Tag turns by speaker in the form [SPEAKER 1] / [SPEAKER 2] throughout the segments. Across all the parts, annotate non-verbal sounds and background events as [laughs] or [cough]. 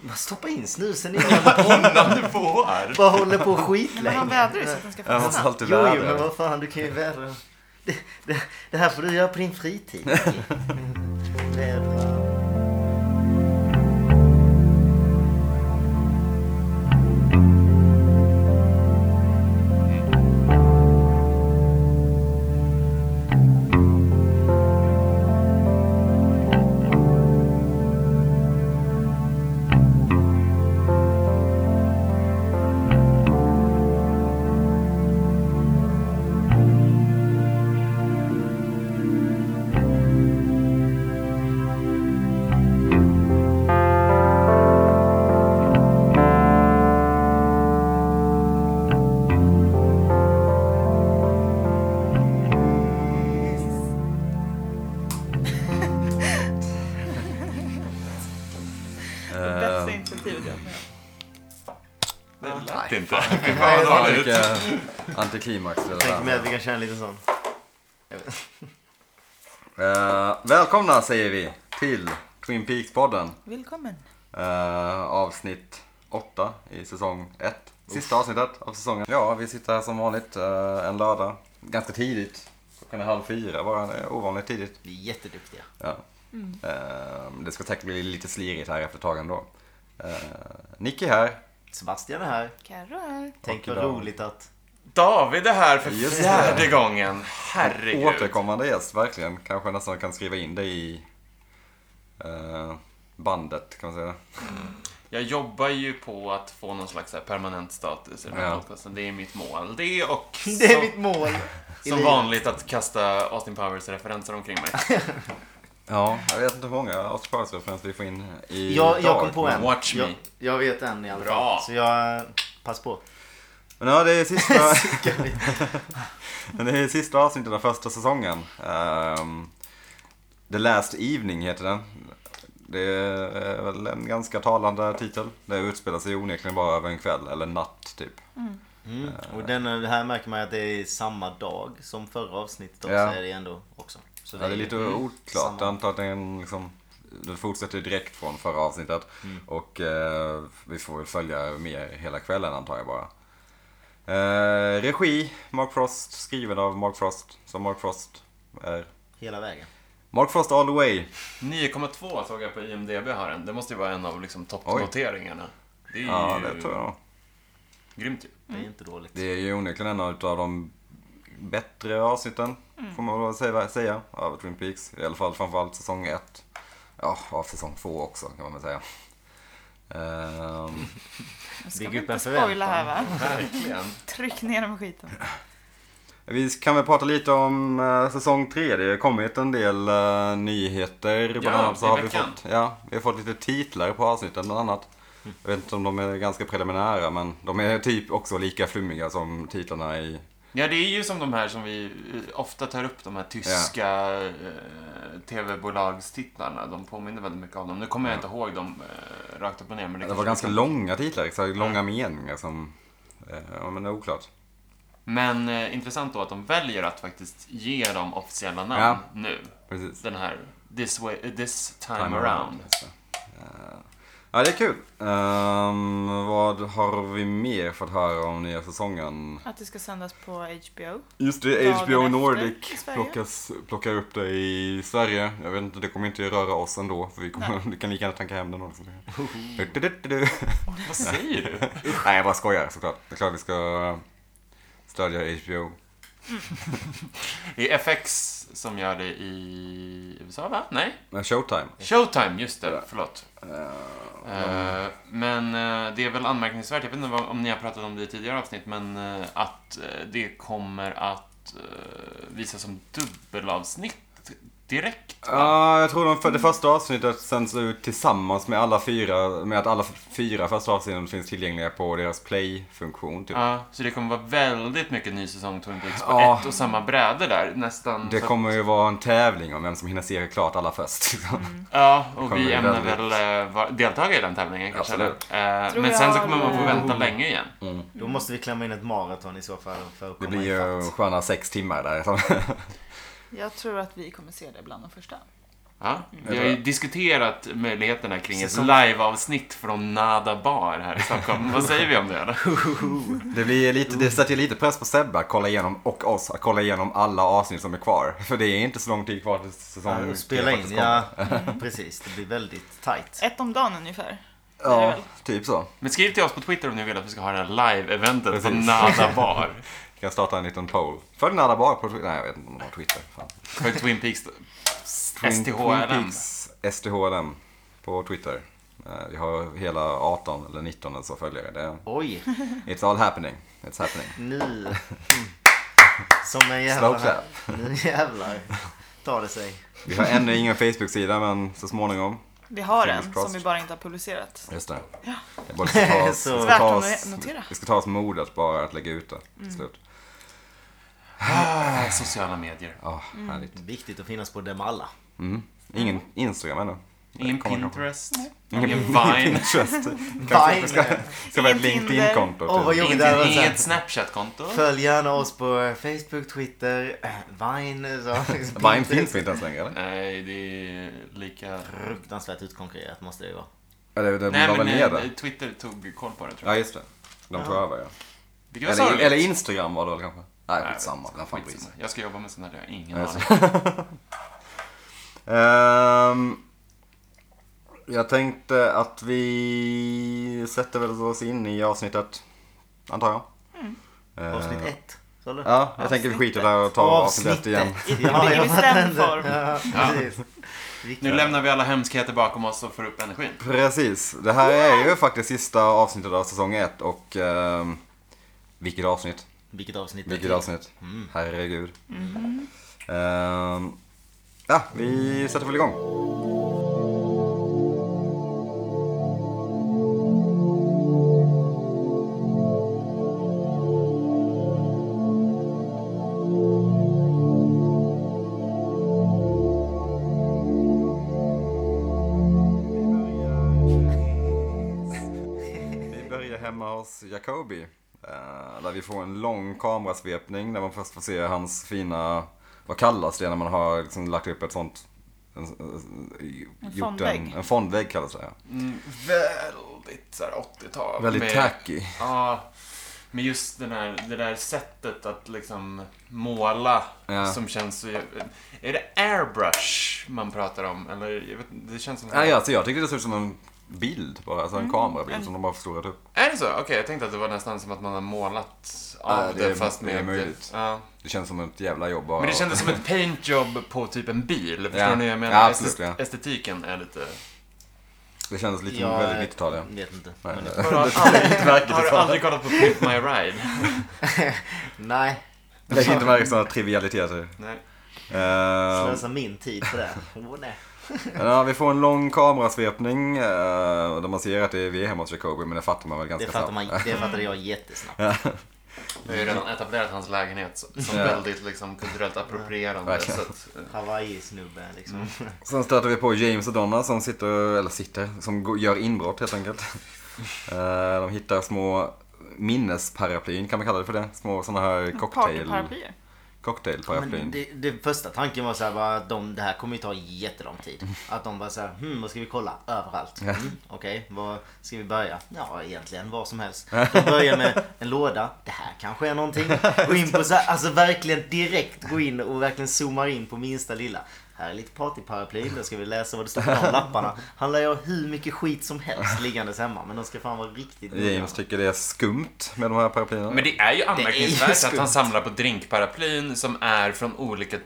[SPEAKER 1] Man stoppar in snusen i jävla
[SPEAKER 2] Innan du får!
[SPEAKER 1] Bara håller på
[SPEAKER 3] Nej, men han
[SPEAKER 1] skitlänge.
[SPEAKER 3] vädrar ju så att den ska
[SPEAKER 2] Ja, han
[SPEAKER 3] fastna.
[SPEAKER 2] sa alltid
[SPEAKER 1] Jo, jo, men
[SPEAKER 2] vädra.
[SPEAKER 1] vad fan, du kan ju vädra. Det, det, det här får du göra på din
[SPEAKER 4] [laughs]
[SPEAKER 1] fritid. Vädra.
[SPEAKER 3] Det bästa initiativet jag har med.
[SPEAKER 2] Det lät inte.
[SPEAKER 1] Nej,
[SPEAKER 2] Vad
[SPEAKER 1] jag
[SPEAKER 2] dåligt.
[SPEAKER 4] Mycket antiklimax det
[SPEAKER 1] tänker mig
[SPEAKER 4] där.
[SPEAKER 1] att vi kan köra en liten sån.
[SPEAKER 4] Eh, välkomna säger vi till Twin Peaks-podden.
[SPEAKER 3] Välkommen.
[SPEAKER 4] Eh, avsnitt 8 i säsong 1. Sista avsnittet av säsongen. Ja, vi sitter här som vanligt eh, en lördag. Ganska tidigt. Klockan är halv fyra bara. Det är ovanligt tidigt.
[SPEAKER 1] Vi är jätteduktiga.
[SPEAKER 4] Ja. Eh, det ska säkert bli lite slirigt här efter ett tag ändå. Uh, Nicky här.
[SPEAKER 1] Sebastian är här.
[SPEAKER 3] Carro här.
[SPEAKER 1] Tänk vad
[SPEAKER 4] idag.
[SPEAKER 1] roligt att...
[SPEAKER 2] David är här för
[SPEAKER 4] Just det.
[SPEAKER 2] fjärde gången. Herregud.
[SPEAKER 4] Återkommande gäst, verkligen. Kanske nästan kan skriva in dig i eh, bandet, kan man säga.
[SPEAKER 2] Jag jobbar ju på att få någon slags så här permanent status i den här
[SPEAKER 4] Ja.
[SPEAKER 2] podcasten. Det är mitt mål.
[SPEAKER 4] [laughs]
[SPEAKER 2] Det och
[SPEAKER 1] [laughs] Det är
[SPEAKER 2] som,
[SPEAKER 1] mitt [laughs] mål. i
[SPEAKER 2] som
[SPEAKER 1] livet.
[SPEAKER 2] vanligt att kasta Austin Powers-referenser omkring mig.
[SPEAKER 4] [laughs] Ja, jag vet inte hur många Austin Powers-referenser vi får in i
[SPEAKER 1] Jag, jag
[SPEAKER 4] dag.
[SPEAKER 1] kom på en.
[SPEAKER 2] Watch me.
[SPEAKER 1] jag, jag vet en i alla fall.
[SPEAKER 2] Bra.
[SPEAKER 1] Så jag... eh, Pass på.
[SPEAKER 4] Men ja, det
[SPEAKER 1] [laughs]
[SPEAKER 4] är sista...
[SPEAKER 1] Suckar lite.
[SPEAKER 4] [laughs] Men det är sista avsnittet av första säsongen. Ehm, The Last Evening heter den. Det är väl en ganska talande titel. Det utspelar sig onekligen bara över en kväll, eller natt typ.
[SPEAKER 1] Mm.
[SPEAKER 4] Eh.
[SPEAKER 1] Och den, det här märker man att det är samma dag som förra avsnittet också.
[SPEAKER 4] Ja.
[SPEAKER 1] Är det ändå också. Så Mm.
[SPEAKER 4] Ja, det är lite oklart. Jag
[SPEAKER 1] samma.
[SPEAKER 4] antar att den, liksom, den fortsätter direkt från förra avsnittet. Och eh, vi får väl följa mer hela kvällen antar jag bara. Eh, regi, Mark Frost, skriven av Mark Frost, som Mark Frost är.
[SPEAKER 1] Hela vägen.
[SPEAKER 4] Mark Frost all the way.
[SPEAKER 2] 9,2 såg jag på IMDB har den. Det måste ju vara en av liksom, toppnoteringarna. Det är ju
[SPEAKER 4] Ja, det tror jag nog.
[SPEAKER 2] grymt ju.
[SPEAKER 4] Mm.
[SPEAKER 1] Det är inte dåligt.
[SPEAKER 4] Det är ju onekligen en av de bättre avsnitten, får man väl säga, säga, av Twin Peaks. I alla fall framförallt säsong 1. Ja, av säsong 2 också kan man väl säga. Ehm,
[SPEAKER 3] Nu ska
[SPEAKER 1] Bygg
[SPEAKER 3] vi
[SPEAKER 1] upp en
[SPEAKER 3] inte spoila här va?
[SPEAKER 2] Verkligen.
[SPEAKER 3] Tryck ner dem i skiten.
[SPEAKER 4] vi kan väl prata lite om eh, säsong 3. Det har kommit en del eh, nyheter.
[SPEAKER 2] Ja, i
[SPEAKER 4] vi,
[SPEAKER 2] veckan.
[SPEAKER 4] fått, ja, vi har fått lite titlar på avsnitten bland annat.
[SPEAKER 2] Mm.
[SPEAKER 4] Jag vet inte om de är ganska preliminära men de är typ också lika flummiga som titlarna i...
[SPEAKER 2] Ja, det är ju som de här som vi eh, ofta tar upp, de här tyska eh, tv-bolagstitlarna. De påminner väldigt mycket om dem. Nu kommer jag inte ihåg dem eh, rakt upp och ner. Men det,
[SPEAKER 4] Det var
[SPEAKER 2] kanske-
[SPEAKER 4] ganska långa titlar, så långa meningar som... eh, Ja men det är oklart.
[SPEAKER 2] Men eh, intressant då att de väljer att faktiskt ge dem officiella namn
[SPEAKER 4] Ja.
[SPEAKER 2] nu.
[SPEAKER 4] Precis.
[SPEAKER 2] Den här This, way, eh, this time,
[SPEAKER 4] Time
[SPEAKER 2] around.
[SPEAKER 4] around. Eh, Ja, det är kul. Ehm, vad har vi mer fått höra om nya säsongen?
[SPEAKER 3] Att det ska sändas på HBO.
[SPEAKER 4] Just det,
[SPEAKER 3] Dagen
[SPEAKER 4] HBO
[SPEAKER 3] efter i
[SPEAKER 4] Nordic
[SPEAKER 3] Sverige.
[SPEAKER 4] plockas, plockar upp det i Sverige. Jag vet inte, det kommer inte röra oss ändå. För vi, kommer, vi kan lika gärna tanka hem den
[SPEAKER 3] [laughs]
[SPEAKER 4] också. Du-du-du-du-du.
[SPEAKER 2] Vad säger
[SPEAKER 4] [laughs]
[SPEAKER 2] du?
[SPEAKER 4] Nej, jag bara skojar såklart. Det är klart vi ska stödja HBO.
[SPEAKER 2] Det är FX som gör det i USA, va? Nej?
[SPEAKER 4] Men Showtime.
[SPEAKER 2] Showtime, just det.
[SPEAKER 4] Ja.
[SPEAKER 2] Förlåt.
[SPEAKER 4] Eh,
[SPEAKER 2] Eh, men eh, det är väl anmärkningsvärt, jag vet inte vad- om ni har pratat om det i tidigare avsnitt, men eh, att eh, det kommer att eh, visas som dubbelavsnitt direkt.
[SPEAKER 4] Ja, jag tror de för, det första avsnittet sänds ut tillsammans med alla fyra, med att alla f- fyra första avsnitten finns tillgängliga på deras play-funktion. Typ.
[SPEAKER 2] Ja, så det kommer vara väldigt mycket ny säsong Twin Peaks på
[SPEAKER 4] Ja.
[SPEAKER 2] ett och samma bräde där. Nästan.
[SPEAKER 4] Det
[SPEAKER 2] så-
[SPEAKER 4] kommer ju vara en tävling om vem som hinner se klart alla först. liksom.
[SPEAKER 3] Mm.
[SPEAKER 2] Ja,
[SPEAKER 4] det
[SPEAKER 2] och
[SPEAKER 4] kommer
[SPEAKER 2] vi
[SPEAKER 4] bli
[SPEAKER 2] ämnar
[SPEAKER 4] väldigt-
[SPEAKER 2] väl eh, vara- deltaga i den tävlingen kanske. eller?
[SPEAKER 4] Absolut.
[SPEAKER 2] Eh,
[SPEAKER 3] Tror
[SPEAKER 2] men sen så
[SPEAKER 3] jag-
[SPEAKER 2] kommer man få vänta länge igen.
[SPEAKER 1] Då
[SPEAKER 3] Mm.
[SPEAKER 1] måste vi klämma in ett maraton i så fall för att
[SPEAKER 4] [laughs] Det
[SPEAKER 1] komma
[SPEAKER 4] blir eh, ju
[SPEAKER 1] ifatt.
[SPEAKER 4] sköna sex timmar där.
[SPEAKER 3] Jag tror att vi kommer se det bland de första.
[SPEAKER 2] Ja, vi har
[SPEAKER 4] tror
[SPEAKER 2] ju
[SPEAKER 4] jag.
[SPEAKER 2] diskuterat möjligheterna kring ett
[SPEAKER 1] Säsong-
[SPEAKER 2] liveavsnitt från Nada Bar här i Stockholm. Vad säger vi om det? Eller?
[SPEAKER 4] Det, blir lite, det sätter lite press på Sebbe att kolla igenom, och oss att kolla igenom alla avsnitt som är kvar. [laughs] För det är inte så lång tid kvar till säsong
[SPEAKER 1] Ja,
[SPEAKER 4] tre
[SPEAKER 1] spela in,
[SPEAKER 4] faktiskt kommer.
[SPEAKER 1] ja. Mm, Precis, det blir väldigt tight.
[SPEAKER 3] Ett om dagen ungefär. är det
[SPEAKER 4] ja,
[SPEAKER 3] väl.
[SPEAKER 4] typ så.
[SPEAKER 2] Men skriv till oss på Twitter om ni vill att vi ska ha det här live-eventet på
[SPEAKER 4] Precis.
[SPEAKER 2] Nada Bar.
[SPEAKER 4] [laughs] Kan jag starta en liten poll? Följ Nada Bar på Twitter. Nej, jag vet inte om de har Twitter. Fan.
[SPEAKER 2] För Twin Peaks.
[SPEAKER 4] Twin- Twin
[SPEAKER 2] STHLM.
[SPEAKER 4] Peaks STHLM på Twitter. Eh, Vi har hela 18 eller 19 eller så följare. Det,
[SPEAKER 1] Oj,
[SPEAKER 4] it's all happening. It's happening.
[SPEAKER 1] nu.
[SPEAKER 4] [laughs]
[SPEAKER 1] Mm. Som en
[SPEAKER 4] Slow clap.
[SPEAKER 1] jävla... Nu jävlar tar det sig.
[SPEAKER 4] Vi har ännu ingen Facebook-sida men så småningom.
[SPEAKER 3] Vi har
[SPEAKER 4] Fingers
[SPEAKER 3] en som
[SPEAKER 4] crossed.
[SPEAKER 3] vi bara inte har publicerat.
[SPEAKER 4] Just det. Det är bara- vi [laughs] ska ta oss-
[SPEAKER 1] Så-
[SPEAKER 4] vi ska
[SPEAKER 3] Värt
[SPEAKER 4] ta
[SPEAKER 3] att
[SPEAKER 4] oss-
[SPEAKER 3] notera. Mm.
[SPEAKER 4] Vi ska ta oss modet bara att lägga ut det till slut.
[SPEAKER 2] Ah, Sociala medier.
[SPEAKER 4] Ja,
[SPEAKER 3] Mm.
[SPEAKER 4] härligt.
[SPEAKER 1] Viktigt att finnas på dem alla.
[SPEAKER 4] Mm. Ingen Instagram ännu.
[SPEAKER 2] Ingen
[SPEAKER 4] Det kommer kanske.
[SPEAKER 2] Pinterest. Ingen Vine.
[SPEAKER 4] Pinterest. Kanske vi ska, ska vi ha ett
[SPEAKER 3] Ingen Tinder.
[SPEAKER 4] LinkedIn-konto.
[SPEAKER 1] Åh, vad
[SPEAKER 4] till. [laughs]
[SPEAKER 1] Jo, men det här var
[SPEAKER 2] Inget,
[SPEAKER 1] så här-
[SPEAKER 2] inget Snapchat-konto.
[SPEAKER 1] Följ gärna oss på Facebook, Twitter, eh, Vine. Så,
[SPEAKER 4] Vine finns inte ens längre eller?
[SPEAKER 2] Nej, det är lika...
[SPEAKER 1] Fruktansvärt utkonkurrerat måste det ju vara.
[SPEAKER 4] Eller den
[SPEAKER 2] Nej,
[SPEAKER 4] la väl
[SPEAKER 2] men
[SPEAKER 4] ner
[SPEAKER 2] eh,
[SPEAKER 4] det?
[SPEAKER 2] Twitter tog koll på det tror jag.
[SPEAKER 4] Ja, just det. De tog över ja.
[SPEAKER 2] Vilket var
[SPEAKER 4] Eller,
[SPEAKER 2] sorgligt.
[SPEAKER 4] eller Instagram var det väl kanske? Nej,
[SPEAKER 2] Nej,
[SPEAKER 4] skitsamma. Vem fan bryr sig?
[SPEAKER 2] skitsamma. Jag ska jobba med sånt här, jag har ingen
[SPEAKER 4] Ja, så.
[SPEAKER 2] aning.
[SPEAKER 4] Ehm, jag tänkte att vi sätter väl oss in i avsnittet, antar jag.
[SPEAKER 3] Mm.
[SPEAKER 4] Eh,
[SPEAKER 1] Avsnitt 1. Sa du?
[SPEAKER 4] Ja, jag tänker vi skiter där och tar avsnitt ett igen.
[SPEAKER 1] Avsnittet.
[SPEAKER 3] Det ligger i
[SPEAKER 1] fattar
[SPEAKER 3] bestämd
[SPEAKER 1] inte.
[SPEAKER 3] form.
[SPEAKER 1] Ja, precis.
[SPEAKER 2] Nu
[SPEAKER 1] Vilken-
[SPEAKER 2] lämnar vi alla hemskheter bakom oss och får upp energin.
[SPEAKER 4] Precis, det här är ju faktiskt sista avsnittet av säsong ett och ehm, vilket avsnitt,
[SPEAKER 1] Vilket avsnitt? är
[SPEAKER 4] vilket
[SPEAKER 1] det?
[SPEAKER 4] avsnitt, herregud. Ehm, ja, vi sätter väl igång. Vi börjar hemma hos Jacobi. eh, Där vi får en lång kamerasvepning där man först får se hans fina, vad kallas det när man har liksom lagt upp ett sånt en, gjort
[SPEAKER 3] fondvägg.
[SPEAKER 4] En, en fondvägg kallas det. ja.
[SPEAKER 2] Mm, Väldigt såhär 80-tal.
[SPEAKER 4] Väldigt
[SPEAKER 2] Med-
[SPEAKER 4] tacky.
[SPEAKER 2] Ja, men just den här, det där sättet att liksom måla
[SPEAKER 4] Ja.
[SPEAKER 2] som känns så... jä- Är det airbrush man pratar om? Eller jag vet, inte, det känns som...
[SPEAKER 4] Ja, ja, alltså jag tyckte det såg ut som en bild bara, alltså en
[SPEAKER 1] Mm.
[SPEAKER 4] kamerabild
[SPEAKER 3] en-
[SPEAKER 4] som de har förstorat upp.
[SPEAKER 2] Är det så? Okej, jag tänkte att det var nästan som att man har målat av
[SPEAKER 4] Ja, det
[SPEAKER 2] det,
[SPEAKER 4] är-
[SPEAKER 2] fast
[SPEAKER 4] det
[SPEAKER 2] med...
[SPEAKER 4] är möjligt.
[SPEAKER 2] Ja.
[SPEAKER 4] Det känns som ett jävla jobb bara.
[SPEAKER 2] Men det kändes som ett paintjob på typ en bil. Förstår
[SPEAKER 4] Ja.
[SPEAKER 2] ni vad jag menar?
[SPEAKER 4] Ja, absolut,
[SPEAKER 2] Estet-
[SPEAKER 4] ja.
[SPEAKER 2] Estetiken är
[SPEAKER 4] [laughs]
[SPEAKER 2] lite...
[SPEAKER 4] Det kändes lite
[SPEAKER 1] Jag, eh,
[SPEAKER 4] väldigt 90-tal ja.
[SPEAKER 1] Vet inte.
[SPEAKER 4] Nej,
[SPEAKER 1] Men-
[SPEAKER 4] nej.
[SPEAKER 2] Har du aldrig, har du aldrig kollat på Pimp My Ride?
[SPEAKER 1] [laughs] Nej,
[SPEAKER 4] Lägg inte märke till
[SPEAKER 1] [laughs]
[SPEAKER 4] sådana trivialiteter.
[SPEAKER 2] Nej.
[SPEAKER 4] Eh,
[SPEAKER 1] slösa min tid på det. här. Åh, nej.
[SPEAKER 4] Ja, vi får en lång kamerasvepning eh, där man ser att det är, vi är hemma hos Jacobi, men det fattar man väl ganska
[SPEAKER 1] Det fattar
[SPEAKER 4] snabbt.
[SPEAKER 1] man, [laughs] det fattade jag jättesnabbt.
[SPEAKER 2] Vi har ju redan etablerat hans lägenhet som som
[SPEAKER 4] Ja.
[SPEAKER 2] väldigt liksom, kulturellt approprierande.
[SPEAKER 4] Verkligen.
[SPEAKER 2] Så att, eh,
[SPEAKER 1] Hawaii-snubbe liksom.
[SPEAKER 4] [laughs] Sen stöter vi på James och Donna som sitter, eller sitter, som går- gör inbrott
[SPEAKER 1] [laughs]
[SPEAKER 4] helt enkelt. Eh, De hittar små minnesparaplyn, kan man kalla det för det? Små sådana här cocktail,
[SPEAKER 3] Paraparaplyer.
[SPEAKER 1] Men
[SPEAKER 4] cocktailparaplyn.
[SPEAKER 1] det, det första tanken var så här bara att de, det här kommer ju ta jättelång tid. Att de bara så här, hmm, vad ska vi kolla? Överallt. Mm, Okej, var ska vi börja? Ja, egentligen var som helst. De börjar med en låda. Det här kanske är någonting. Gå in på så här, alltså verkligen direkt gå in och verkligen zoomar in på minsta lilla. Här är lite partyparaplyn, då ska vi läsa vad det står på de lapparna. Han lär ju ha hur mycket skit som helst liggandes hemma, men de ska fan vara riktigt noga.
[SPEAKER 4] James tycker det är skumt med de här paraplyerna.
[SPEAKER 2] Men det är ju anmärkningsvärt att
[SPEAKER 1] skumt.
[SPEAKER 2] han samlar på drinkparaply'n som är från olika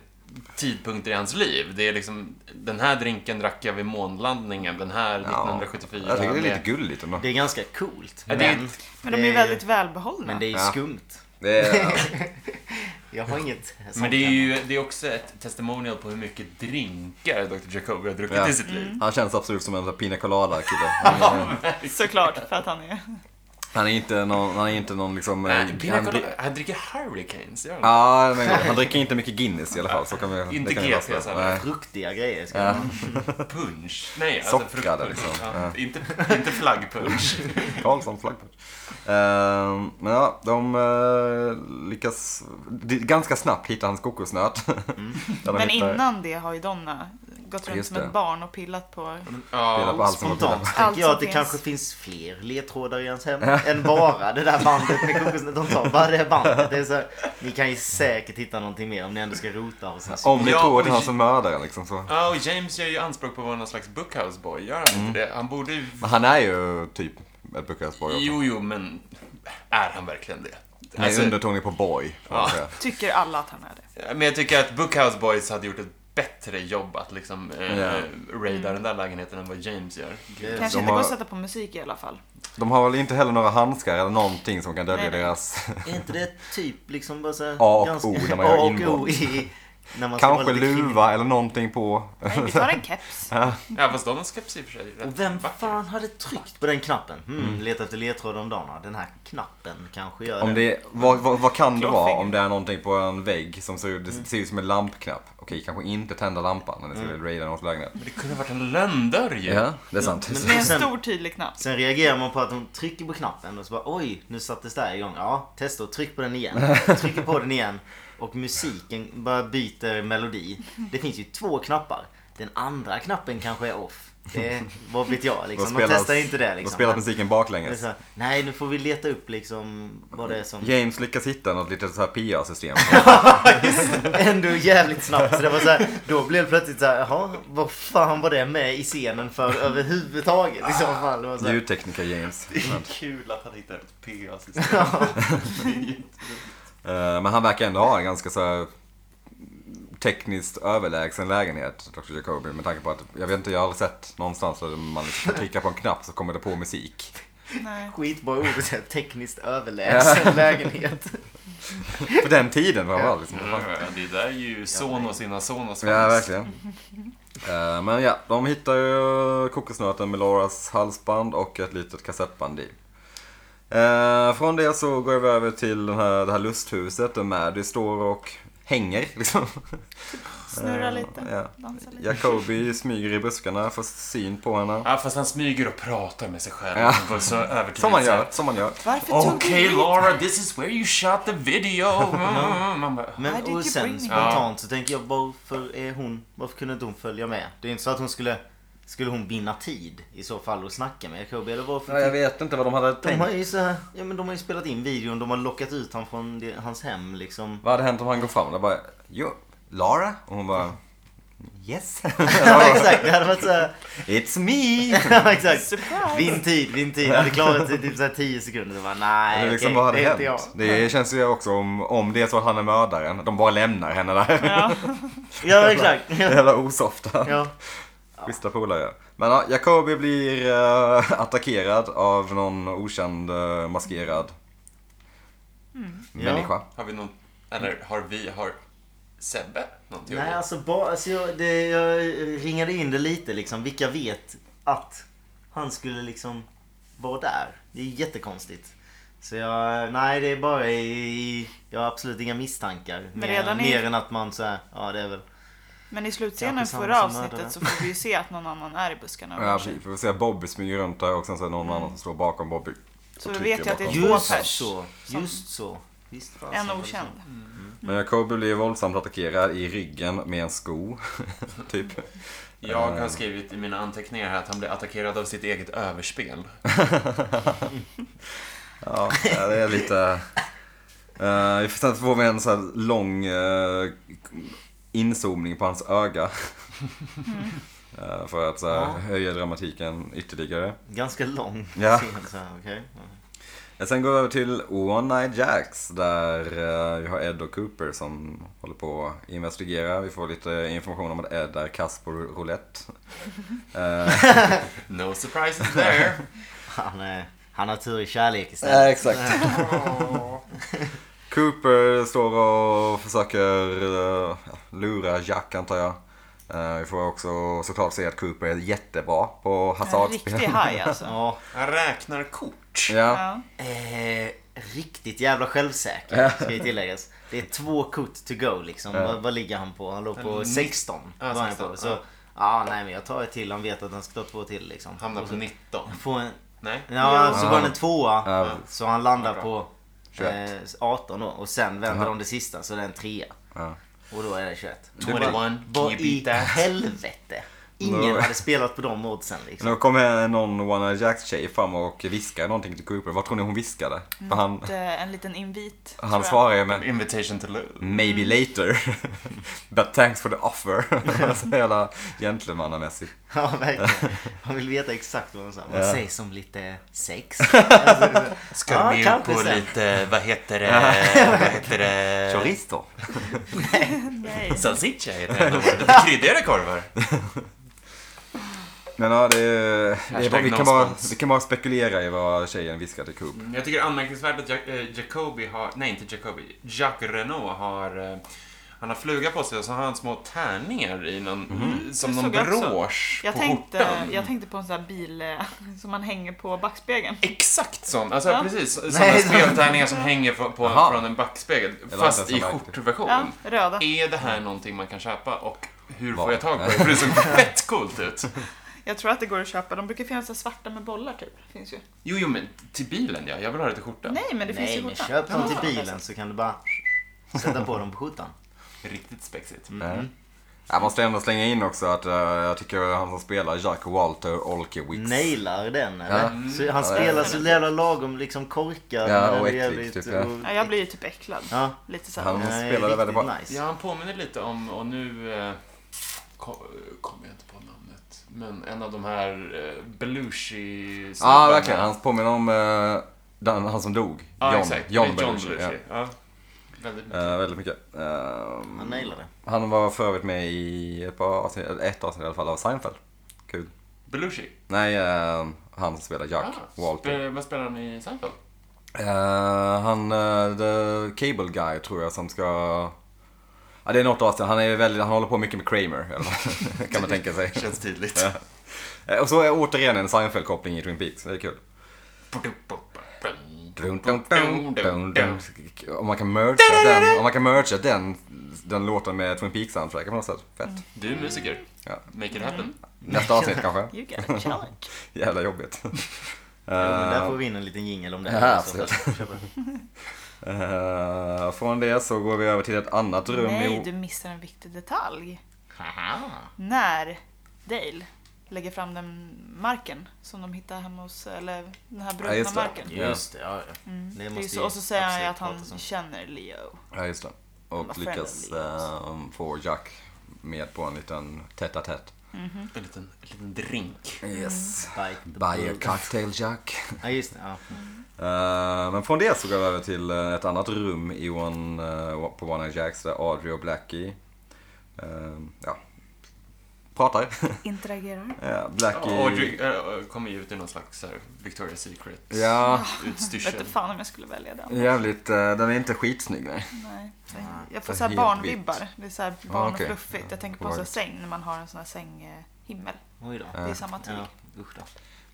[SPEAKER 2] tidpunkter i hans liv. Det är liksom, den här drinken drack jag vid månlandningen, den här
[SPEAKER 4] Ja,
[SPEAKER 2] 1974.
[SPEAKER 4] Jag tycker det är lite
[SPEAKER 2] med-
[SPEAKER 4] gulligt ändå.
[SPEAKER 1] Det är ganska coolt.
[SPEAKER 2] Ja,
[SPEAKER 1] Men,
[SPEAKER 2] det är-
[SPEAKER 3] Men de är ju väldigt välbehållna.
[SPEAKER 1] men det är ju
[SPEAKER 4] Ja.
[SPEAKER 1] skumt.
[SPEAKER 4] Det är,
[SPEAKER 1] Jag har inget sånt
[SPEAKER 2] Men det är
[SPEAKER 1] hemma.
[SPEAKER 2] ju det är också ett testimonial på hur mycket drinkar Dr. Jacobi har druckit
[SPEAKER 4] Ja.
[SPEAKER 2] i sitt liv.
[SPEAKER 4] han känns absolut som en sån här pina colada
[SPEAKER 2] [laughs]
[SPEAKER 4] kille. Han är,
[SPEAKER 3] Såklart, för att han är...
[SPEAKER 4] han är inte någon, han är inte någon liksom... eh,
[SPEAKER 2] Nej, Pina
[SPEAKER 4] han-
[SPEAKER 2] Colada, han dricker hurricanes, gör han?
[SPEAKER 4] Ja, men han dricker inte mycket Guinness i alla fall. Så kan vi,
[SPEAKER 2] Inte
[SPEAKER 4] det kan vi
[SPEAKER 2] GT,
[SPEAKER 4] fastslå.
[SPEAKER 2] så här.
[SPEAKER 4] Nej.
[SPEAKER 1] Fruktiga grejer. Ska
[SPEAKER 4] Ja.
[SPEAKER 2] [laughs]
[SPEAKER 1] man.
[SPEAKER 2] Punch? Nej,
[SPEAKER 4] Sockrad,
[SPEAKER 2] fruktpunch.
[SPEAKER 4] liksom.
[SPEAKER 2] Ja, inte, inte flaggpunch.
[SPEAKER 4] Karlsson flaggpunch. Ehm, men ja, de eh,
[SPEAKER 2] Mm.
[SPEAKER 4] lyckas de, ganska snabbt hitta hans kokosnöt. [laughs] Där de
[SPEAKER 3] Men
[SPEAKER 4] hittar-
[SPEAKER 3] innan det har ju Donna gått runt
[SPEAKER 4] Just
[SPEAKER 3] som
[SPEAKER 4] det.
[SPEAKER 3] ett barn och pillat på...
[SPEAKER 4] Spela på
[SPEAKER 2] Ja,
[SPEAKER 4] allt som har
[SPEAKER 1] Spontant
[SPEAKER 3] Allt
[SPEAKER 1] tänker jag att det
[SPEAKER 3] som
[SPEAKER 1] kanske
[SPEAKER 3] finns.
[SPEAKER 1] finns fler ledtrådar i ens hem än bara det där bandet med kokosnöt. De tar bara det här bandet. Det är så här, ni kan ju säkert hitta någonting mer om ni ändå ska rota hos en
[SPEAKER 4] Om ni
[SPEAKER 2] Ja,
[SPEAKER 4] tror att det är
[SPEAKER 2] och-
[SPEAKER 4] han som mördar liksom så.
[SPEAKER 2] Ja, och James gör ju anspråk på att vara någon slags bookhouseboy, gör han
[SPEAKER 4] Mm.
[SPEAKER 2] inte det? Han borde ju...
[SPEAKER 4] Men han är ju typ ett Bukarestborg också.
[SPEAKER 2] Jo, jo, men är han verkligen det?
[SPEAKER 4] Med
[SPEAKER 2] Alltså,
[SPEAKER 4] undertoner på boy. får man
[SPEAKER 2] Ja.
[SPEAKER 4] säga.
[SPEAKER 3] Tycker alla att han är det.
[SPEAKER 2] men jag tycker att Bookhouse Boys hade gjort ett bättre jobb att liksom eh,
[SPEAKER 4] Ja.
[SPEAKER 2] raida den där lägenheten än vad James gör.
[SPEAKER 1] Eh,
[SPEAKER 3] Kanske
[SPEAKER 4] de
[SPEAKER 3] inte
[SPEAKER 4] har-
[SPEAKER 3] går att sätta på musik i alla fall.
[SPEAKER 4] De har väl inte heller några handskar eller någonting som kan dölja
[SPEAKER 3] Nej, nej.
[SPEAKER 4] deras...
[SPEAKER 1] Är inte det typ liksom bara så här,
[SPEAKER 4] A och O när man gör
[SPEAKER 1] A och
[SPEAKER 4] inbrott.
[SPEAKER 1] O i- när man ska vara
[SPEAKER 4] Kanske
[SPEAKER 1] lite kriminell.
[SPEAKER 4] luva eller någonting på.
[SPEAKER 3] Nej, vi tar en keps.
[SPEAKER 2] Ja, fast de har skeps i och för sig. rätt
[SPEAKER 1] Och vem
[SPEAKER 2] vackert.
[SPEAKER 1] fan hade tryckt på den knappen? Hmm, Leta efter ledtrådar om dagen. Ja, Den här knappen kanske gör
[SPEAKER 4] Mm. Om
[SPEAKER 1] det.
[SPEAKER 4] det, vad, vad, vad kan det vara
[SPEAKER 3] Klåfingret.
[SPEAKER 4] om det är någonting på en vägg som ser, det ser ut som en lampknapp? Okej, kanske inte tända lampan när ni skulle raida någons lägenhet.
[SPEAKER 2] Men det kunde ha varit en lönndörr ju.
[SPEAKER 4] Ja, liksom, det är sant.
[SPEAKER 1] men-
[SPEAKER 3] Med en
[SPEAKER 1] Sen-
[SPEAKER 3] stor tydlig knapp.
[SPEAKER 1] Sen reagerar man på att hon trycker på knappen och så bara oj, nu sattes det här igång. Ja, testa och tryck på den igen. Trycker på den igen och musiken bara byter melodi. Det finns ju två knappar. Den andra knappen kanske är off. Det, vad vet jag liksom. De testar inte det
[SPEAKER 4] Då
[SPEAKER 1] liksom.
[SPEAKER 4] spelas
[SPEAKER 1] Men
[SPEAKER 4] musiken
[SPEAKER 1] det är
[SPEAKER 4] baklänges.
[SPEAKER 1] så här, nej, nu får vi leta upp liksom vad det är som...
[SPEAKER 4] James lyckas hitta något litet så här PR-system.
[SPEAKER 1] [laughs] Ändå jävligt snabbt. Så det var så här, då blev det plötsligt så här, jaha, vad fan var det med i scenen för överhuvudtaget i så fall? Det var så här,
[SPEAKER 4] Ljudtekniker James. Men,
[SPEAKER 2] Alltså, Kul att han hittade ett PA-system. [laughs]
[SPEAKER 4] eh, men han verkar ändå ha en ganska så här tekniskt överlägsen lägenhet, Dr. Jacoby, med tanke på att jag vet inte, jag har aldrig sett någonstans där man liksom trycker på en knapp så kommer det på musik.
[SPEAKER 3] Nej.
[SPEAKER 1] skitbra ord att säga, tekniskt överlägsen lägenhet.
[SPEAKER 4] På den tiden framförallt. Liksom. Vad fan-
[SPEAKER 2] det där är ju Sonos innan Sonos
[SPEAKER 4] Ja, verkligen. Eh, Men ja, de hittar ju kokosnöten med Lauras halsband och ett litet kassettband i. Eh, Från det så går vi över till den här, det här lusthuset där Maddie står och hänger. Liksom.
[SPEAKER 3] Snurra lite.
[SPEAKER 4] Ehm, Ja.
[SPEAKER 3] Dansa lite.
[SPEAKER 4] Jacobi smyger i buskarna, får syn på henne.
[SPEAKER 2] Ja, fast han smyger och pratar med sig själv
[SPEAKER 4] Ja.
[SPEAKER 2] på så övertygande
[SPEAKER 4] Som man gör,
[SPEAKER 2] sätt.
[SPEAKER 4] som man gör.
[SPEAKER 3] Varför tog
[SPEAKER 2] Okej
[SPEAKER 3] du hit?
[SPEAKER 2] Laura, this is where you shot the video.
[SPEAKER 4] [laughs]
[SPEAKER 2] Mm, Man bara,
[SPEAKER 1] Men
[SPEAKER 3] Why did
[SPEAKER 1] och
[SPEAKER 3] you
[SPEAKER 1] sen
[SPEAKER 3] bring me?
[SPEAKER 1] spontant så tänker jag varför är hon, varför kunde inte hon följa med? Det är inte så att hon skulle, skulle hon vinna tid i så fall och snacka med Jacobi eller varför?
[SPEAKER 4] Ja, jag vet inte vad de hade
[SPEAKER 1] de
[SPEAKER 4] tänkt.
[SPEAKER 1] har ju så här, ja men de har ju spelat in videon, de har lockat ut honom från det, hans hem liksom.
[SPEAKER 4] Vad hade hänt om han går fram och bara Jo, Laura? Och hon bara Yes, [laughs]
[SPEAKER 1] [laughs] Ja, exakt, det hade varit så här,
[SPEAKER 4] it's me!
[SPEAKER 1] ja, exakt.
[SPEAKER 3] Surprise!
[SPEAKER 1] Vinn tid, vinn tid. Jag hade klarat sig typ så här 10 sekunder. Så bara, nej,
[SPEAKER 4] Eller
[SPEAKER 1] okej,
[SPEAKER 4] liksom, vad hade
[SPEAKER 1] det är inte jag.
[SPEAKER 4] hänt? Det känns ju också om, om det är så att han är mördaren. De bara lämnar henne där. [laughs]
[SPEAKER 3] Ja.
[SPEAKER 1] Ja, exakt.
[SPEAKER 4] Jävla osofta.
[SPEAKER 1] Ja.
[SPEAKER 4] Schyssta polare. Men ja, Jacobi blir eh, attackerad av någon okänd eh, maskerad människa.
[SPEAKER 2] har vi någon, eller har vi, har Sebbe någon teori?
[SPEAKER 1] Nej, alltså, bara, alltså jag, det, jag ringade in det lite liksom. Vilka vet att han skulle liksom vara där? Det är jättekonstigt. Så jag, nej det är bara i, jag har absolut inga misstankar. Mer,
[SPEAKER 3] redan i-
[SPEAKER 1] mer än att man såhär, ja det är väl.
[SPEAKER 3] Men i slutscenen
[SPEAKER 1] Kanske samma
[SPEAKER 3] förra
[SPEAKER 1] som
[SPEAKER 3] avsnittet
[SPEAKER 1] mördaren.
[SPEAKER 3] så får vi ju se att någon annan är i buskarna. och
[SPEAKER 4] Ja,
[SPEAKER 3] rör
[SPEAKER 4] precis.
[SPEAKER 3] sig.
[SPEAKER 4] Vi får se Bobby smyger runt där och sen så är det någon annan som står bakom Bobby.
[SPEAKER 3] Så
[SPEAKER 4] Och
[SPEAKER 3] vi vet
[SPEAKER 4] trycker
[SPEAKER 3] ju att det är
[SPEAKER 4] bakom.
[SPEAKER 3] två
[SPEAKER 1] Just
[SPEAKER 3] pers.
[SPEAKER 1] så, just så. Visst, fan,
[SPEAKER 3] En
[SPEAKER 1] så var det
[SPEAKER 3] okänd.
[SPEAKER 4] Mm. Men Jacobi blir våldsamt attackerad i ryggen med en sko. [laughs] typ.
[SPEAKER 2] Jag har skrivit i mina anteckningar här att han blir attackerad av sitt eget överspel.
[SPEAKER 4] [laughs] Ja, ja, det är lite... Uh, sen får vi en så här lång eh, inzoomning på hans öga. [laughs] Eh, för att så här,
[SPEAKER 1] Ja.
[SPEAKER 4] höja dramatiken ytterligare.
[SPEAKER 1] så. Ganska lång
[SPEAKER 4] Ja.
[SPEAKER 1] scen så här, okej.
[SPEAKER 4] Eh, Sen går vi över till One Night Jacks där eh, vi har Ed och Cooper som håller på att investigera. Vi får lite information om att Ed är kass på roulette. Eh,
[SPEAKER 2] No [laughs] surprises there.
[SPEAKER 1] Han, eh, han har tur i kärlek istället.
[SPEAKER 4] Ja, exakt. [laughs] Cooper står och försöker eh, lura Jack, antar jag. Eh, Vi får också såklart se att Cooper är jättebra på
[SPEAKER 3] En
[SPEAKER 4] hasardspel. [laughs]
[SPEAKER 3] riktig haj alltså.
[SPEAKER 1] Ja,
[SPEAKER 2] Han räknar kort.
[SPEAKER 4] Ja.
[SPEAKER 3] Ja.
[SPEAKER 1] Eh, riktigt jävla självsäker, ska ju tilläggas. Det är två kort to go liksom. Vad, vad ligger han på? Han låg på 16.
[SPEAKER 2] Ja,
[SPEAKER 1] var han
[SPEAKER 2] 16,
[SPEAKER 1] på. Så,
[SPEAKER 2] ja.
[SPEAKER 1] ja. nej men jag tar ett till. Han vet att han ska ta två till liksom.
[SPEAKER 2] Hamnar
[SPEAKER 1] Och
[SPEAKER 2] på
[SPEAKER 1] så
[SPEAKER 2] 19.
[SPEAKER 1] Får en,
[SPEAKER 2] Nej?
[SPEAKER 1] ja, så
[SPEAKER 4] Ja.
[SPEAKER 1] går han en tvåa.
[SPEAKER 4] Ja.
[SPEAKER 1] Så han landar
[SPEAKER 2] Ja,
[SPEAKER 1] på eh,
[SPEAKER 4] 21.
[SPEAKER 1] 18 då. Och sen vänder de det sista, så det är en trea.
[SPEAKER 4] Ja.
[SPEAKER 1] Och då är det 21.
[SPEAKER 4] Det var-
[SPEAKER 2] 21,
[SPEAKER 1] Vad
[SPEAKER 2] you
[SPEAKER 1] i
[SPEAKER 2] beat that.
[SPEAKER 1] helvete? Ingen
[SPEAKER 4] No.
[SPEAKER 1] hade spelat på de oddsen liksom.
[SPEAKER 4] Nu kommer någon One Eye Jacks tjej fram och viskar någonting till Cooper. Vad tror ni hon viskade? För han,
[SPEAKER 3] Ett, eh, En liten invit. tror
[SPEAKER 4] han
[SPEAKER 3] jag.
[SPEAKER 4] svarar ju med
[SPEAKER 2] Invitation to lose.
[SPEAKER 4] Maybe later. [laughs] But thanks for the offer. [laughs] så jävla gentlemannamässigt.
[SPEAKER 1] [laughs] Ja, verkligen. Man vill veta exakt vad de sa. Vad
[SPEAKER 4] Ja.
[SPEAKER 1] sägs om lite
[SPEAKER 4] [laughs]
[SPEAKER 1] sex?
[SPEAKER 2] Ska
[SPEAKER 1] Ja,
[SPEAKER 2] de
[SPEAKER 1] kanske
[SPEAKER 2] ju på
[SPEAKER 1] sen.
[SPEAKER 2] lite, vad
[SPEAKER 1] [laughs]
[SPEAKER 2] heter det, vad heter det?
[SPEAKER 4] Chorizo.
[SPEAKER 3] Nej.
[SPEAKER 2] Salsiccia heter det.
[SPEAKER 1] [laughs]
[SPEAKER 2] ändå. Lite Kryddigare korvar.
[SPEAKER 4] Men ja, det, är- det är bara,
[SPEAKER 2] Hashtag
[SPEAKER 4] vi,
[SPEAKER 2] no
[SPEAKER 4] kan bara,
[SPEAKER 2] spons.
[SPEAKER 4] vi kan bara spekulera i vad tjejen viskar till Coop.
[SPEAKER 2] Jag tycker det är anmärkningsvärt att Ja- eh, Jacobi har, nej inte Jacobi, Jacques Renault har eh, han har fluga på sig och så har han små tärningar i någon, som
[SPEAKER 3] Det
[SPEAKER 2] någon
[SPEAKER 3] såg jag också.
[SPEAKER 2] brosch
[SPEAKER 3] Jag
[SPEAKER 2] på
[SPEAKER 3] tänkte,
[SPEAKER 2] skjortan.
[SPEAKER 3] jag tänkte på en sån här bil eh, [laughs] som man hänger på backspegeln.
[SPEAKER 2] Exakt sån, alltså
[SPEAKER 3] Ja.
[SPEAKER 2] precis, sådana
[SPEAKER 1] Nej, så-
[SPEAKER 2] speltärningar som hänger på, på,
[SPEAKER 4] Jaha.
[SPEAKER 2] från en backspegel,
[SPEAKER 4] inte
[SPEAKER 2] fast
[SPEAKER 4] ens
[SPEAKER 2] i
[SPEAKER 4] som verktyg.
[SPEAKER 2] skjortversion.
[SPEAKER 3] Ja, röda.
[SPEAKER 2] Är det här någonting man kan köpa och hur
[SPEAKER 4] Var?
[SPEAKER 2] får jag tag på det? För det såg fett coolt ut.
[SPEAKER 3] Jag tror att det går att köpa. De brukar finnas så här svarta med bollar typ. Finns ju.
[SPEAKER 2] Jo, jo, men till bilen ja. Jag vill ha det till skjortan.
[SPEAKER 3] Nej, men det finns
[SPEAKER 1] Nej,
[SPEAKER 3] ju
[SPEAKER 1] men
[SPEAKER 3] skjortan.
[SPEAKER 1] köp dem till
[SPEAKER 3] Ja,
[SPEAKER 1] bilen så kan du bara sätta på dem på
[SPEAKER 4] [laughs]
[SPEAKER 1] skjortan.
[SPEAKER 2] Riktigt spexigt.
[SPEAKER 4] Mm. Jag måste ändå slänga in också att eh, jag tycker han som spelar Jack Walter Olkiewicz.
[SPEAKER 1] Nailar den eller?
[SPEAKER 4] Ja.
[SPEAKER 1] Så han spelar så jävla lagom liksom korkad.
[SPEAKER 4] Ja,
[SPEAKER 1] men ändå
[SPEAKER 4] och äcklig,
[SPEAKER 1] jävligt-
[SPEAKER 4] typ, ja.
[SPEAKER 1] och-
[SPEAKER 3] Ja, jag blir ju typ äcklad.
[SPEAKER 1] Ja.
[SPEAKER 3] Lite så
[SPEAKER 4] Han
[SPEAKER 3] här.
[SPEAKER 1] Nej,
[SPEAKER 4] spelade
[SPEAKER 1] riktigt
[SPEAKER 4] väldigt bra.
[SPEAKER 1] Nice.
[SPEAKER 2] Ja, han påminner lite om, och nu eh, ko- kommer jag inte på namnet, men en av de här eh, belushi
[SPEAKER 4] Ja, verkligen. Han påminner om eh, den, han som dog.
[SPEAKER 2] Ja,
[SPEAKER 4] John,
[SPEAKER 2] exakt.
[SPEAKER 4] John,
[SPEAKER 2] Det är
[SPEAKER 4] Belushi. ja.
[SPEAKER 2] Ja. Väldigt mycket.
[SPEAKER 4] Eh, väldigt mycket. Ehm,
[SPEAKER 1] Han nailar
[SPEAKER 4] [laughs]
[SPEAKER 1] det.
[SPEAKER 4] han var för övrigt med i ett, par avsnitt, eller ett avsnitt i alla fall av Seinfeld. Kul.
[SPEAKER 2] Belushi?
[SPEAKER 4] Nej, ehm, han som spelar Jack
[SPEAKER 2] Ah,
[SPEAKER 4] Walter.
[SPEAKER 2] spe, vad spelar han i Seinfeld?
[SPEAKER 4] Eh, han, eh, the cable guy tror jag som ska... Ja, det är något avsnitt. Han, är ju väldigt, han håller på mycket med Kramer. Eller, [laughs] kan man tänka sig.
[SPEAKER 2] Känns tydligt.
[SPEAKER 4] Eh, Och så är återigen en Seinfeld-koppling i Twin Peaks. Det är kul. Dun, dun, dun, dun, dun. Om man kan mergea den, om man kan mergea den, den låten med Twin Peaks soundtracken på något sätt. Fett.
[SPEAKER 2] Du är musiker.
[SPEAKER 4] Mm. Ja.
[SPEAKER 2] Make it happen.
[SPEAKER 4] Nästa avsnitt kanske.
[SPEAKER 3] You got a challenge.
[SPEAKER 4] Jävla jobbigt.
[SPEAKER 1] Jo, men där
[SPEAKER 4] Eh,
[SPEAKER 1] får vi in en liten jingel om det
[SPEAKER 4] Ja,
[SPEAKER 1] här.
[SPEAKER 4] absolut.
[SPEAKER 1] Så får jag köpa-
[SPEAKER 4] eh, från det så går vi över till ett annat rum.
[SPEAKER 3] Nej,
[SPEAKER 4] i-
[SPEAKER 3] du missar en viktig detalj.
[SPEAKER 1] Haha.
[SPEAKER 3] När Dale lägger fram den marken som de hittar hemma hos, eller den här brunna
[SPEAKER 4] just det.
[SPEAKER 3] marken.
[SPEAKER 4] [laughs] Ja.
[SPEAKER 1] Just det, ja, ja.
[SPEAKER 3] Mm. Det
[SPEAKER 1] Det
[SPEAKER 3] är ju
[SPEAKER 1] måste
[SPEAKER 3] så,
[SPEAKER 1] vi
[SPEAKER 3] och så säger han ju
[SPEAKER 1] absolut
[SPEAKER 3] att han
[SPEAKER 1] prata om.
[SPEAKER 3] känner Leo.
[SPEAKER 4] Ja, just det.
[SPEAKER 3] var
[SPEAKER 4] Och
[SPEAKER 3] friend
[SPEAKER 4] lyckas
[SPEAKER 3] of Leos.
[SPEAKER 4] eh, få Jack med på en liten tätt tätt
[SPEAKER 2] En liten, en liten drink.
[SPEAKER 4] Yes.
[SPEAKER 1] Bite the
[SPEAKER 4] Buy a
[SPEAKER 1] bullet.
[SPEAKER 4] cocktail Jack.
[SPEAKER 1] Ja, just det. Ja.
[SPEAKER 4] Eh, men från det så går vi över till eh, ett annat rum i one, eh, på One Night Jacks där Audrey och Blackie eh, ja, pratar. [laughs]
[SPEAKER 3] Interagerar.
[SPEAKER 4] Ja, Blackie...
[SPEAKER 2] Och drink, äh, kommer ju ut i någon slags så här, Victoria's
[SPEAKER 4] Ja,
[SPEAKER 3] Jag vet
[SPEAKER 2] Secret-utstyrsel.
[SPEAKER 3] inte fan om jag skulle välja den.
[SPEAKER 4] jävligt. eh, den är inte skitsnygg nej.
[SPEAKER 3] Nej.
[SPEAKER 1] Nej.
[SPEAKER 3] Jag får så
[SPEAKER 4] Ah,
[SPEAKER 3] här
[SPEAKER 4] Helt Ah,
[SPEAKER 3] barnvibbar. Det är så här barn och
[SPEAKER 4] okej.
[SPEAKER 3] fluffigt. Jag tänker på en sån här
[SPEAKER 4] Right.
[SPEAKER 3] säng när man har en sån här sänghimmel.
[SPEAKER 1] Oj då.
[SPEAKER 3] Det är samma typ. tyg
[SPEAKER 1] Ja, usch då.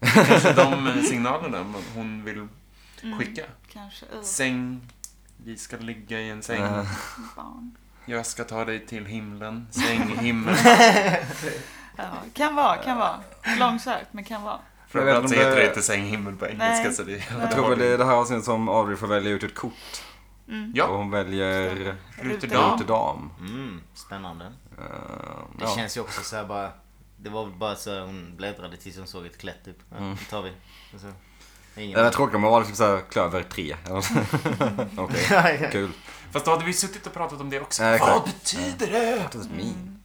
[SPEAKER 2] Kanske de signalerna man- hon vill skicka.
[SPEAKER 3] Mm, kanske. Ugh,
[SPEAKER 2] Säng. Vi ska ligga i en säng.
[SPEAKER 4] Eh,
[SPEAKER 3] barn.
[SPEAKER 2] Jag ska ta dig till himlen. Säng i himlen.
[SPEAKER 3] Ja, kan vara, kan vara. Långsökt, men kan vara.
[SPEAKER 4] Jag vet
[SPEAKER 2] Framförallt så
[SPEAKER 4] inte om
[SPEAKER 2] heter
[SPEAKER 4] det-
[SPEAKER 2] det inte säng i himmel på engelska.
[SPEAKER 3] Nej.
[SPEAKER 2] Så det,
[SPEAKER 4] jag tror väl det är det här avsnittet som Audrey får välja ut ett kort. Och
[SPEAKER 3] Mm.
[SPEAKER 2] Ja,
[SPEAKER 4] hon väljer
[SPEAKER 2] Ja.
[SPEAKER 4] Rute Dam.
[SPEAKER 1] Mm, spännande.
[SPEAKER 4] Eh,
[SPEAKER 1] Det
[SPEAKER 4] ja.
[SPEAKER 1] känns ju också så här bara... Det var väl bara så här hon bläddrade tills hon såg ett klätt typ. Ja,
[SPEAKER 4] Mm.
[SPEAKER 1] det tar vi. Och så- det är
[SPEAKER 4] Det
[SPEAKER 1] ingen-
[SPEAKER 4] där tråkiga med att vara typ såhär klöver 3. Okej,
[SPEAKER 1] [laughs]
[SPEAKER 2] [laughs]
[SPEAKER 4] kul.
[SPEAKER 2] fast då hade vi suttit och pratat om det också.
[SPEAKER 4] Ja, exakt.
[SPEAKER 2] Vad betyder det?
[SPEAKER 4] That was mean.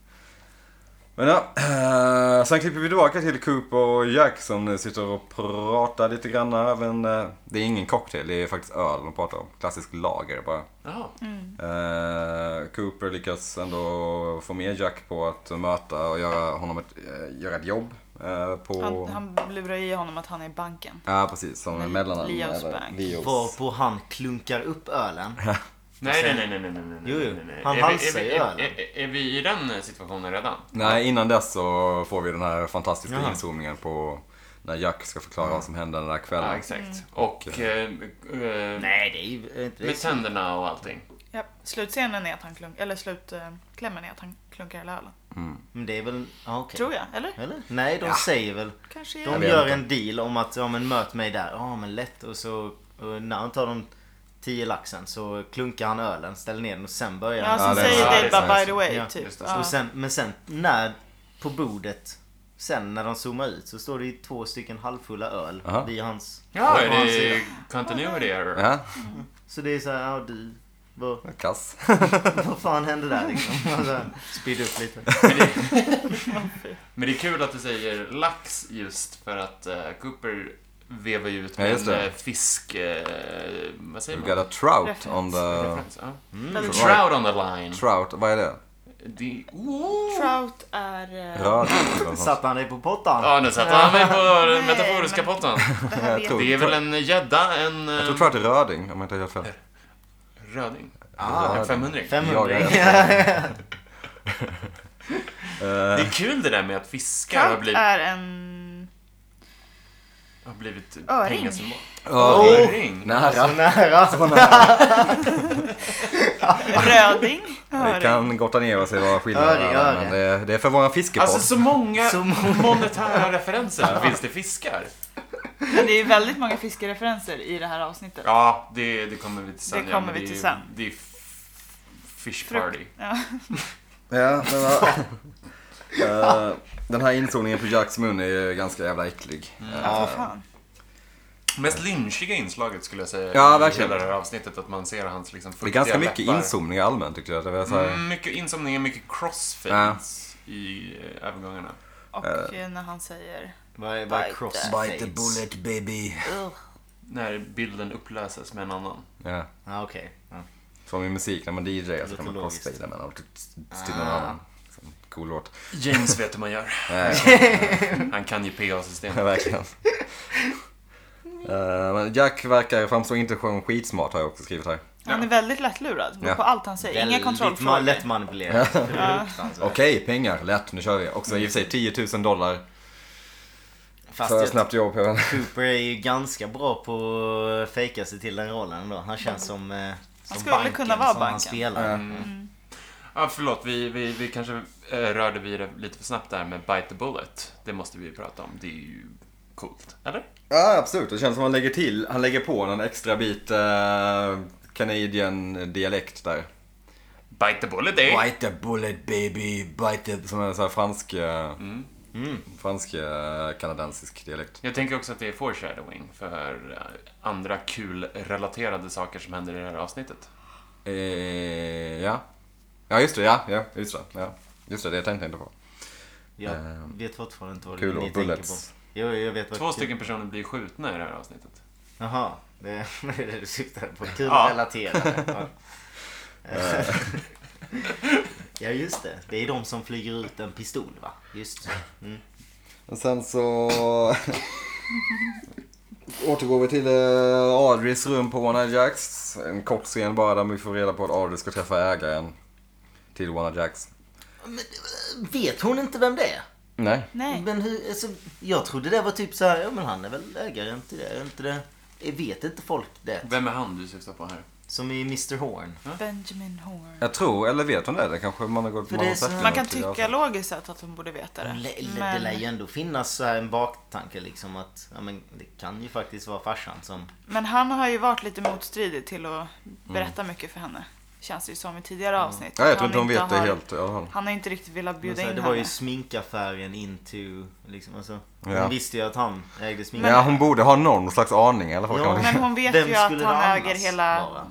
[SPEAKER 4] Men ja, eh, sen klipper vi tillbaka till Coop och Jack som nu sitter och pratar lite grann. Även, eh, det är ingen cocktail, det är faktiskt öl de pratar om. Klassisk lager bara.
[SPEAKER 2] Ja.
[SPEAKER 4] Eh, Cooper lyckas ändå få med Jack på att möta och göra honom ett, eh, göra ett jobb. eh, på...
[SPEAKER 3] Han, han lurar i honom att han är i banken.
[SPEAKER 4] Ja, precis. Som en
[SPEAKER 3] Nej,
[SPEAKER 4] mellanhand.
[SPEAKER 3] Leos
[SPEAKER 4] eller
[SPEAKER 3] bank.
[SPEAKER 4] Leos.
[SPEAKER 1] Varpå han klunkar upp ölen.
[SPEAKER 2] Nej, nej, nej, nej, nej, nej, nej.
[SPEAKER 1] Jo, jo.
[SPEAKER 2] nej, nej.
[SPEAKER 1] Han
[SPEAKER 2] Är vi-
[SPEAKER 1] halsar
[SPEAKER 2] är vi-
[SPEAKER 1] ju ölen.
[SPEAKER 2] är, är, är vi i den situationen redan?
[SPEAKER 4] Nej, innan dess så får vi den här fantastiska
[SPEAKER 1] Jaha.
[SPEAKER 4] inzoomningen på när Jack ska förklara vad som hände den där
[SPEAKER 2] Ja,
[SPEAKER 4] kvällen.
[SPEAKER 2] exakt. Och... eh, eh,
[SPEAKER 1] Nej, det är ju inte
[SPEAKER 2] med
[SPEAKER 1] det.
[SPEAKER 2] tänderna och allting.
[SPEAKER 3] Ja, slutscenen är att han klunkar, eller slutklämmen är att han klunkar hela ölen.
[SPEAKER 1] Men det är väl... Ja, okej.
[SPEAKER 3] Tror jag, eller?
[SPEAKER 1] Eller? Nej, de säger väl...
[SPEAKER 3] Kanske
[SPEAKER 1] De
[SPEAKER 3] är
[SPEAKER 4] vet
[SPEAKER 1] gör
[SPEAKER 4] inte.
[SPEAKER 1] en deal om att ja men möt mig där. Ja men lätt. Och så och när han tar de 10 laxen så klunkar han ölen, ställer ner den och sen börjar
[SPEAKER 3] Ja,
[SPEAKER 1] han.
[SPEAKER 3] som
[SPEAKER 4] Ja, det är
[SPEAKER 3] säger
[SPEAKER 2] sant.
[SPEAKER 3] Dave
[SPEAKER 2] Ja, det
[SPEAKER 3] bara
[SPEAKER 2] är
[SPEAKER 3] by
[SPEAKER 2] sant.
[SPEAKER 3] the way,
[SPEAKER 1] Ja,
[SPEAKER 3] typ.
[SPEAKER 2] just det.
[SPEAKER 3] Ja.
[SPEAKER 1] Och sen, men sen när på bordet Sen när de zoomar ut så står det ju två stycken halvfulla öl
[SPEAKER 4] Aha.
[SPEAKER 1] vid hans...
[SPEAKER 2] Ja,
[SPEAKER 1] på hans
[SPEAKER 2] det
[SPEAKER 1] sida.
[SPEAKER 2] är continuity error.
[SPEAKER 4] Ja,
[SPEAKER 1] Så det är så här, ja du...
[SPEAKER 3] [laughs]
[SPEAKER 1] Vad,
[SPEAKER 4] kass.
[SPEAKER 1] vad fan hände där liksom? Alltså, Speed upp lite.
[SPEAKER 2] Men det är kul att du säger lax just för att eh, Cooper vevar ju ut
[SPEAKER 4] Ja,
[SPEAKER 2] med
[SPEAKER 4] just det.
[SPEAKER 2] en eh, fisk... eh, vad säger
[SPEAKER 4] You
[SPEAKER 2] man?
[SPEAKER 4] got a trout
[SPEAKER 3] Referens.
[SPEAKER 4] on the...
[SPEAKER 2] Referens, ja.
[SPEAKER 3] Men
[SPEAKER 2] Trout on the line.
[SPEAKER 4] Trout, vad är det?
[SPEAKER 2] Det- oh! Ooh.
[SPEAKER 3] Trout är... eh,
[SPEAKER 4] Röd?
[SPEAKER 1] Satte han dig på pottan?
[SPEAKER 2] Ja, nu satte han mig på den
[SPEAKER 3] Nej,
[SPEAKER 2] metaforiska
[SPEAKER 4] [laughs]
[SPEAKER 3] men-
[SPEAKER 2] potten.
[SPEAKER 3] Det här vet
[SPEAKER 4] tror-
[SPEAKER 2] Det är väl en gädda, en
[SPEAKER 4] Jag
[SPEAKER 2] eh,
[SPEAKER 4] tror trout är röding om jag inte har helt fel.
[SPEAKER 2] röding.
[SPEAKER 1] Ah,
[SPEAKER 2] En 500
[SPEAKER 4] Jag
[SPEAKER 1] [laughs] 500
[SPEAKER 4] Eh,
[SPEAKER 2] Det är kul det där med att fiskar har
[SPEAKER 3] Trout
[SPEAKER 2] blivit,
[SPEAKER 3] är en...
[SPEAKER 2] har blivit
[SPEAKER 3] Öring.
[SPEAKER 2] pengasymbol.
[SPEAKER 4] Öring.
[SPEAKER 2] Öring?
[SPEAKER 1] Så
[SPEAKER 4] Nära.
[SPEAKER 1] nära.
[SPEAKER 3] Röding.
[SPEAKER 4] Vi kan gotta ner oss i vad skillnaden
[SPEAKER 1] Öring,
[SPEAKER 4] är.
[SPEAKER 1] öring.
[SPEAKER 4] Men det, det är för många fiskepodd.
[SPEAKER 2] Alltså
[SPEAKER 3] [laughs]
[SPEAKER 2] så många
[SPEAKER 1] Så
[SPEAKER 2] monetära referenser finns det fiskar.
[SPEAKER 3] Men det är ju väldigt många fiskereferenser i det här avsnittet.
[SPEAKER 2] Ja, det, det kommer vi till
[SPEAKER 3] Det
[SPEAKER 2] sen. ja, men
[SPEAKER 3] kommer vi till
[SPEAKER 2] är-
[SPEAKER 3] sen.
[SPEAKER 2] Det är f- fish
[SPEAKER 3] Frukt-
[SPEAKER 2] party.
[SPEAKER 3] Ja.
[SPEAKER 4] Ja, men vad... [laughs] Eh, den här inzoomningen på Jacks mun är ju ganska jävla äcklig.
[SPEAKER 2] Mm.
[SPEAKER 4] Eh,
[SPEAKER 3] Ja, för fan.
[SPEAKER 2] Mest lynchiga inslaget skulle jag säga
[SPEAKER 4] Ja,
[SPEAKER 2] i
[SPEAKER 4] verkligen.
[SPEAKER 2] hela det här avsnittet. Att man ser hans liksom
[SPEAKER 4] Det är
[SPEAKER 2] fuktiga
[SPEAKER 4] ganska mycket alltså.
[SPEAKER 2] läppar.
[SPEAKER 4] inzoomningar allmänt tycker jag. Det var så här,
[SPEAKER 2] Mm, mycket insomningar, mycket crossfades i eh, övergångarna.
[SPEAKER 3] Och eh, när han säger...
[SPEAKER 1] Vad är vad är cross fades?
[SPEAKER 4] baby.
[SPEAKER 3] "Ugh."
[SPEAKER 2] När bilden upplöses med en annan.
[SPEAKER 4] Ja,
[SPEAKER 1] Ja, okej. Ja.
[SPEAKER 4] som i musik när man DJar så
[SPEAKER 1] Lite
[SPEAKER 4] kan man
[SPEAKER 1] logiskt.
[SPEAKER 4] crossfada med någon till
[SPEAKER 2] Ah.
[SPEAKER 4] någon annan. Så, Cool låt.
[SPEAKER 2] James vet hur
[SPEAKER 3] [laughs]
[SPEAKER 2] man gör. Han kan ju PA-system.
[SPEAKER 4] Ja, verkligen. Eh, men Jack verkar framstå inte som skitsmart har jag också skrivit här.
[SPEAKER 3] Han är väldigt lättlurad
[SPEAKER 4] Ja.
[SPEAKER 3] på allt han säger. Inga
[SPEAKER 1] Väldigt
[SPEAKER 3] kontrollfrågor.
[SPEAKER 1] ma- Lättmanipulerat. Fruktansvärt.
[SPEAKER 4] Okej, pengar, lätt, nu kör vi. Också i och för sig 10 000 dollar
[SPEAKER 1] Fast
[SPEAKER 4] för
[SPEAKER 1] jag-
[SPEAKER 4] snabbt jobb. jag vet inte.
[SPEAKER 1] Cooper är ju ganska bra på att fejka sig till den rollen då. Han känns som, eh, som
[SPEAKER 3] skulle
[SPEAKER 1] banken
[SPEAKER 3] kunna vara
[SPEAKER 1] som han
[SPEAKER 3] banken.
[SPEAKER 1] spelar. Mm.
[SPEAKER 2] Mm. Ja, förlåt. Vi, vi, vi kanske eh, rörde vid det lite för snabbt där med Bite the Bullet. Det måste vi ju prata om. Det är ju coolt. Eller?
[SPEAKER 4] Ja, absolut. Det känns som han lägger till, han lägger på någon extra bit eh, Canadian dialekt där.
[SPEAKER 2] Bite the Bullet, eh?
[SPEAKER 4] Bite the bullet baby, bite the... Som en sån här fransk, eh, fransk eh, kanadensisk dialekt.
[SPEAKER 2] Jag tänker också att det är foreshadowing för eh, andra kul-relaterade saker som händer i det här avsnittet.
[SPEAKER 4] Eh, ja. Ja, just det, ja, ja, just det. Ja. Just det, det tänkte jag inte på.
[SPEAKER 1] Jag
[SPEAKER 4] Ehm,
[SPEAKER 1] vet fortfarande inte vad
[SPEAKER 4] kul
[SPEAKER 1] ni
[SPEAKER 4] och
[SPEAKER 1] tänker
[SPEAKER 4] bullets.
[SPEAKER 1] på. Jo, jag vet vad
[SPEAKER 2] Två stycken personer blir skjutna i det här avsnittet.
[SPEAKER 1] Jaha, det är [laughs] det du syftade på. Kul
[SPEAKER 2] Ja.
[SPEAKER 1] ja.
[SPEAKER 4] [laughs]
[SPEAKER 1] relaterade. Ja.
[SPEAKER 4] Eh.
[SPEAKER 1] ja, just det. Det är de som flyger ut en pistol, va? Just så. Mm.
[SPEAKER 4] Och sen så... [laughs] Återgår vi till eh, Audreys rum på Wanna Jacks. En kort scen bara där vi får reda på att Audrey ska träffa ägaren till Wanna Jacks.
[SPEAKER 1] Men, eh, vet hon inte vem det är?
[SPEAKER 4] Nej.
[SPEAKER 3] Nej.
[SPEAKER 1] Men hur, alltså, jag trodde det var typ så här, ja men han är väl ägaren till det, är inte det? Eh, Vet inte folk det?
[SPEAKER 2] Vem är han du syftar på här?
[SPEAKER 1] Som i Mr Horn.
[SPEAKER 3] Benjamin Horn.
[SPEAKER 4] Jag tror, eller vet hon det? Det kanske man har gått
[SPEAKER 1] För
[SPEAKER 4] man
[SPEAKER 1] det
[SPEAKER 4] har
[SPEAKER 1] är så-
[SPEAKER 4] sett det
[SPEAKER 1] Ja,
[SPEAKER 3] Man kan
[SPEAKER 4] något tidigare
[SPEAKER 3] tycka
[SPEAKER 4] avsnitt.
[SPEAKER 3] logiskt sett att hon borde veta det.
[SPEAKER 1] Le- le- Det lär ju
[SPEAKER 3] Men,
[SPEAKER 1] ändå finnas så här en baktanke liksom att ja, men det kan ju faktiskt vara farsan som...
[SPEAKER 3] men han har ju varit lite motstridig till
[SPEAKER 1] Mm.
[SPEAKER 3] att berätta mycket för henne. Känns det ju som i tidigare avsnitt.
[SPEAKER 4] Ja, jag
[SPEAKER 3] Att
[SPEAKER 4] tror inte hon vet det
[SPEAKER 3] har-
[SPEAKER 4] helt i alla fall.
[SPEAKER 3] Han har inte riktigt velat
[SPEAKER 1] Men
[SPEAKER 3] bjuda
[SPEAKER 1] så här,
[SPEAKER 3] in
[SPEAKER 1] Alltså, det var ju
[SPEAKER 3] henne.
[SPEAKER 1] sminkaffären into... Liksom, alltså,
[SPEAKER 4] Ja.
[SPEAKER 1] Hon visste ju att han ägde smink.
[SPEAKER 4] Ja, hon borde ha någon slags aning i alla fall.
[SPEAKER 1] Ja,
[SPEAKER 4] kan man
[SPEAKER 1] men-
[SPEAKER 4] tycka.
[SPEAKER 1] [laughs]
[SPEAKER 3] Men hon vet
[SPEAKER 1] Vem
[SPEAKER 3] ju att
[SPEAKER 1] skulle det
[SPEAKER 3] han
[SPEAKER 1] annars
[SPEAKER 3] äger hela
[SPEAKER 1] vara?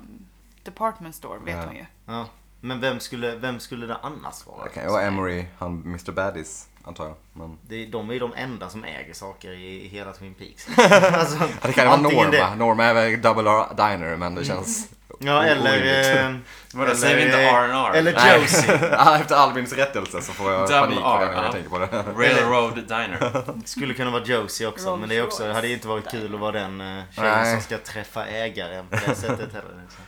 [SPEAKER 3] department store, vet
[SPEAKER 4] Ja.
[SPEAKER 3] hon ju.
[SPEAKER 1] Ja. Men vem skulle, vem skulle det annars vara?
[SPEAKER 4] Det kan ju vara Emery, han Mr Baddies, antar jag. Men...
[SPEAKER 1] Det, de är ju de enda som äger saker i, i hela Twin
[SPEAKER 4] [laughs]
[SPEAKER 1] Peaks. alltså,
[SPEAKER 4] Ja, det kan ju vara
[SPEAKER 1] antingen
[SPEAKER 4] Norma. Norma är väl Double R Diner, men det känns...
[SPEAKER 1] Ja, eller...
[SPEAKER 4] orimligt.
[SPEAKER 1] eh,
[SPEAKER 2] Vadå, säger vi inte
[SPEAKER 1] eh,
[SPEAKER 2] R&R?
[SPEAKER 1] Eller
[SPEAKER 4] Nej.
[SPEAKER 1] Josie.
[SPEAKER 4] [laughs] Ja, Efter Albins rättelse så får jag
[SPEAKER 2] Double
[SPEAKER 4] panik på det
[SPEAKER 2] R,
[SPEAKER 4] när
[SPEAKER 2] ja.
[SPEAKER 4] jag tänker på det.
[SPEAKER 1] [laughs]
[SPEAKER 2] Railroad Diner.
[SPEAKER 1] Skulle kunna vara Josie också.
[SPEAKER 3] Rolls
[SPEAKER 1] men det är också,
[SPEAKER 3] Royce.
[SPEAKER 1] hade ju inte varit kul att vara den eh, tjejen
[SPEAKER 4] Nej.
[SPEAKER 1] som ska träffa ägaren på det sättet heller.
[SPEAKER 4] [laughs]
[SPEAKER 1] liksom.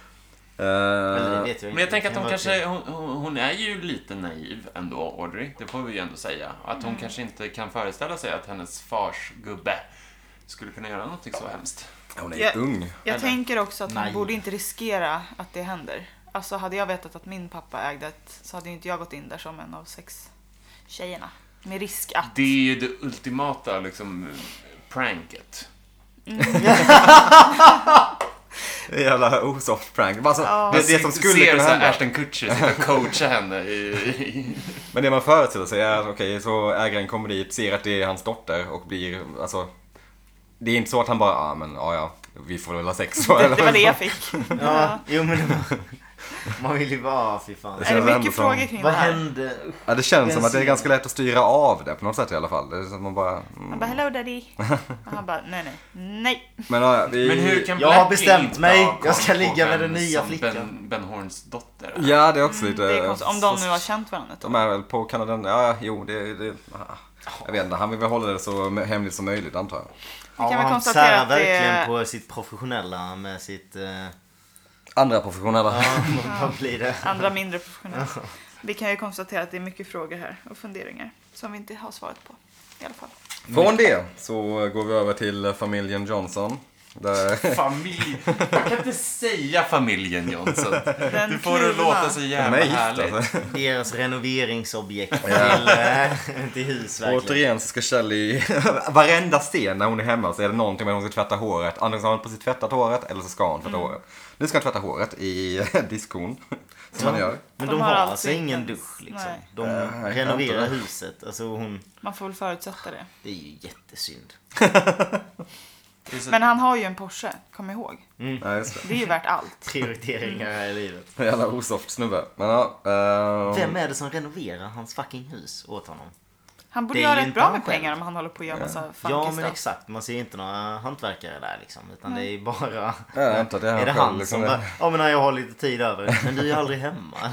[SPEAKER 1] Eller det
[SPEAKER 4] Eh,
[SPEAKER 1] vet jag inte.
[SPEAKER 2] Men jag tänker att
[SPEAKER 1] Det
[SPEAKER 2] hon
[SPEAKER 1] kan vara
[SPEAKER 2] kanske, hon, hon hon är ju lite naiv ändå, Audrey. Det får vi ju ändå säga. Att
[SPEAKER 1] Mm.
[SPEAKER 2] hon kanske inte kan föreställa sig att hennes fars gubbe skulle kunna göra någonting så hemskt.
[SPEAKER 4] hon är ju
[SPEAKER 3] Ja.
[SPEAKER 4] ung.
[SPEAKER 3] Jag
[SPEAKER 2] Eller?
[SPEAKER 3] tänker också att hon
[SPEAKER 1] Nej.
[SPEAKER 3] borde inte riskera att det händer. Alltså hade jag vetat att min pappa ägde ett så hade ju inte jag gått in där som en av sex tjejerna. Med risk att.
[SPEAKER 2] Det är ju det ultimata liksom pranket.
[SPEAKER 4] Jävla osoft prank. Bara så,
[SPEAKER 3] Ja.
[SPEAKER 4] det, det som skulle
[SPEAKER 2] ser
[SPEAKER 4] kunna
[SPEAKER 2] så här
[SPEAKER 4] hända.
[SPEAKER 2] Ashton Kutcher sitta och coacha henne i... i
[SPEAKER 4] Men det man föreställer sig är att okej, så ägaren kommer dit, ser att det är hans dotter och blir, alltså. Det är inte så att han bara, ah, men ja, ja, vi får väl ha sex så,
[SPEAKER 3] [laughs] Det, det var
[SPEAKER 4] eller?
[SPEAKER 3] det
[SPEAKER 4] [laughs]
[SPEAKER 3] jag fick.
[SPEAKER 1] Ja, jo men det var... [laughs] Man vill ju bara, fy fan.
[SPEAKER 4] Det
[SPEAKER 3] Är
[SPEAKER 4] känns
[SPEAKER 3] det
[SPEAKER 4] ändå
[SPEAKER 3] mycket
[SPEAKER 4] som-
[SPEAKER 3] frågor kring det
[SPEAKER 1] Vad
[SPEAKER 3] här?
[SPEAKER 1] hände?
[SPEAKER 4] Ja, det känns som att det är
[SPEAKER 1] Bensin.
[SPEAKER 4] ganska lätt att styra av det på något sätt i alla fall. Det är som att man bara,
[SPEAKER 3] Han
[SPEAKER 4] mm.
[SPEAKER 3] bara
[SPEAKER 4] [laughs]
[SPEAKER 3] hello daddy. Och han bara nej nej. Nej.
[SPEAKER 4] Men ja, vi...
[SPEAKER 2] Men hur kan
[SPEAKER 1] Jag har
[SPEAKER 2] Blackie
[SPEAKER 1] bestämt
[SPEAKER 2] inte
[SPEAKER 1] mig.
[SPEAKER 2] ha koll
[SPEAKER 1] Jag ska
[SPEAKER 2] på
[SPEAKER 1] ligga med
[SPEAKER 2] vem
[SPEAKER 1] den nya
[SPEAKER 2] som
[SPEAKER 1] flickan.
[SPEAKER 2] Ben, ben Horns dotter. är?
[SPEAKER 4] Ja, det är också lite...
[SPEAKER 3] Mm, Det är konstigt. Om de nu har känt varandra ett
[SPEAKER 4] De
[SPEAKER 3] tag.
[SPEAKER 4] är väl på Kanaden... Ja, jo, det... det ah, jag vet inte, han vill väl hålla det så hemligt som möjligt antar jag.
[SPEAKER 3] kan väl
[SPEAKER 1] han
[SPEAKER 3] konstatera
[SPEAKER 1] särar
[SPEAKER 3] att det är-
[SPEAKER 1] verkligen på sitt professionella med sitt... eh,
[SPEAKER 4] Andra professionella.
[SPEAKER 1] Ja, vad blir det?
[SPEAKER 3] Andra mindre professionella. Vi kan ju konstatera att det är mycket frågor här och funderingar som vi inte har svaret på. I alla fall.
[SPEAKER 4] Från det så går vi över till eh, familjen Johnson. Där...
[SPEAKER 2] [laughs] Familj... Jag kan inte säga familjen Johnson.
[SPEAKER 3] Den
[SPEAKER 2] Du får det att
[SPEAKER 3] kluvna.
[SPEAKER 2] låta så jävla
[SPEAKER 4] Nej,
[SPEAKER 2] härligt.
[SPEAKER 4] alltså.
[SPEAKER 1] [laughs] Deras renoveringsobjekt till, eh, till hus verkligen.
[SPEAKER 4] Återigen så ska Shelly, i [laughs] varenda scen när hon är hemma så är det någonting med att hon ska tvätta håret. Antingen så har hon precis tvättat håret eller så ska hon tvätta håret. Nu ska hon tvätta håret i eh, diskon. Som man gör.
[SPEAKER 1] Men
[SPEAKER 3] De
[SPEAKER 1] de,
[SPEAKER 3] har
[SPEAKER 1] har
[SPEAKER 3] alltid
[SPEAKER 1] alltså ingen
[SPEAKER 3] ens-
[SPEAKER 1] dusch liksom.
[SPEAKER 3] nej.
[SPEAKER 1] De
[SPEAKER 4] jag kan
[SPEAKER 1] renoverar
[SPEAKER 4] inte.
[SPEAKER 1] huset. Alltså hon...
[SPEAKER 3] Man får väl förutsätta det.
[SPEAKER 1] Det är ju jättesynd.
[SPEAKER 2] Det är så-
[SPEAKER 3] Men han har ju en Porsche, kom ihåg.
[SPEAKER 4] Nej, just det.
[SPEAKER 3] Det är ju värt allt. Mm.
[SPEAKER 1] Prioriteringar här i livet. Mm.
[SPEAKER 4] Jävla osoft snubbe. Men ja. ehm,
[SPEAKER 1] Vem är det som renoverar hans fucking hus åt honom?
[SPEAKER 3] Han borde
[SPEAKER 1] Det är
[SPEAKER 3] göra
[SPEAKER 1] ju
[SPEAKER 3] rätt
[SPEAKER 1] inte
[SPEAKER 3] bra
[SPEAKER 1] han
[SPEAKER 3] med
[SPEAKER 1] själv.
[SPEAKER 3] pengar om han håller på att göra massa funky
[SPEAKER 1] Ja men
[SPEAKER 3] stuff.
[SPEAKER 1] exakt, man ser ju inte några hantverkare där liksom. Utan det är ju bara...
[SPEAKER 4] Ja, jag antar att det är han
[SPEAKER 1] är det
[SPEAKER 4] själv,
[SPEAKER 1] han
[SPEAKER 4] liksom
[SPEAKER 1] som
[SPEAKER 4] det.
[SPEAKER 1] bara, ja men när jag har lite tid över. Men du är ju aldrig hemma. [laughs]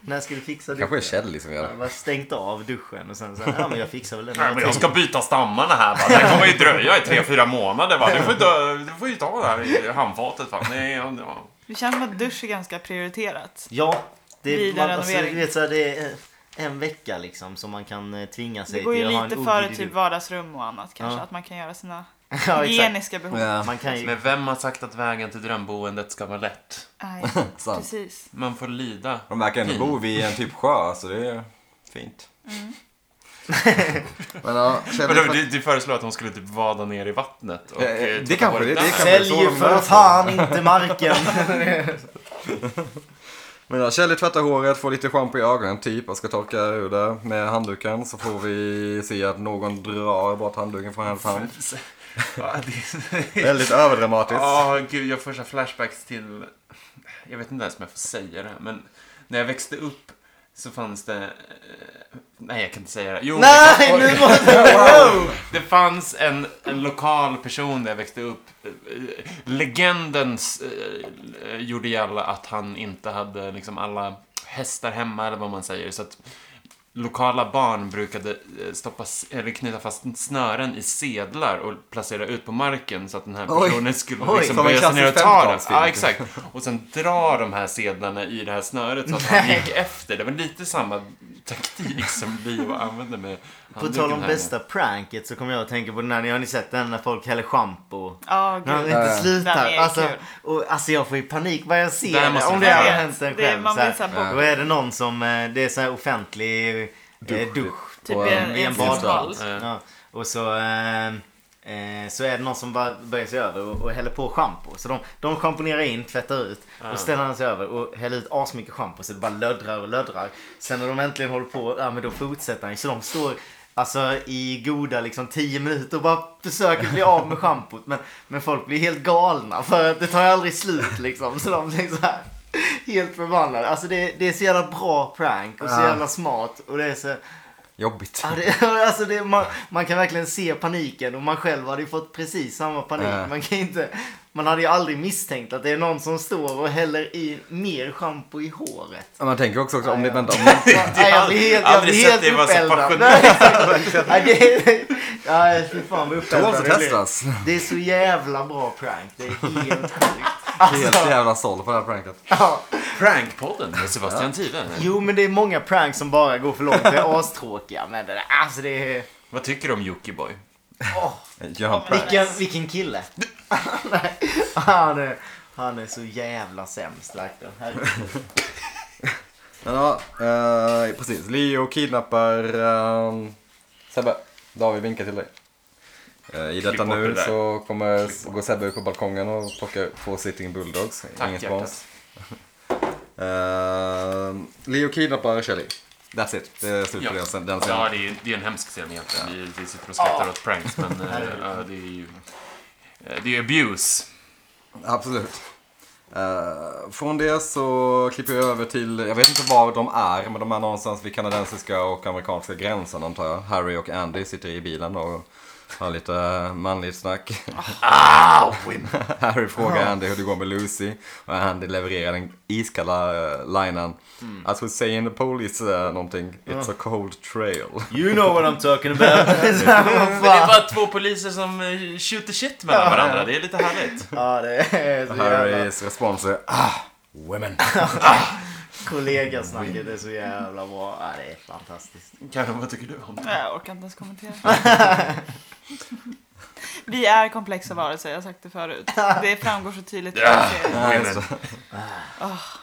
[SPEAKER 1] När ska du fixa
[SPEAKER 4] Kanske är
[SPEAKER 1] duschen?
[SPEAKER 4] Kjell som gör
[SPEAKER 1] Jag har
[SPEAKER 4] det.
[SPEAKER 1] bara stängt av duschen och sen så här, ja men jag fixar väl det när
[SPEAKER 2] Nej, men
[SPEAKER 1] jag
[SPEAKER 2] jag ska byta stammarna här va. Det kommer ju dröja i tre, fyra månader va. Du får, dö, du får ju ta det här i handfatet va. Nej, ja, ja.
[SPEAKER 3] Det känns som att dusch är ganska prioriterat.
[SPEAKER 1] Ja, det,
[SPEAKER 3] Vid
[SPEAKER 1] man,
[SPEAKER 3] en
[SPEAKER 1] alltså,
[SPEAKER 3] renovering.
[SPEAKER 1] du vet, så här, det är en vecka liksom som man kan eh, tvinga sig
[SPEAKER 3] Det går ju
[SPEAKER 1] till att ha en
[SPEAKER 3] lite före
[SPEAKER 1] obildig
[SPEAKER 3] typ
[SPEAKER 1] dusch.
[SPEAKER 3] vardagsrum och annat kanske.
[SPEAKER 1] Ja.
[SPEAKER 3] Att man kan göra sina
[SPEAKER 1] [laughs] Ja, exakt.
[SPEAKER 3] hygieniska behov.
[SPEAKER 4] Ja,
[SPEAKER 1] Man kan ju...
[SPEAKER 2] Men vem har sagt att vägen till drömboendet ska vara lätt?
[SPEAKER 3] Nej,
[SPEAKER 4] sant.
[SPEAKER 3] precis.
[SPEAKER 2] Man får lida.
[SPEAKER 4] De verkar ändå bo vid en typ sjö, så det är fint. Mm. [laughs] Men ja, Kjell...
[SPEAKER 2] Vadå, du, du föreslår att hon skulle typ vada ner i vattnet? Och,
[SPEAKER 4] Eh, eh,
[SPEAKER 2] eh,
[SPEAKER 4] det
[SPEAKER 2] titta
[SPEAKER 4] kanske
[SPEAKER 2] på
[SPEAKER 4] det- det
[SPEAKER 2] där.
[SPEAKER 4] kanske-
[SPEAKER 1] Sälj
[SPEAKER 4] så
[SPEAKER 1] ju
[SPEAKER 4] de
[SPEAKER 1] för
[SPEAKER 4] gör.
[SPEAKER 1] fan [laughs] inte
[SPEAKER 4] [laughs]
[SPEAKER 1] marken!
[SPEAKER 4] Men ja, Kjell tvättar håret, får lite schampo i ögonen typ och ska torka ur det med handduken. Så får vi se att någon drar bort handduken från hennes hand.
[SPEAKER 2] [laughs] Ja, det-
[SPEAKER 4] [laughs] Väldigt överdramatiskt.
[SPEAKER 2] Ja, gud, jag får så här flashbacks till... Jag vet inte ens om jag får säga det, här, men när jag växte upp så fanns det... eh, Nej, jag kan inte säga det. Jo, det,
[SPEAKER 1] Nej
[SPEAKER 2] kan-
[SPEAKER 1] nu måste
[SPEAKER 2] det fanns en, en lokal person där jag växte upp. Eh, eh, Legendens eh, gjorde gällande att han inte hade liksom alla hästar hemma, eller vad man säger. Så att lokala barn brukade eh, stoppa, s- eller knyta fast snören i sedlar och placera ut på marken så att den här
[SPEAKER 4] Oj.
[SPEAKER 2] personen skulle
[SPEAKER 4] Oj,
[SPEAKER 2] liksom
[SPEAKER 4] som en
[SPEAKER 2] böja sig ner och
[SPEAKER 4] klassisk
[SPEAKER 2] ta den.
[SPEAKER 4] 50-talsfilm.
[SPEAKER 2] Ja, exakt. Och sen dra de här sedlarna i det här snöret så att han gick efter. Det var lite samma taktik som vi använde med
[SPEAKER 1] På
[SPEAKER 2] handduken
[SPEAKER 1] tal om
[SPEAKER 2] här.
[SPEAKER 1] bästa pranket så kommer jag att tänka på den här, ni har ni sett den när folk häller schampo?
[SPEAKER 3] Ja,
[SPEAKER 1] När de
[SPEAKER 3] gud.
[SPEAKER 1] inte
[SPEAKER 4] Ja.
[SPEAKER 1] slutar.
[SPEAKER 3] Den är
[SPEAKER 1] Alltså,
[SPEAKER 3] kul.
[SPEAKER 1] och, alltså jag får ju panik bara jag
[SPEAKER 2] Där
[SPEAKER 1] ser det.
[SPEAKER 2] måste
[SPEAKER 1] Om
[SPEAKER 2] vi
[SPEAKER 1] det
[SPEAKER 2] ta
[SPEAKER 1] har
[SPEAKER 2] det.
[SPEAKER 1] hänt en
[SPEAKER 3] Det-
[SPEAKER 1] själv.
[SPEAKER 3] man
[SPEAKER 1] så
[SPEAKER 3] blir
[SPEAKER 1] här.
[SPEAKER 3] så här
[SPEAKER 1] Då är det någon som, eh, det är så här offentlig eh, dusch. dusch.
[SPEAKER 3] Typ
[SPEAKER 4] Och,
[SPEAKER 3] i
[SPEAKER 4] eh,
[SPEAKER 3] en, i en
[SPEAKER 1] badvall.
[SPEAKER 3] badvall.
[SPEAKER 2] Eh,
[SPEAKER 1] Ja. Och så, eh, eh, så är det någon som bara böjer sig över och, och häller på schampo. Så de, de schamponerar in, tvättar ut och ställer han sig över och häller ut asmycket schampo så det bara löddrar och löddrar. Sen när de äntligen håller på, ja men då fortsätter han ju. Så de står Alltså i goda liksom 10 minuter och bara försöker bli av med schampot. Men, men folk blir helt galna för att det tar ju aldrig slut liksom. Så de blir så här helt förbannade. Alltså det, det är så jävla bra prank och så
[SPEAKER 4] Ja.
[SPEAKER 1] jävla smart. Och det är så,
[SPEAKER 4] Jobbigt.
[SPEAKER 1] Ja, det, [laughs] alltså det, man, man kan verkligen se paniken och man själv hade ju fått precis samma panik.
[SPEAKER 4] Ja.
[SPEAKER 1] Man, kan inte, man hade ju aldrig misstänkt att det är någon som står och häller i mer schampo i
[SPEAKER 2] [laughs]
[SPEAKER 1] håret.
[SPEAKER 4] Man tänker också, också om det väntar... om-
[SPEAKER 1] Nej, jag blir helt, jag
[SPEAKER 2] aldrig
[SPEAKER 1] blir
[SPEAKER 2] sett
[SPEAKER 1] helt
[SPEAKER 2] dig vara så
[SPEAKER 1] uppeldad.
[SPEAKER 2] passionerad.
[SPEAKER 1] [laughs] Nej,
[SPEAKER 2] [laughs]
[SPEAKER 1] exakt. Nej, det- Nej, fy fan vad
[SPEAKER 4] Det
[SPEAKER 1] uppeldad
[SPEAKER 4] måste
[SPEAKER 1] jag blir.
[SPEAKER 4] testas.
[SPEAKER 1] Det är så jävla bra prank. Det är helt sjukt.
[SPEAKER 4] Helt
[SPEAKER 1] Alltså,
[SPEAKER 4] jävla såld på det här pranket.
[SPEAKER 1] ja.
[SPEAKER 2] Prankpodden med Sebastian Tive.
[SPEAKER 1] Jo men det är många pranks som bara går för långt. Det är astråkiga. Men det, där, alltså det är...
[SPEAKER 2] Vad tycker du om Jockiboi?
[SPEAKER 1] åh.
[SPEAKER 4] Gör han prank?
[SPEAKER 1] Vilken, vilken kille. [laughs] Nej, han, är, han är så jävla sämst Lackton. Herregud.
[SPEAKER 4] Men ja, eh, ehm, precis. Leo kidnappar... Eh, Sebbe, David vinkar till dig. Eh, I detta
[SPEAKER 2] bort det
[SPEAKER 4] nu
[SPEAKER 2] där.
[SPEAKER 4] så
[SPEAKER 2] Klipp
[SPEAKER 4] kommer
[SPEAKER 2] bort.
[SPEAKER 4] gå Sebbe ut på balkongen och plocka två sitting bulldogs.
[SPEAKER 2] Tack,
[SPEAKER 4] Ingen
[SPEAKER 2] hjärtat.
[SPEAKER 4] spons. [laughs] Eh, Leo kidnappar Shelly. That's it. Det är slut på det. Sen- Den scenen.
[SPEAKER 2] ja, det är, det är en hemsk scen egentligen. Vi, vi sitter och skrattar åt pranks, men eh, ja, det är ju... eh, Det är abuse.
[SPEAKER 4] Absolut. Eh, från det så klipper jag över till, jag vet inte var de är, men de är någonstans vid kanadensiska och amerikanska gränsen antar jag. Harry och Andy sitter i bilen och har lite manligt snack.
[SPEAKER 1] Ah,
[SPEAKER 4] [laughs] Harry frågar Andy hur det går med Lucy och Andy levererar den iskalla uh, linen.
[SPEAKER 1] Mm.
[SPEAKER 4] As we say in the police uh, någonting, it's a cold trail.
[SPEAKER 1] You know what I'm talking about.
[SPEAKER 2] [laughs] Men det är bara två poliser som eh, shooter shit mellan varandra. Det är lite härligt.
[SPEAKER 1] ja, det är så jävla
[SPEAKER 4] Harrys respons är ah, women.
[SPEAKER 1] kollegasnacket. Det är så jävla bra. Ja, det är fantastiskt.
[SPEAKER 2] Karin, vad tycker du om det?
[SPEAKER 3] Nej, jag orkar inte ens kommentera. Vi är komplexa varelser, jag har sagt det förut. Det framgår så tydligt i
[SPEAKER 2] Ja.
[SPEAKER 3] serien.
[SPEAKER 4] Ja, just
[SPEAKER 2] Women.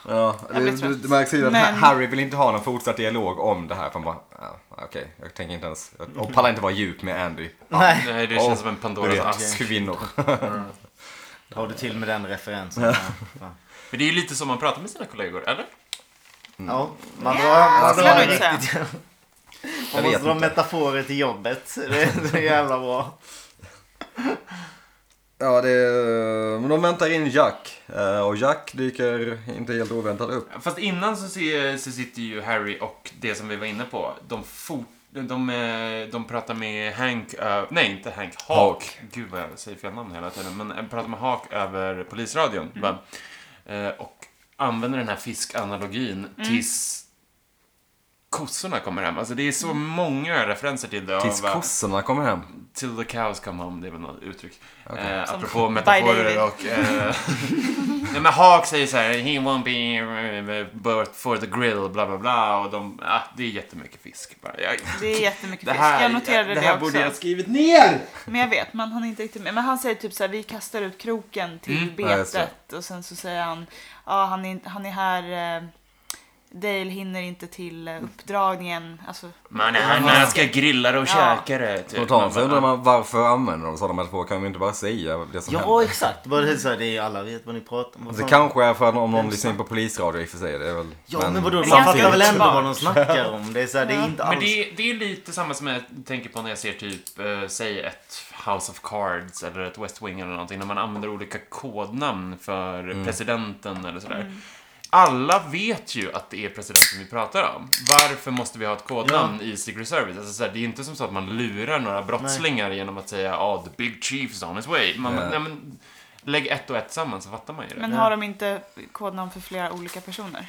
[SPEAKER 4] Ja,
[SPEAKER 3] Jag blir
[SPEAKER 4] det, det,
[SPEAKER 3] trött.
[SPEAKER 4] det märks ju att
[SPEAKER 3] Men-
[SPEAKER 4] Harry vill inte ha någon fortsatt dialog om det här. För han bara, ja, okej, jag tänker inte ens, jag jag pallar inte vara djup med Andy.
[SPEAKER 1] Nej.
[SPEAKER 2] Nej, det
[SPEAKER 4] Åh,
[SPEAKER 2] känns som en
[SPEAKER 4] Du
[SPEAKER 2] Pandoras
[SPEAKER 4] vet,
[SPEAKER 2] ask.
[SPEAKER 4] kvinnor.
[SPEAKER 1] Har du till med den referensen? Ja, fan.
[SPEAKER 2] Men det är ju lite som man pratar med sina kollegor, eller?
[SPEAKER 1] Mm. Ja, man drar, man
[SPEAKER 2] Alltså,
[SPEAKER 3] skulle jag
[SPEAKER 1] drar
[SPEAKER 3] nog inte
[SPEAKER 1] riktigt.
[SPEAKER 4] Jag
[SPEAKER 1] Man
[SPEAKER 4] vet
[SPEAKER 1] måste dra
[SPEAKER 4] inte.
[SPEAKER 1] metaforer till jobbet. Det är så jävla bra.
[SPEAKER 4] [laughs] Ja, det, är- men de väntar in Jack. Eh, Och Jack dyker inte helt oväntat upp.
[SPEAKER 2] Fast innan så, ser, så sitter ju Harry och det som vi var inne på, de fort... De, eh, de pratar med Hank, ö- nej inte Hank, Hawk.
[SPEAKER 4] Hawk.
[SPEAKER 2] Gud vad jag säger fel namn hela tiden. Men eh, pratar med Hawk över polisradion. va? Eh, och använder den här fiskanalogin tills kossorna kommer hem. Alltså det är så många referenser till det.
[SPEAKER 4] Tills
[SPEAKER 2] va?
[SPEAKER 4] kossorna kommer hem.
[SPEAKER 2] Till the cows come home, det är väl något uttryck.
[SPEAKER 4] Okej.
[SPEAKER 2] Eh,
[SPEAKER 3] Som-
[SPEAKER 2] apropå
[SPEAKER 3] David.
[SPEAKER 2] metaforer och... Eh, [laughs] nej men Hawk säger så här, he won't be but for the grill, bla bla bla. Och de, ah, det är jättemycket fisk. Bara, jag,
[SPEAKER 3] Det är jättemycket
[SPEAKER 2] det
[SPEAKER 3] fisk.
[SPEAKER 2] här,
[SPEAKER 3] Jag noterade
[SPEAKER 2] det
[SPEAKER 3] det,
[SPEAKER 2] här
[SPEAKER 3] också.
[SPEAKER 2] borde jag ha skrivit ner!
[SPEAKER 3] Men jag vet, man hann inte riktigt med. Men han säger typ så här, vi kastar ut kroken till
[SPEAKER 2] Mm.
[SPEAKER 4] Ja, just det.
[SPEAKER 3] betet. och sen så säger han, ja han är, han är här, eh, Dale hinner inte till eh, uppdragningen. Alltså,
[SPEAKER 2] Man är här när jag ska grilla det och
[SPEAKER 3] Ja.
[SPEAKER 2] käka det. Typ.
[SPEAKER 4] Spontant så
[SPEAKER 2] Man bara,
[SPEAKER 4] undrar man varför använder de sådana metaforer? Kan vi inte bara säga det som
[SPEAKER 1] Ja,
[SPEAKER 4] händer?
[SPEAKER 1] exakt. Bara det är så här, det är ju alla vet vad ni pratar om. Vad
[SPEAKER 4] Det
[SPEAKER 1] fan-
[SPEAKER 4] kanske är för att om någon lyssnar in på polisradio i och för sig. Det är väl,
[SPEAKER 1] Ja men, vadå,
[SPEAKER 3] Men
[SPEAKER 1] man
[SPEAKER 3] ganska
[SPEAKER 1] fattar väl ändå
[SPEAKER 3] uppenbart.
[SPEAKER 1] vad de snackar om. Det är, så här, det är inte
[SPEAKER 2] Men
[SPEAKER 1] alls...
[SPEAKER 2] det, är- det är lite samma som jag tänker på när jag ser typ, eh, säg ett House of Cards eller ett West Wing eller någonting, när man använder olika kodnamn för
[SPEAKER 1] Mm.
[SPEAKER 2] presidenten eller sådär. Alla vet ju att det är presidenten vi pratar om. Varför måste vi ha ett kodnamn i Secret Service? Alltså, såhär, det är inte som så att man lurar några brottslingar genom att säga oh, the big chief's on his way. Man,
[SPEAKER 4] Ja.
[SPEAKER 2] nej, men, lägg ett och ett samman så fattar man ju det.
[SPEAKER 3] men har de inte kodnamn för flera olika personer?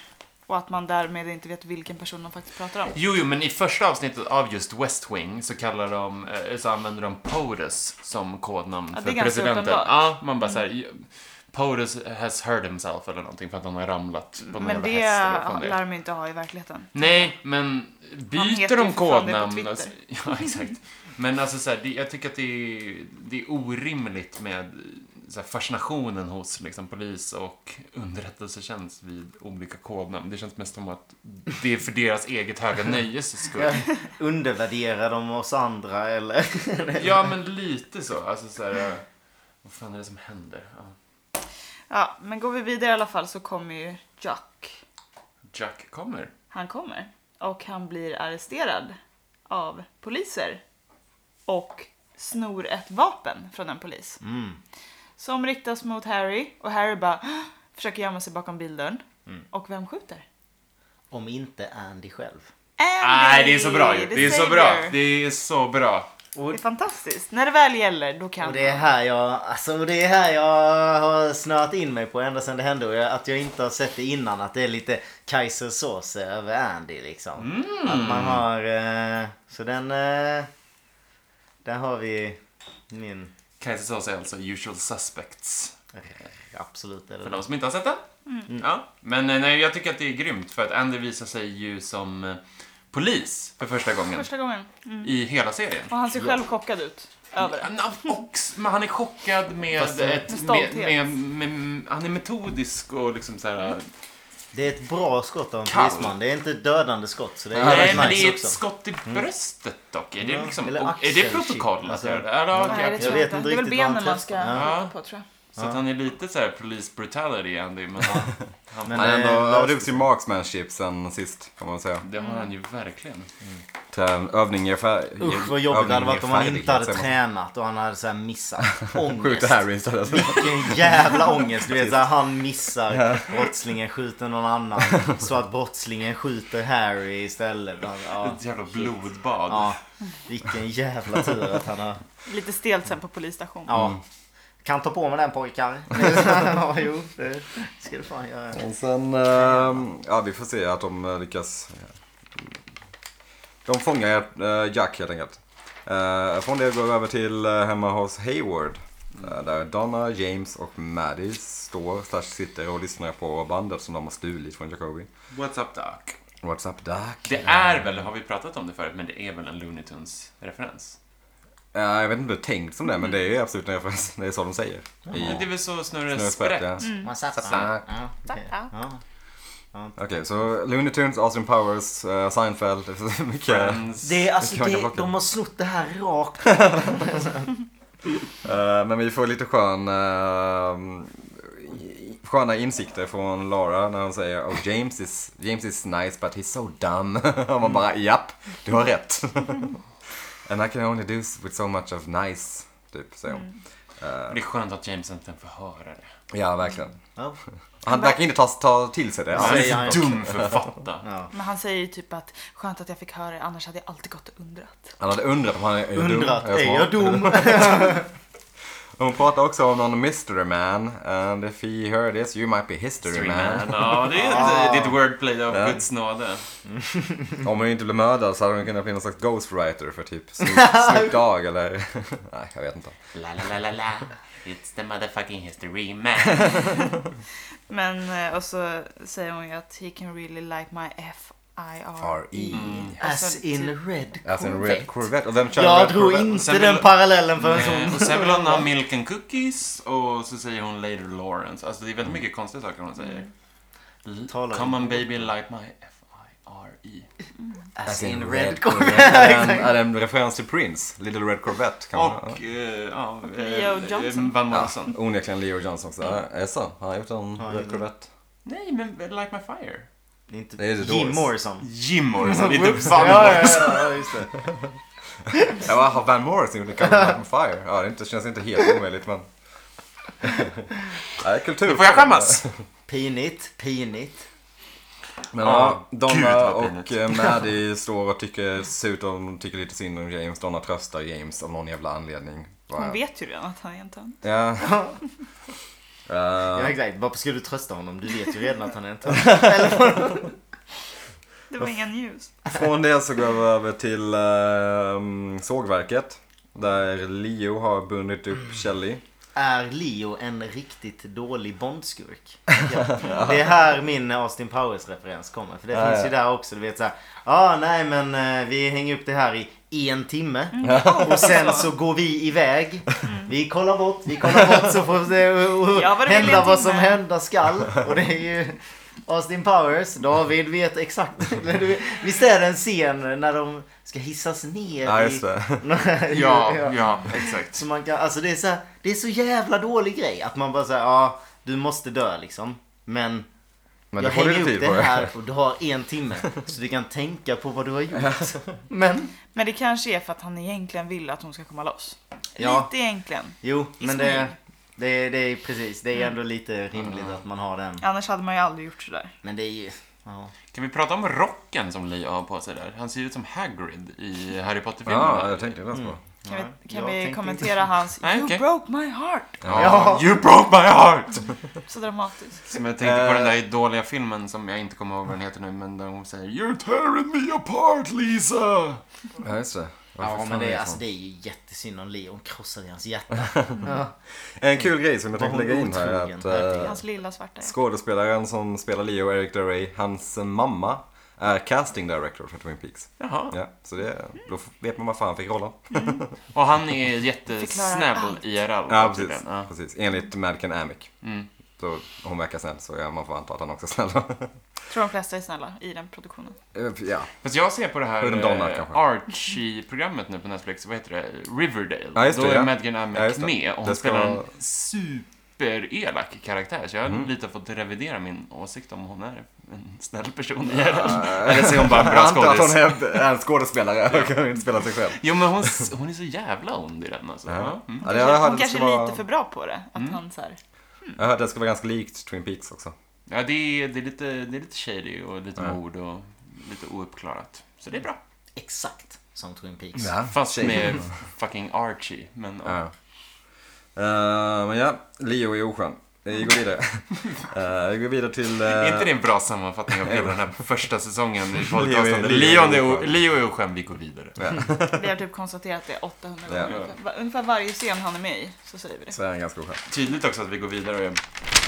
[SPEAKER 3] Och att man därmed inte vet vilken person de faktiskt pratar om.
[SPEAKER 2] Jo, jo, men i första avsnittet av just West Wing så kallar de, eh, så använder de POTUS som kodnamn
[SPEAKER 3] Ja, det är
[SPEAKER 2] för
[SPEAKER 3] ganska
[SPEAKER 2] presidenten.
[SPEAKER 3] uppenbart. Mm.
[SPEAKER 2] Ja, man bara såhär, POTUS has hurt himself eller någonting för att han har ramlat på någon
[SPEAKER 3] Men
[SPEAKER 2] jävla
[SPEAKER 3] det
[SPEAKER 2] häst eller vad fan det är.
[SPEAKER 3] lär de inte ha i verkligheten.
[SPEAKER 2] Nej, men byter
[SPEAKER 3] heter ju
[SPEAKER 2] de
[SPEAKER 3] för fan det på
[SPEAKER 2] kodnamn?
[SPEAKER 3] Twitter.
[SPEAKER 2] Alltså, [laughs] ja, exakt. Men alltså så här, det, jag tycker att det är, det är orimligt med så här, fascinationen hos liksom, polis och underrättelsetjänst vid olika kodnamn. Det känns mest som att det är för deras eget höga nöjes skull.
[SPEAKER 1] Undervärderar de oss andra eller?
[SPEAKER 2] Ja, men lite så. Alltså så här, eh, vad fan är det som händer? Ja.
[SPEAKER 3] Ja, men går vi vidare i alla fall så kommer ju Jack.
[SPEAKER 2] Jack kommer.
[SPEAKER 3] Han kommer och han blir arresterad av poliser och snor ett vapen från en polis
[SPEAKER 2] Mm.
[SPEAKER 3] som riktas mot Harry och Harry bara "Åh!" försöker gömma sig bakom bildörren
[SPEAKER 2] Mm.
[SPEAKER 3] och vem skjuter?
[SPEAKER 1] Om inte Andy själv.
[SPEAKER 3] Andy!
[SPEAKER 2] Nej, det är så bra ju.
[SPEAKER 3] The
[SPEAKER 2] Det är så
[SPEAKER 3] Savior.
[SPEAKER 2] bra. Det är så bra.
[SPEAKER 3] Det är fantastiskt. När det väl gäller, då kan
[SPEAKER 1] Och det är här jag, alltså och det är här jag har snöat in mig på ända sedan det hände. Och jag, att jag inte har sett det innan. Att det är lite kaisersås över Andy liksom.
[SPEAKER 2] Mm.
[SPEAKER 1] Att man har... Eh, så den... Eh, där har vi min...
[SPEAKER 2] Kajsa Sås är alltså usual suspects.
[SPEAKER 1] Absolut är det
[SPEAKER 2] För de som inte har sett den. Ja. Men eh, nej, jag tycker att det är grymt för att Andy visar sig ju som eh, polis för första gången
[SPEAKER 3] första gången. Mm.
[SPEAKER 2] i hela serien.
[SPEAKER 3] Och han ser själv chockad ut över det.
[SPEAKER 2] Han, han- också- men han är chockad med,
[SPEAKER 1] Fast, eh,
[SPEAKER 3] Med
[SPEAKER 2] ett, med,
[SPEAKER 3] stolthet.
[SPEAKER 2] med, med, Han är metodisk och liksom så här...
[SPEAKER 1] Det är ett bra skott av en
[SPEAKER 4] Kall.
[SPEAKER 1] polisman. Det är inte ett dödande skott. Så det är
[SPEAKER 2] Nej,
[SPEAKER 1] jävligt
[SPEAKER 2] men
[SPEAKER 1] nice
[SPEAKER 2] det är ett
[SPEAKER 1] också.
[SPEAKER 2] skott i bröstet dock. Är
[SPEAKER 1] Ja,
[SPEAKER 2] det, liksom,
[SPEAKER 1] eller
[SPEAKER 2] och, är det
[SPEAKER 1] axeln,
[SPEAKER 2] protokoll
[SPEAKER 1] shit.
[SPEAKER 2] att
[SPEAKER 1] Alltså,
[SPEAKER 2] göra det? Ja, då, okej,
[SPEAKER 3] Nej, det
[SPEAKER 2] okej.
[SPEAKER 1] tror
[SPEAKER 3] tror
[SPEAKER 1] vet
[SPEAKER 3] jag
[SPEAKER 1] inte
[SPEAKER 3] inte. Det är väl
[SPEAKER 1] riktigt vad han
[SPEAKER 3] benen man ska
[SPEAKER 1] testar.
[SPEAKER 2] Ja.
[SPEAKER 3] gå på tror jag.
[SPEAKER 2] Så att han är lite så här police brutality Andy, men han,
[SPEAKER 1] Men-
[SPEAKER 4] Han har
[SPEAKER 1] Nej,
[SPEAKER 4] ändå
[SPEAKER 1] löst
[SPEAKER 4] övat upp sin marksmanship sen sist, kan man väl säga.
[SPEAKER 2] det har han ju
[SPEAKER 3] Mm.
[SPEAKER 2] verkligen.
[SPEAKER 4] Trän- ehm, Övning ger färg.
[SPEAKER 1] Usch vad jobbigt det hade varit om han inte hade tränat och han hade så här missat.
[SPEAKER 4] Skjuta
[SPEAKER 1] Ångest. [laughs]
[SPEAKER 4] Harry istället.
[SPEAKER 1] Vilken jävla ångest. Du vet såhär han missar. Brottslingen skjuter någon annan. Så att brottslingen skjuter Harry istället. Ja,
[SPEAKER 2] Ett jävla blodbad.
[SPEAKER 1] ja. Vilken jävla tur att han har...
[SPEAKER 3] Lite stelt sen på polisstationen.
[SPEAKER 1] Ja.
[SPEAKER 4] Mm.
[SPEAKER 1] Kan ta på mig den
[SPEAKER 4] [laughs]
[SPEAKER 1] pojkar. ja, jo. Det ska du fan göra.
[SPEAKER 4] Och sen, ehm, ja vi får se att de eh, lyckas. De fångar eh, Jack helt enkelt. Eh, Från det går vi över till eh, hemma hos Hayward. eh, Där Donna, James och Maddie står, slash sitter och lyssnar på bandet som de har stulit från Jacobi.
[SPEAKER 2] What's up doc?
[SPEAKER 4] What's up Duck?
[SPEAKER 2] Det är väl, har vi pratat om det förut, men det är väl en Looney Tunes-referens?
[SPEAKER 4] Eh, Jag vet inte hur det är tänkt som det, är,
[SPEAKER 1] Mm.
[SPEAKER 4] men det är absolut en referens. Det är så de säger. I
[SPEAKER 2] Det är väl så Snurre
[SPEAKER 4] Snurre
[SPEAKER 2] Sprätt?
[SPEAKER 4] Sprätt, ja.
[SPEAKER 1] Man satsar.
[SPEAKER 4] Satsar.
[SPEAKER 1] Ja, okej.
[SPEAKER 3] Satsar.
[SPEAKER 1] Ja.
[SPEAKER 4] Okej, så Looney Tunes, Austin Powers, eh, Seinfeld. [laughs] det är så mycket.
[SPEAKER 2] Friends.
[SPEAKER 1] Det är alltså,
[SPEAKER 4] Det kan man
[SPEAKER 1] det,
[SPEAKER 4] plocka.
[SPEAKER 1] de har slått det här rakt.
[SPEAKER 4] Eh, men vi får lite skön, eh, sköna insikter från Laura när hon säger oh, James, is, James is nice but he's so dumb. [laughs] Och man bara japp, du har rätt. [laughs] And I can only do s- with so much of nice, typ säger hon.
[SPEAKER 2] Det är skönt att James inte får höra det.
[SPEAKER 4] Ja, verkligen.
[SPEAKER 1] Ja.
[SPEAKER 4] Han verkar inte ta, ta till sig det.
[SPEAKER 2] Han
[SPEAKER 1] säger
[SPEAKER 2] är
[SPEAKER 1] han
[SPEAKER 2] så
[SPEAKER 1] ju.
[SPEAKER 2] dum för
[SPEAKER 1] [laughs]
[SPEAKER 2] att fatta.
[SPEAKER 3] Men han säger ju typ att skönt att jag fick höra det, annars hade jag alltid gått och undrat.
[SPEAKER 4] Han hade undrat om han är, är jag
[SPEAKER 1] Undrat,
[SPEAKER 4] dum. Är jag
[SPEAKER 1] är
[SPEAKER 4] smart?
[SPEAKER 1] jag
[SPEAKER 4] [laughs]
[SPEAKER 1] dum?
[SPEAKER 4] Hon pratar också om någon mystery man. And if he heard this you might be history man.
[SPEAKER 2] Streamman. Ja, det är ett, det är ett wordplay av Guds nåde.
[SPEAKER 4] [laughs] Om hon inte blev mördad så hade hon kunnat bli någon slags ghostwriter för typ Snoop Snoop Dogg eller... [laughs] Nej, jag vet inte.
[SPEAKER 2] La, la, la, la, la. It's the motherfucking history man.
[SPEAKER 3] Men eh, och så säger hon ju att he can really like my F-I-R-E. E.
[SPEAKER 4] R.E..
[SPEAKER 3] Mm. typ,
[SPEAKER 1] As in red
[SPEAKER 4] Alltså en
[SPEAKER 1] Corvette.
[SPEAKER 4] red Corvette. Och vem kör en
[SPEAKER 1] Jag
[SPEAKER 4] red
[SPEAKER 1] drog
[SPEAKER 4] Corvette?
[SPEAKER 1] inte
[SPEAKER 2] Sen
[SPEAKER 1] den
[SPEAKER 2] vill-
[SPEAKER 1] parallellen förrän hon
[SPEAKER 2] Eh, Och sen vill hon ha milk and cookies och så säger hon later Lawrence. Alltså det är väldigt mycket konstiga saker hon säger. L-
[SPEAKER 1] Talar
[SPEAKER 2] Come
[SPEAKER 1] om-
[SPEAKER 2] on baby like my F-I-R-E.
[SPEAKER 1] As
[SPEAKER 4] Alltså,
[SPEAKER 1] in
[SPEAKER 4] en
[SPEAKER 1] red
[SPEAKER 4] Är det en, är det en referens till Prince? Little Red Corvette kan man
[SPEAKER 2] Och, eh, ja, eh,
[SPEAKER 3] Leo
[SPEAKER 2] eh,
[SPEAKER 3] Johnson.
[SPEAKER 2] Van
[SPEAKER 4] ja,
[SPEAKER 2] Morrison.
[SPEAKER 4] onekligen Leo Johnson också. Ja, Är det så? Han har gjort en
[SPEAKER 1] Ja,
[SPEAKER 4] Red Corvette.
[SPEAKER 2] Nej, men Like My Fire.
[SPEAKER 1] Det är inte
[SPEAKER 4] Det är The
[SPEAKER 1] Jim
[SPEAKER 4] Doors.
[SPEAKER 1] Morrison.
[SPEAKER 2] Jim [laughs] Morrison, inte
[SPEAKER 1] Ja,
[SPEAKER 2] Van
[SPEAKER 1] ja,
[SPEAKER 2] Morrison.
[SPEAKER 1] ja, ja, just det.
[SPEAKER 4] [laughs] Ja, vad har Van Morrison gjort en cover på Fire? Ja, det inte- känns inte helt omöjligt men... Nej, kultur.
[SPEAKER 2] Får jag skämmas?
[SPEAKER 1] Pinigt, pinigt.
[SPEAKER 4] Men
[SPEAKER 2] Ja,
[SPEAKER 4] ja,
[SPEAKER 2] gud,
[SPEAKER 4] Donna
[SPEAKER 2] vad
[SPEAKER 4] och eh, Maddie står och tycker, ser ut att tycker lite synd om James. Donna tröstar James av någon jävla anledning. Bara-
[SPEAKER 3] Hon vet ju redan att han är en tönt.
[SPEAKER 4] Ja.
[SPEAKER 1] Ja,
[SPEAKER 4] Eh,
[SPEAKER 1] exakt. Varför skulle du trösta honom? Du vet ju redan att
[SPEAKER 4] [laughs]
[SPEAKER 1] han är en tönt.
[SPEAKER 3] Det var inga news.
[SPEAKER 4] från det så går vi över till eh, sågverket. Där Leo har bundit upp Shelly.
[SPEAKER 1] Är Leo en riktigt dålig
[SPEAKER 4] [laughs]
[SPEAKER 1] Bondskurk? Ja. Det är här min Austin Powers-referens kommer. För det
[SPEAKER 4] Ja,
[SPEAKER 1] finns ju
[SPEAKER 4] ja.
[SPEAKER 1] där också. Du vet såhär. Ja, ah, nej men eh, vi hänger upp det här i en timme.
[SPEAKER 3] Mm.
[SPEAKER 1] Och sen så går vi iväg. Vi kollar bort, vi kollar bort så får det eh,
[SPEAKER 3] Ja, vad det vill
[SPEAKER 1] hända
[SPEAKER 3] en
[SPEAKER 1] vad
[SPEAKER 3] timme.
[SPEAKER 1] som hända
[SPEAKER 4] [laughs]
[SPEAKER 1] skall. Och det är ju Austin Powers, David vet exakt. [laughs] Visst är det en scen när de ska hissas ner
[SPEAKER 4] Ja,
[SPEAKER 1] i...
[SPEAKER 4] just det.
[SPEAKER 1] [laughs]
[SPEAKER 2] Ja, ja, exakt.
[SPEAKER 1] Så man kan, alltså det är så, här, det är så jävla dålig grej att man bara säger ja, du måste dö liksom. Men,
[SPEAKER 4] Men
[SPEAKER 1] jag
[SPEAKER 4] det får du
[SPEAKER 1] hänger
[SPEAKER 4] lite
[SPEAKER 1] upp
[SPEAKER 4] tid
[SPEAKER 1] det
[SPEAKER 4] på.
[SPEAKER 1] här och du har en timme. Så du kan tänka på vad du har gjort. Men,
[SPEAKER 3] Men det kanske är för att han egentligen vill att hon ska komma loss.
[SPEAKER 1] [laughs] Ja.
[SPEAKER 3] Lite egentligen.
[SPEAKER 1] jo,
[SPEAKER 3] I
[SPEAKER 1] men det,
[SPEAKER 3] smyg.
[SPEAKER 1] det, det är precis. Det är ändå lite rimligt
[SPEAKER 4] Mm.
[SPEAKER 1] att man har den.
[SPEAKER 3] Annars hade man ju aldrig gjort sådär.
[SPEAKER 1] Men det är ju, ja.
[SPEAKER 2] Kan vi prata om rocken som Leo har på sig där? Han ser ut som Hagrid i Harry
[SPEAKER 4] Ja,
[SPEAKER 2] Potter-filmerna.
[SPEAKER 4] jag tänkte det. Mm.
[SPEAKER 3] Kan
[SPEAKER 1] Ja,
[SPEAKER 3] vi, kan
[SPEAKER 1] jag
[SPEAKER 3] vi
[SPEAKER 1] tänkte
[SPEAKER 3] kommentera hans
[SPEAKER 2] Nej,
[SPEAKER 3] You
[SPEAKER 2] okej.
[SPEAKER 3] broke my heart?
[SPEAKER 1] Ja.
[SPEAKER 2] You broke my heart!
[SPEAKER 3] Så dramatiskt.
[SPEAKER 2] Som jag tänkte på den
[SPEAKER 4] Eh.
[SPEAKER 2] där dåliga filmen som jag inte kommer ihåg vad den heter nu, men där hon säger You're tearing me apart Lisa!
[SPEAKER 4] Mm. Ja, just det. Varför
[SPEAKER 1] Ja
[SPEAKER 4] fan
[SPEAKER 1] men
[SPEAKER 4] är
[SPEAKER 1] det,
[SPEAKER 4] det
[SPEAKER 1] är- alltså,
[SPEAKER 4] så?
[SPEAKER 1] det är ju jättesynd om Leon krossar i hans
[SPEAKER 4] [laughs]
[SPEAKER 1] hjärta.
[SPEAKER 4] En kul grej som jag tänkte
[SPEAKER 1] Var hon
[SPEAKER 4] lägga in här är att
[SPEAKER 1] otrogen?
[SPEAKER 4] eh,
[SPEAKER 3] Hans lilla svarta.
[SPEAKER 4] skådespelaren som spelar Leo, Eric DeRay, hans eh, mamma är casting director för Twin Peaks.
[SPEAKER 2] Jaha.
[SPEAKER 4] Ja, så det, då vet man varför han fick rollen.
[SPEAKER 2] Och han är
[SPEAKER 3] Förklarar
[SPEAKER 2] jättesnäll
[SPEAKER 3] allt.
[SPEAKER 2] IRL.
[SPEAKER 4] Ja,
[SPEAKER 2] tydligen.
[SPEAKER 4] precis. precis. Enligt Madcan Amick.
[SPEAKER 2] Mm.
[SPEAKER 4] Då hon verkar snäll så ja, man får anta att han också är snäll.
[SPEAKER 3] Tror de flesta är snälla i den produktionen.
[SPEAKER 4] Eh, [laughs] ja.
[SPEAKER 2] Fast jag ser på det här
[SPEAKER 4] Hundar,
[SPEAKER 2] eh,
[SPEAKER 4] kanske.
[SPEAKER 2] Archie-programmet nu på Netflix, vad heter det? Riverdale.
[SPEAKER 4] Ja, just
[SPEAKER 2] Då
[SPEAKER 4] det,
[SPEAKER 2] är
[SPEAKER 4] ja.
[SPEAKER 2] Madgan Amick
[SPEAKER 4] Ja, just det.
[SPEAKER 2] med och hon
[SPEAKER 4] Det ska-
[SPEAKER 2] spelar en superelak karaktär. Så jag har
[SPEAKER 4] Mm.
[SPEAKER 2] lite fått revidera min åsikt om hon är en snäll person igen. Eller så är hon bara en
[SPEAKER 4] Eh, Jag
[SPEAKER 2] bra
[SPEAKER 4] antar att hon
[SPEAKER 2] skådis.
[SPEAKER 4] är, är en skådespelare och kan inte spela sig själv.
[SPEAKER 2] Jo men hon, s- hon är så jävla ond i den alltså. Ja. Mm.
[SPEAKER 4] Ja, det- jag
[SPEAKER 3] Hon
[SPEAKER 4] hörde att det
[SPEAKER 3] kanske
[SPEAKER 4] ska
[SPEAKER 3] är
[SPEAKER 4] vara- Mm.
[SPEAKER 3] lite för bra på det. Att han så här,
[SPEAKER 4] Jag hörde att det ska vara ganska likt Twin Peaks också.
[SPEAKER 2] Ja, det är, det är, lite, det är lite shady och lite mord och lite ouppklarat. Så det är bra.
[SPEAKER 1] Exakt som Twin Peaks.
[SPEAKER 2] Fast med fucking Archie. Men,
[SPEAKER 4] Ja. Eh, men ja, Leo är oskön. Eh, Vi går vidare. Eh, vi går vidare till... eh,
[SPEAKER 2] Är inte det en bra sammanfattning av hela den här första säsongen i
[SPEAKER 4] [laughs]
[SPEAKER 2] podcasten?
[SPEAKER 4] Leo är-
[SPEAKER 2] Leon är o-
[SPEAKER 4] oskön.
[SPEAKER 2] Leo är oskön, vi går vidare.
[SPEAKER 3] vi har typ konstaterat det 800
[SPEAKER 4] Ja.
[SPEAKER 3] gånger. Va- Ungefär varje scen han är med i så säger vi det.
[SPEAKER 4] Så är han ganska oskön.
[SPEAKER 2] Tydligt också att vi går vidare.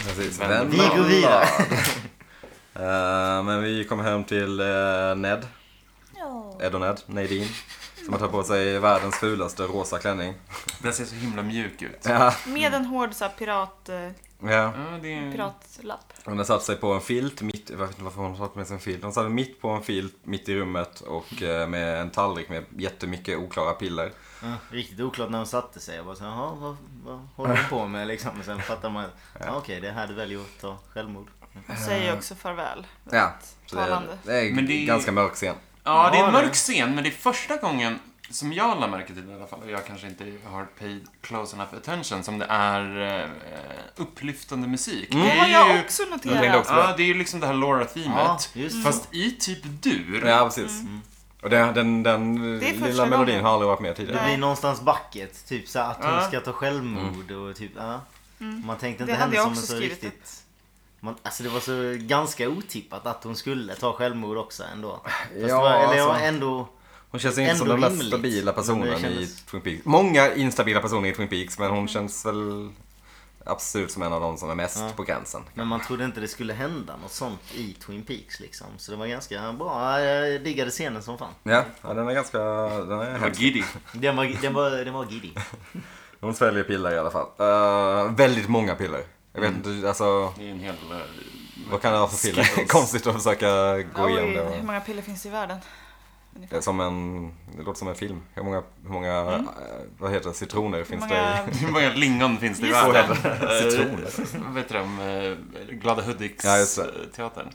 [SPEAKER 4] Precis.
[SPEAKER 2] Vänd
[SPEAKER 4] Vänd
[SPEAKER 1] Vi går vidare.
[SPEAKER 4] [laughs] Eh, men vi kommer hem till eh, Ned. Ed och Ned. Nadine. Som har tagit på sig världens fulaste rosa klänning.
[SPEAKER 2] Den ser så himla mjuk ut.
[SPEAKER 4] Ja.
[SPEAKER 3] Med en hård så här, pirat,
[SPEAKER 1] Mm.
[SPEAKER 3] eh,
[SPEAKER 4] ja.
[SPEAKER 2] Ja, det är...
[SPEAKER 3] piratlapp.
[SPEAKER 4] Hon har satt sig på en filt mitt, jag vet inte varför hon har satt med sig en filt. Hon satt mitt på en filt, mitt i rummet och eh, med en tallrik med jättemycket oklara piller.
[SPEAKER 1] Ja, riktigt oklart när hon satte sig. Jag bara så, här, jaha, vad, vad håller du på med liksom? Och sen fattar
[SPEAKER 4] [laughs]
[SPEAKER 1] man att ja, okej, det är här du väljer att ta självmord.
[SPEAKER 3] Och säger också farväl.
[SPEAKER 4] Ja, så det är,
[SPEAKER 3] Talande.
[SPEAKER 4] det är
[SPEAKER 2] Men det är-
[SPEAKER 4] ganska mörk scen.
[SPEAKER 2] Ja, det är
[SPEAKER 1] Ja,
[SPEAKER 2] en
[SPEAKER 1] det.
[SPEAKER 2] mörk scen, men det är första gången som jag lade märke till i alla fall, och jag kanske inte har paid close enough attention, som det är eh, upplyftande musik.
[SPEAKER 3] Det
[SPEAKER 2] Det
[SPEAKER 3] har
[SPEAKER 4] Mm.
[SPEAKER 2] är
[SPEAKER 3] jag
[SPEAKER 2] ju-
[SPEAKER 3] också
[SPEAKER 4] Jag tänkte
[SPEAKER 3] noterat.
[SPEAKER 4] också på
[SPEAKER 2] Ja, det är ju liksom det här Laura-themet.
[SPEAKER 1] Ja, just det.
[SPEAKER 2] fast i typ dur.
[SPEAKER 4] Ja, precis. Mm. Och den, den, den
[SPEAKER 3] Mm. Det är första
[SPEAKER 4] lilla melodin
[SPEAKER 3] gången.
[SPEAKER 4] har aldrig varit med
[SPEAKER 1] Det
[SPEAKER 4] tidigare.
[SPEAKER 1] blir någonstans bucket, typ så här, att hon
[SPEAKER 2] Ja.
[SPEAKER 1] ska ta självmord
[SPEAKER 4] Mm.
[SPEAKER 1] och typ, ja. Man tänkte inte
[SPEAKER 3] Mm. Det hade
[SPEAKER 1] henne
[SPEAKER 3] jag
[SPEAKER 1] som en
[SPEAKER 3] också
[SPEAKER 1] så
[SPEAKER 3] skrivit upp.
[SPEAKER 1] riktigt... Man, alltså det var så ganska otippat att hon skulle ta självmord också ändå. Fast
[SPEAKER 4] Ja,
[SPEAKER 1] det var, eller jag var
[SPEAKER 4] alltså.
[SPEAKER 1] ändå...
[SPEAKER 4] Hon känns inte som
[SPEAKER 1] Ändå
[SPEAKER 4] den mest
[SPEAKER 1] rimligt.
[SPEAKER 4] stabila personen
[SPEAKER 1] Men det kändes-
[SPEAKER 4] i Twin Peaks. Många instabila personer i Twin Peaks, men
[SPEAKER 3] Mm.
[SPEAKER 4] hon känns väl absolut som en av de som är mest på gränsen.
[SPEAKER 1] Men man trodde inte det skulle hända något sånt i Twin Peaks liksom. Så det var ganska bra. Jag diggade scenen som fan.
[SPEAKER 4] Ja, ja den är ganska... Den är
[SPEAKER 2] Vad
[SPEAKER 1] Mm.
[SPEAKER 4] hemsk.
[SPEAKER 2] giddy.
[SPEAKER 1] Den var, den var, den var giddy.
[SPEAKER 4] Hon sväljer piller i alla fall. Eh, väldigt många piller. Jag vet
[SPEAKER 1] Mm.
[SPEAKER 4] inte, alltså...
[SPEAKER 2] Det är en hel... eh, [laughs]
[SPEAKER 4] Vad kan det vara för piller? [laughs]
[SPEAKER 2] Skittles.
[SPEAKER 4] Konstigt att försöka gå
[SPEAKER 3] Oj,
[SPEAKER 4] igenom
[SPEAKER 3] hur
[SPEAKER 4] det.
[SPEAKER 3] många piller finns det i världen?
[SPEAKER 4] Det, är som en, det låter som en film. Hur många, hur många eh, vad heter det, citroner
[SPEAKER 3] Mm. Hur
[SPEAKER 4] finns
[SPEAKER 3] många... [laughs]
[SPEAKER 4] det i?
[SPEAKER 2] Hur många lingon finns det i
[SPEAKER 3] Just
[SPEAKER 2] världen?
[SPEAKER 3] det.
[SPEAKER 4] [laughs]
[SPEAKER 2] Eh, Vad heter de? Eh, Glada
[SPEAKER 4] Ja, just det.
[SPEAKER 2] Hudiks-teatern.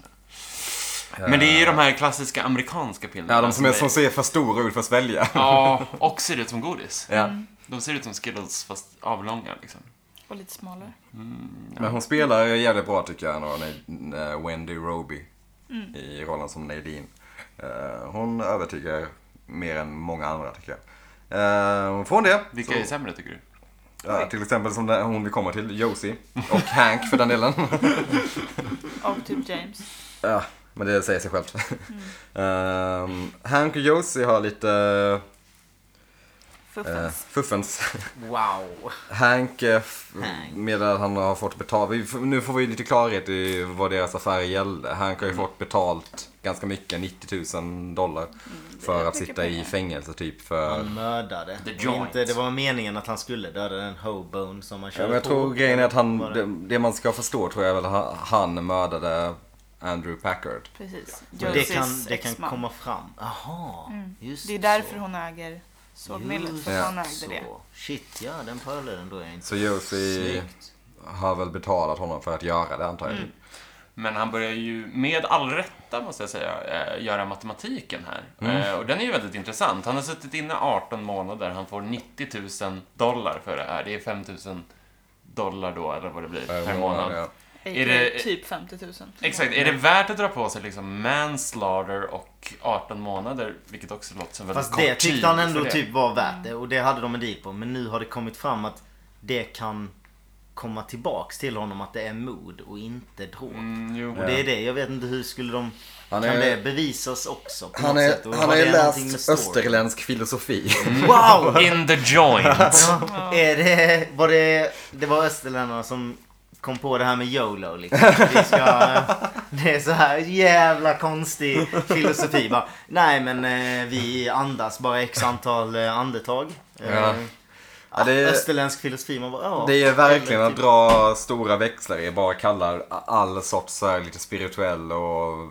[SPEAKER 2] Men det är ju de här klassiska amerikanska pillerna.
[SPEAKER 4] Ja, de som, är, som ser för stora ut för att svälja.
[SPEAKER 2] Ja, och ser ut som godis.
[SPEAKER 4] Ja.
[SPEAKER 2] De ser ut som Skittles fast avlånga liksom.
[SPEAKER 3] Och lite smalare.
[SPEAKER 4] Men hon spelar jävligt bra tycker jag ändå, Na- eh, Wendy Roby. I rollen som Nadine. Eh, Hon övertygar mer än många andra tycker jag. Eh, Från det.
[SPEAKER 2] Vilka
[SPEAKER 4] så-
[SPEAKER 2] är sämre tycker du?
[SPEAKER 4] Ja, till exempel som den- hon vi kommer till, Josie. Och Hank för den delen.
[SPEAKER 3] Och typ James.
[SPEAKER 4] [laughs] ja, men det säger sig [laughs] självt. Ehm, Hank och Josie har lite eh,
[SPEAKER 3] Fuffens.
[SPEAKER 4] fuffens. [laughs]
[SPEAKER 1] Wow.
[SPEAKER 4] Hank, eh, f- medan han har fått betalt. vi- f- Nu får vi lite klarhet i vad deras affär gällde. Hank har
[SPEAKER 3] Mm.
[SPEAKER 4] ju fått betalt ganska mycket, 90 000 dollar. För att
[SPEAKER 3] mycket
[SPEAKER 4] sitta i
[SPEAKER 3] pengar. Mm.
[SPEAKER 4] fängelse typ för...
[SPEAKER 1] Han mördade.
[SPEAKER 2] The
[SPEAKER 1] Och
[SPEAKER 2] joint.
[SPEAKER 1] Inte, det var meningen att han skulle döda den hobone som han
[SPEAKER 4] Ja,
[SPEAKER 1] körde
[SPEAKER 4] men jag
[SPEAKER 1] på.
[SPEAKER 4] tror grejen är att han,
[SPEAKER 1] Var
[SPEAKER 4] det,
[SPEAKER 1] det.
[SPEAKER 4] det man ska förstå tror jag väl att han mördade Andrew Packard.
[SPEAKER 3] Precis.
[SPEAKER 1] Men det kan,
[SPEAKER 3] Josies
[SPEAKER 1] det kan
[SPEAKER 3] exman.
[SPEAKER 1] komma fram. Mm. Jaha, just
[SPEAKER 3] Det är därför
[SPEAKER 1] så.
[SPEAKER 3] hon äger sågmillet.
[SPEAKER 1] Just
[SPEAKER 3] För att han ägde
[SPEAKER 1] så.
[SPEAKER 3] det.
[SPEAKER 1] Shit ja, den pölen då är jag inte
[SPEAKER 4] Så Josie
[SPEAKER 1] Snyggt.
[SPEAKER 4] har väl betalat honom för att göra det antar
[SPEAKER 3] Mm.
[SPEAKER 4] jag.
[SPEAKER 2] Men han börjar ju, med all rätta måste jag säga, eh, göra matematiken här. Eh, och den är ju väldigt intressant. Han har suttit inne 18 månader, han får 90 000 dollar för det här. Det är 5 000 dollar då, eller vad det blir, per månad.
[SPEAKER 4] Ja.
[SPEAKER 3] Är
[SPEAKER 2] det-
[SPEAKER 3] det... Typ 50 000.
[SPEAKER 2] Exakt, är det värt att dra på sig liksom manslaughter och 18 månader, vilket också låter som väldigt
[SPEAKER 1] Fast
[SPEAKER 2] kort
[SPEAKER 1] det
[SPEAKER 2] tid
[SPEAKER 1] tyckte han ändå
[SPEAKER 2] för det.
[SPEAKER 1] typ var
[SPEAKER 3] Mm.
[SPEAKER 1] värt det och det hade de en deal på. Men nu har det kommit fram att det kan komma tillbaks till honom att det är mod och inte drog.
[SPEAKER 2] Mm, jo.
[SPEAKER 1] Och det är det, jag vet inte hur skulle de...
[SPEAKER 4] Han
[SPEAKER 1] kan
[SPEAKER 4] är-
[SPEAKER 1] det bevisas också på
[SPEAKER 4] Han,
[SPEAKER 1] något
[SPEAKER 4] är,
[SPEAKER 1] sätt? Och
[SPEAKER 4] han
[SPEAKER 1] har
[SPEAKER 4] har ju
[SPEAKER 1] det någonting med
[SPEAKER 4] läst
[SPEAKER 1] story? Mm.
[SPEAKER 4] österländsk filosofi.
[SPEAKER 1] Wow!
[SPEAKER 2] In the joint.
[SPEAKER 1] Ja, är det, var det, det var österländarna som kom på det här med YOLO liksom. Vi
[SPEAKER 3] [laughs]
[SPEAKER 1] ska, det är så här jävla konstig filosofi bara. Nej men eh, vi andas bara x antal eh, andetag. Eh,
[SPEAKER 4] Ja. Ja, det, är,
[SPEAKER 1] Österländsk filosofi, man bara ja.
[SPEAKER 4] det är verkligen
[SPEAKER 1] eller
[SPEAKER 4] att
[SPEAKER 1] typ-
[SPEAKER 4] dra stora växlar i bara kallar all sorts så här, lite spirituell och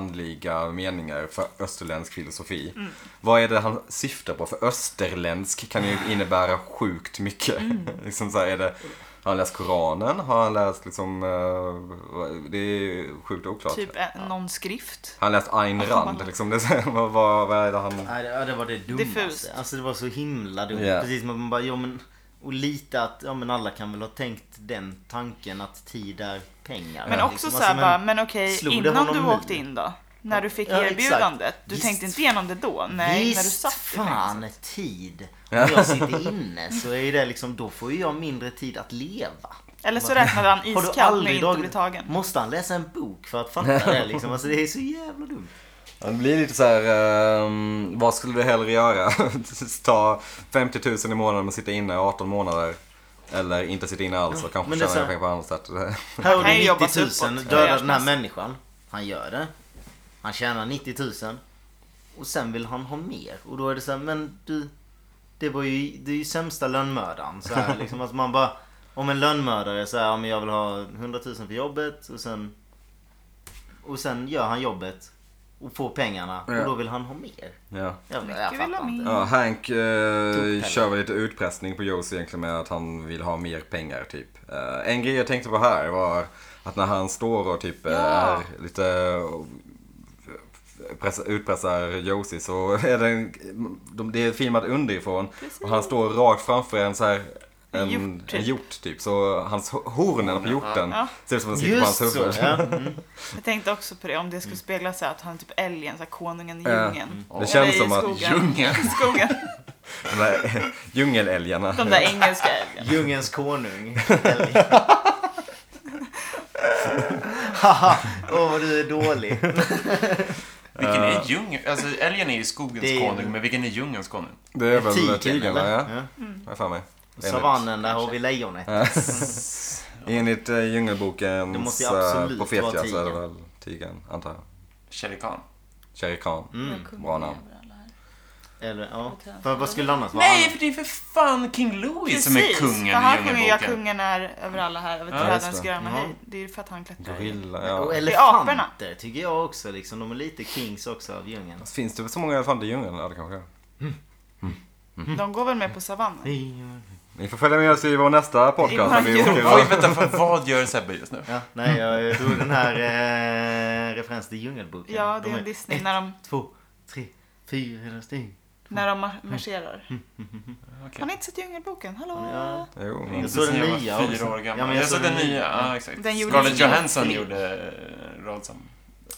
[SPEAKER 4] andliga meningar för österländsk filosofi. Vad är det han syftar på? För österländsk kan ju innebära sjukt mycket. [laughs] liksom så här, är det, har han läst Koranen? Har han läst liksom, eh, det är sjukt oklart.
[SPEAKER 3] Typ en, någon skrift.
[SPEAKER 4] Han läst Ayn Rand, liksom. Det, är så här, [laughs] vad, vad, vad är det han...
[SPEAKER 1] typ- Nej, det, ja, det var det dummaste.
[SPEAKER 3] Diffust.
[SPEAKER 1] Alltså det var så himla dumt.
[SPEAKER 4] Ja.
[SPEAKER 1] Precis som att man bara, ja men. Och lite att, ja men alla kan väl ha tänkt den tanken att tid är pengar.
[SPEAKER 3] Men också
[SPEAKER 1] Liksom,
[SPEAKER 3] så här
[SPEAKER 1] alltså, men-
[SPEAKER 3] bara, men okej,
[SPEAKER 1] slog det
[SPEAKER 3] innan
[SPEAKER 1] honom
[SPEAKER 3] du
[SPEAKER 1] nu?
[SPEAKER 3] åkte in då? När du fick
[SPEAKER 1] Ja, exakt.
[SPEAKER 3] erbjudandet? Du
[SPEAKER 1] Visst.
[SPEAKER 3] tänkte inte igenom det då? Nej,
[SPEAKER 1] Visst
[SPEAKER 3] när du satt i
[SPEAKER 1] fan
[SPEAKER 3] fängelset.
[SPEAKER 1] tid. Om jag sitter inne så är ju det liksom, då får ju jag mindre tid att leva.
[SPEAKER 3] Eller så räknade han
[SPEAKER 1] Har du
[SPEAKER 3] iskallt med
[SPEAKER 1] aldrig
[SPEAKER 3] inte
[SPEAKER 1] dragit...
[SPEAKER 3] bli tagen.
[SPEAKER 1] Måste han läsa en bok för att fatta det liksom? Alltså det är så jävla dumt.
[SPEAKER 4] Ja, Det blir lite så här, ehm, vad skulle du hellre göra? [laughs] Ta 50 000 i månaden och sitta inne i 18 månader. Eller inte sitta inne alls och kanske
[SPEAKER 1] men det är
[SPEAKER 4] tjäna
[SPEAKER 1] så här-
[SPEAKER 4] pengar på andra sätt. [laughs]
[SPEAKER 1] Här har
[SPEAKER 3] kan ju
[SPEAKER 1] du
[SPEAKER 3] jobbas
[SPEAKER 1] 90 000,
[SPEAKER 3] uppåt.
[SPEAKER 1] dödar
[SPEAKER 3] Ja,
[SPEAKER 1] den här
[SPEAKER 3] precis.
[SPEAKER 1] människan. Han gör det. Han tjänar 90 000. Och sen vill han ha mer. Och då är det så här, men du. Det var ju, det är ju sämsta lönnmördaren. Så
[SPEAKER 3] [laughs]
[SPEAKER 1] här, liksom, att man bara, om en lönnmördare så här, ja, men jag vill ha 100 000 för jobbet och sen. Och sen gör han jobbet. Och får pengarna.
[SPEAKER 4] Ja.
[SPEAKER 1] Och då vill han ha mer.
[SPEAKER 4] ja.
[SPEAKER 1] Jag, jag,
[SPEAKER 3] Mycket vill
[SPEAKER 1] fattar
[SPEAKER 3] ha
[SPEAKER 1] inte.
[SPEAKER 3] mer.
[SPEAKER 4] Ja, Hank eh, kör väl lite utpressning på Josie egentligen med att han vill ha mer pengar typ. Eh, en grej jag tänkte på här var att när han står och typ eh,
[SPEAKER 3] Ja.
[SPEAKER 4] är lite och pressar- utpressar Josie så är det, en, de, det är filmat underifrån och han står rakt framför en så här en,
[SPEAKER 3] En hjort,
[SPEAKER 4] en
[SPEAKER 3] typ.
[SPEAKER 4] hjort typ. Så hans ho- hornen på hjorten
[SPEAKER 3] Ja.
[SPEAKER 4] ser ut som att den sitter
[SPEAKER 1] Just
[SPEAKER 4] på hans
[SPEAKER 1] så.
[SPEAKER 4] huvud.
[SPEAKER 1] Ja. Mm.
[SPEAKER 3] Jag tänkte också på det, om det skulle spegla sig att han är typ älgen, så här, konungen i
[SPEAKER 4] Ja. Mm.
[SPEAKER 3] djungeln.
[SPEAKER 4] [laughs] Det känns
[SPEAKER 3] i
[SPEAKER 4] som att
[SPEAKER 3] skogen.
[SPEAKER 2] Djungeln.
[SPEAKER 3] [laughs] I skogen.
[SPEAKER 4] De där djungelälgarna.
[SPEAKER 3] De där engelska
[SPEAKER 4] [laughs]
[SPEAKER 3] älgen.
[SPEAKER 1] Djungelns konung. Eller- Haha, åh vad du är dålig.
[SPEAKER 2] Vilken är djungeln? Alltså älgen är ju skogens
[SPEAKER 1] Det är-
[SPEAKER 2] konung, men vilken är djungelns konung?
[SPEAKER 4] Det är
[SPEAKER 1] Tigern,
[SPEAKER 4] väl tigrarna
[SPEAKER 1] eller?
[SPEAKER 4] ja.
[SPEAKER 1] Ja.
[SPEAKER 4] Har jag för mig. Enligt-
[SPEAKER 1] Savannen, där har vi lejonet.
[SPEAKER 4] Eh, [laughs] Enligt eh,
[SPEAKER 1] Det
[SPEAKER 4] djungelbokens
[SPEAKER 1] måste ju absolut
[SPEAKER 4] eh, profetia
[SPEAKER 1] vara
[SPEAKER 4] så är det
[SPEAKER 1] tigern.
[SPEAKER 4] väl tigern, antar jag.
[SPEAKER 2] Shere Khan.
[SPEAKER 4] Shere Khan.
[SPEAKER 1] Mm.
[SPEAKER 4] Mm, Bra namn.
[SPEAKER 1] Eller, ja. För vad skulle det annars vara?
[SPEAKER 2] Nej, för det är för fan King Louis som är kungen i
[SPEAKER 3] för han sjunger ju "Ja,
[SPEAKER 2] djungelboken.
[SPEAKER 3] kungen är över alla här, över
[SPEAKER 2] Ja,
[SPEAKER 4] just
[SPEAKER 3] trädens
[SPEAKER 4] det.
[SPEAKER 3] gröna
[SPEAKER 1] Ja.
[SPEAKER 3] höjd. Det är ju för att han klättrar. i.
[SPEAKER 4] Gorilla, ja.
[SPEAKER 1] Och
[SPEAKER 3] aporna.
[SPEAKER 1] elefanter tycker jag också liksom. De är lite kings också av djungeln.
[SPEAKER 4] Finns det så många elefanter i djungeln? Ja, det kanske är.
[SPEAKER 3] De går väl med på savannen?
[SPEAKER 4] Ni får följa med oss i vår nästa podcast. när vi
[SPEAKER 3] vår-
[SPEAKER 4] åker
[SPEAKER 2] Oj,
[SPEAKER 4] iväg.
[SPEAKER 2] vänta, för vad gör Sebbe just nu?
[SPEAKER 1] Ja, nej, jag drog den här eh, referensen till Djungelboken.
[SPEAKER 3] Ja, det
[SPEAKER 1] De
[SPEAKER 3] är en Disney när de,
[SPEAKER 1] Ett, två, tre, fyra stycken.
[SPEAKER 3] när de mar- marscherar.
[SPEAKER 2] Okej.
[SPEAKER 3] Har ni inte sett Djungelboken?
[SPEAKER 1] Ja.
[SPEAKER 3] Hallå?
[SPEAKER 4] Jo, men-
[SPEAKER 1] Jag såg den
[SPEAKER 2] Sen jag var
[SPEAKER 1] nya också.
[SPEAKER 2] Fyra år gammal.
[SPEAKER 1] Ja, men
[SPEAKER 2] jag, såg den nya. Ja, exakt.
[SPEAKER 3] Den gjorde
[SPEAKER 2] Scarlett
[SPEAKER 3] ingen-
[SPEAKER 2] Johansson gjorde eh, roll som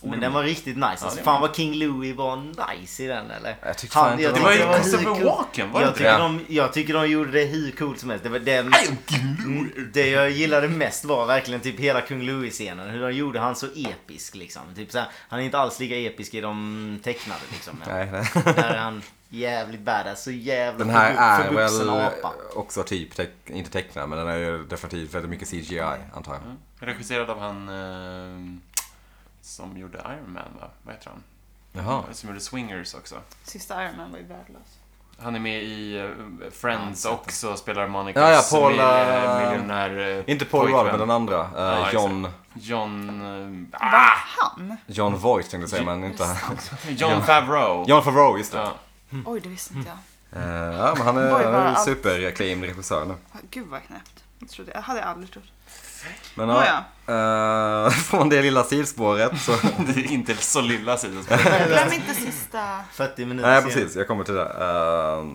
[SPEAKER 1] Men den var riktigt nice. Alltså,
[SPEAKER 2] det var
[SPEAKER 1] fan vad King Louis var nice i den eller?
[SPEAKER 4] Jag tyckte fan inte
[SPEAKER 1] jag
[SPEAKER 4] det
[SPEAKER 1] tyckte
[SPEAKER 2] Det var ju
[SPEAKER 4] Det var
[SPEAKER 1] hur
[SPEAKER 2] Christopher
[SPEAKER 1] cool-
[SPEAKER 2] Walken, var det
[SPEAKER 1] Jag
[SPEAKER 2] inte
[SPEAKER 1] tycker,
[SPEAKER 2] det?
[SPEAKER 4] Ja.
[SPEAKER 1] de, jag tycker de gjorde det hur coolt som helst. Det, var den,
[SPEAKER 2] I am King Louis.
[SPEAKER 1] det jag gillade mest var verkligen typ hela Kung Louis-scenen. Hur de gjorde han så episk liksom. Typ så här, han är inte alls lika episk i de tecknade liksom. Men
[SPEAKER 4] Nej, nej.
[SPEAKER 1] Där är han jävligt badass. Så jävla
[SPEAKER 4] [laughs] Den här är
[SPEAKER 1] förvuxen
[SPEAKER 4] väl
[SPEAKER 1] apa.
[SPEAKER 4] också typ, teck- inte tecknad, men den är ju definitivt väldigt mycket CGI, antar
[SPEAKER 1] Mm.
[SPEAKER 4] jag.
[SPEAKER 2] Regisserad av han eh, som gjorde Iron Man, va? Vad heter han? Eh,
[SPEAKER 4] Jaha.
[SPEAKER 2] Som gjorde Swingers också.
[SPEAKER 3] Sista Iron Man var ju värdelös.
[SPEAKER 2] Han är med i eh, Friends också, spelar Monica
[SPEAKER 4] Ja, ja, Paul,
[SPEAKER 2] som är
[SPEAKER 4] eh,
[SPEAKER 2] eh, miljonär eh,
[SPEAKER 4] Inte Paul Rudd,
[SPEAKER 2] pojkvän.
[SPEAKER 4] men den andra. eh,
[SPEAKER 2] Ja, exakt.
[SPEAKER 4] John,
[SPEAKER 2] John... eh,
[SPEAKER 3] Va?
[SPEAKER 2] Ah!
[SPEAKER 3] Han?
[SPEAKER 4] John Voight tänkte jag säga, men inte han.
[SPEAKER 2] John Favreau.
[SPEAKER 4] John Favreau, just det.
[SPEAKER 2] Ja.
[SPEAKER 3] Oj, det visste inte jag.
[SPEAKER 4] Eh, ja, men han är,
[SPEAKER 3] Oj, vad
[SPEAKER 4] han är
[SPEAKER 3] allt.
[SPEAKER 4] super-acclaimed regissör nu.
[SPEAKER 3] Va, Gud vad knäppt. Jag trodde, jag hade aldrig trott.
[SPEAKER 4] Men
[SPEAKER 3] Nåja.
[SPEAKER 4] eh, [laughs] från det lilla sidspåret
[SPEAKER 3] [laughs]
[SPEAKER 4] så...
[SPEAKER 2] [laughs] Det är inte så lilla sidospår.
[SPEAKER 3] Glöm inte sista...
[SPEAKER 1] 40 minuter
[SPEAKER 4] Nej,
[SPEAKER 1] sen.
[SPEAKER 4] precis. Jag kommer till det. Eh,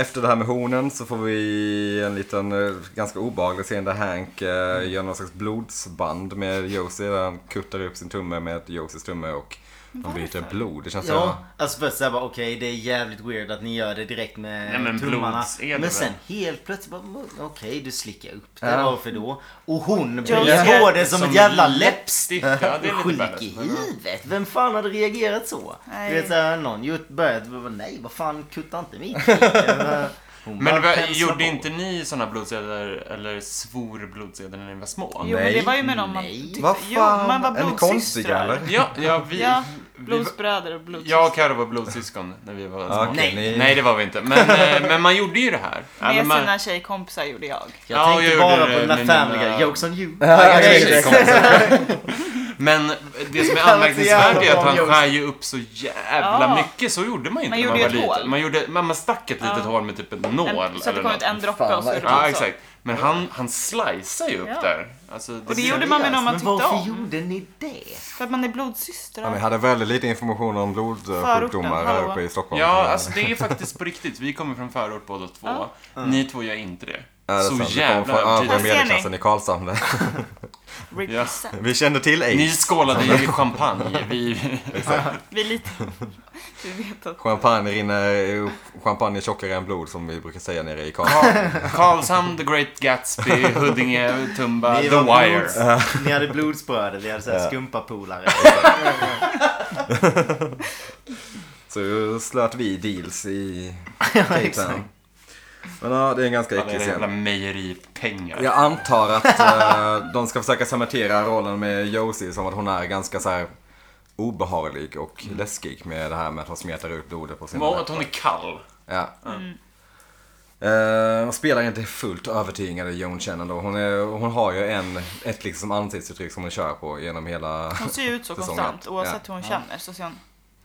[SPEAKER 4] efter det här med hornen så får vi en liten, eh, ganska obehaglig scen där Hank eh,
[SPEAKER 3] Mm.
[SPEAKER 4] gör någon slags blodsband med Josie. Där han kuttar upp sin tumme med Josies tumme och de byter blod. Det känns
[SPEAKER 1] Ja, alltså först såhär bara okej det är jävligt weird att ni gör det direkt med
[SPEAKER 2] Nej, men
[SPEAKER 1] tummarna.
[SPEAKER 2] blods är det
[SPEAKER 1] Men
[SPEAKER 2] väl?
[SPEAKER 1] sen helt plötsligt bara okej du slickar upp det,
[SPEAKER 4] Ja.
[SPEAKER 1] varför då? Och hon
[SPEAKER 3] Josie.
[SPEAKER 1] blir på det som, ett jävla läppstift.
[SPEAKER 2] Ja, det är lite
[SPEAKER 1] Sjuk i
[SPEAKER 2] badass, men ja.
[SPEAKER 1] huvudet! Vem fan hade reagerat så?
[SPEAKER 3] Nej.
[SPEAKER 2] [laughs]
[SPEAKER 1] Du vet såhär någon gjort börjat, bara, nej vad fan kutta inte min kuk." Jag bara, Hon bara
[SPEAKER 2] Men vad-
[SPEAKER 1] penslar
[SPEAKER 2] gjorde
[SPEAKER 1] på.
[SPEAKER 2] inte ni såna blodsedlar eller svor blodsedlar när ni var små?
[SPEAKER 3] Jo, men det
[SPEAKER 4] Nej.
[SPEAKER 3] var ju med dem man
[SPEAKER 1] Nej.
[SPEAKER 3] tyckte-
[SPEAKER 4] Vad
[SPEAKER 3] Jo, man
[SPEAKER 4] fan,
[SPEAKER 3] var
[SPEAKER 4] är ni konstiga
[SPEAKER 3] blodsystrar.
[SPEAKER 4] eller?
[SPEAKER 2] Ja, ja vi...
[SPEAKER 3] Ja,
[SPEAKER 2] vi var-
[SPEAKER 3] Blodsbröder och
[SPEAKER 2] jag och
[SPEAKER 3] blodsystrar.
[SPEAKER 2] Karo var blodsyskon när vi var
[SPEAKER 4] Ja,
[SPEAKER 2] små.
[SPEAKER 4] Ah, okej,
[SPEAKER 1] Nej.
[SPEAKER 4] ni-
[SPEAKER 2] Nej, det var vi inte. Men, eh, men man gjorde ju det här. Eller
[SPEAKER 3] Med
[SPEAKER 2] man-
[SPEAKER 3] sina tjejkompisar gjorde jag.
[SPEAKER 1] Jag
[SPEAKER 2] Ja,
[SPEAKER 1] tänkte
[SPEAKER 2] jag
[SPEAKER 1] bara
[SPEAKER 2] gjorde
[SPEAKER 1] på
[SPEAKER 2] det
[SPEAKER 1] den där
[SPEAKER 2] med
[SPEAKER 1] Family
[SPEAKER 2] mina-
[SPEAKER 1] Guy, jokes on you.
[SPEAKER 4] Ja,
[SPEAKER 2] jag
[SPEAKER 4] exakt.
[SPEAKER 1] [laughs]
[SPEAKER 2] Men det som är
[SPEAKER 1] Jävla
[SPEAKER 2] anmärkningsvärt är att han
[SPEAKER 1] jävla
[SPEAKER 2] skär ju upp så jävla
[SPEAKER 3] Ja.
[SPEAKER 2] mycket. Så gjorde man ju
[SPEAKER 3] Man
[SPEAKER 2] inte när
[SPEAKER 3] gjorde
[SPEAKER 2] man
[SPEAKER 3] ju
[SPEAKER 2] var
[SPEAKER 3] ett hål.
[SPEAKER 2] liten. Man, gjorde, man, man stack ett litet
[SPEAKER 3] Ja.
[SPEAKER 2] hål med typ en nål
[SPEAKER 3] En, så att det
[SPEAKER 2] eller
[SPEAKER 3] kom ut
[SPEAKER 2] något.
[SPEAKER 3] en droppe
[SPEAKER 4] Fan,
[SPEAKER 3] och så
[SPEAKER 4] vad
[SPEAKER 3] runt
[SPEAKER 1] Alltså.
[SPEAKER 2] Ja,
[SPEAKER 3] så.
[SPEAKER 2] exakt. Men han, han slicear ju upp
[SPEAKER 3] Ja.
[SPEAKER 2] där. Alltså, det
[SPEAKER 3] Och det
[SPEAKER 2] ser-
[SPEAKER 3] gjorde man med någon man
[SPEAKER 1] Men
[SPEAKER 3] tyckte
[SPEAKER 1] varför
[SPEAKER 3] om.
[SPEAKER 1] gjorde ni det?
[SPEAKER 3] För att man är
[SPEAKER 4] Ja, vi
[SPEAKER 3] blodsystrar.
[SPEAKER 4] hade väldigt lite information om
[SPEAKER 3] Förorten,
[SPEAKER 4] blodsjukdomar här
[SPEAKER 3] hallå.
[SPEAKER 4] uppe i Stockholm.
[SPEAKER 2] Ja, alltså det är faktiskt på riktigt. Vi kommer från förort båda två. Ni två gör inte det.
[SPEAKER 4] Ja, det är
[SPEAKER 2] så
[SPEAKER 4] sant. Vi kommer
[SPEAKER 2] jävla
[SPEAKER 4] från övre
[SPEAKER 2] övertygad.
[SPEAKER 3] Här ser ni.
[SPEAKER 4] medelklassen i Karlshamn. [laughs]
[SPEAKER 3] Represent.
[SPEAKER 4] Vi kände till
[SPEAKER 2] Ni
[SPEAKER 4] aids.
[SPEAKER 2] skålade ju
[SPEAKER 4] [laughs]
[SPEAKER 2] i champagne. Vi...
[SPEAKER 3] Vi är lite... [laughs] Vi vet att...
[SPEAKER 4] Champagne rinner upp, champagne är tjockare än blod som vi brukar säga nere i Karlshamn.
[SPEAKER 2] Karl- Karlshamn, The Great Gatsby, Huddinge, Tumba,
[SPEAKER 1] Ni
[SPEAKER 2] The
[SPEAKER 1] var
[SPEAKER 2] Wire.
[SPEAKER 1] blods- Ni hade blodsbröder, ni hade så här skumpapolare.
[SPEAKER 2] [laughs]
[SPEAKER 4] Så slöt vi deals i Cape
[SPEAKER 1] exakt.
[SPEAKER 4] Town. Men ja, det är en ganska
[SPEAKER 2] Alla
[SPEAKER 4] äcklig
[SPEAKER 2] era jävla
[SPEAKER 4] scen.
[SPEAKER 2] mejeripengar.
[SPEAKER 4] Jag antar att eh, de ska försöka cementera rollen med Josie som att hon är ganska så här obehaglig och läskig med det här med att hon smetar ut blodet på sina
[SPEAKER 2] Och att hon är kall.
[SPEAKER 4] Ja. Eh, hon spelar inte fullt övertygande Joan Shannon då. Hon, är, hon har ju en, ett liksom ansiktsuttryck som hon kör på genom hela...
[SPEAKER 3] Hon ser ju ut så
[SPEAKER 4] Säsongen.
[SPEAKER 3] konstant. Oavsett
[SPEAKER 4] Ja.
[SPEAKER 3] hur hon känner så ser hon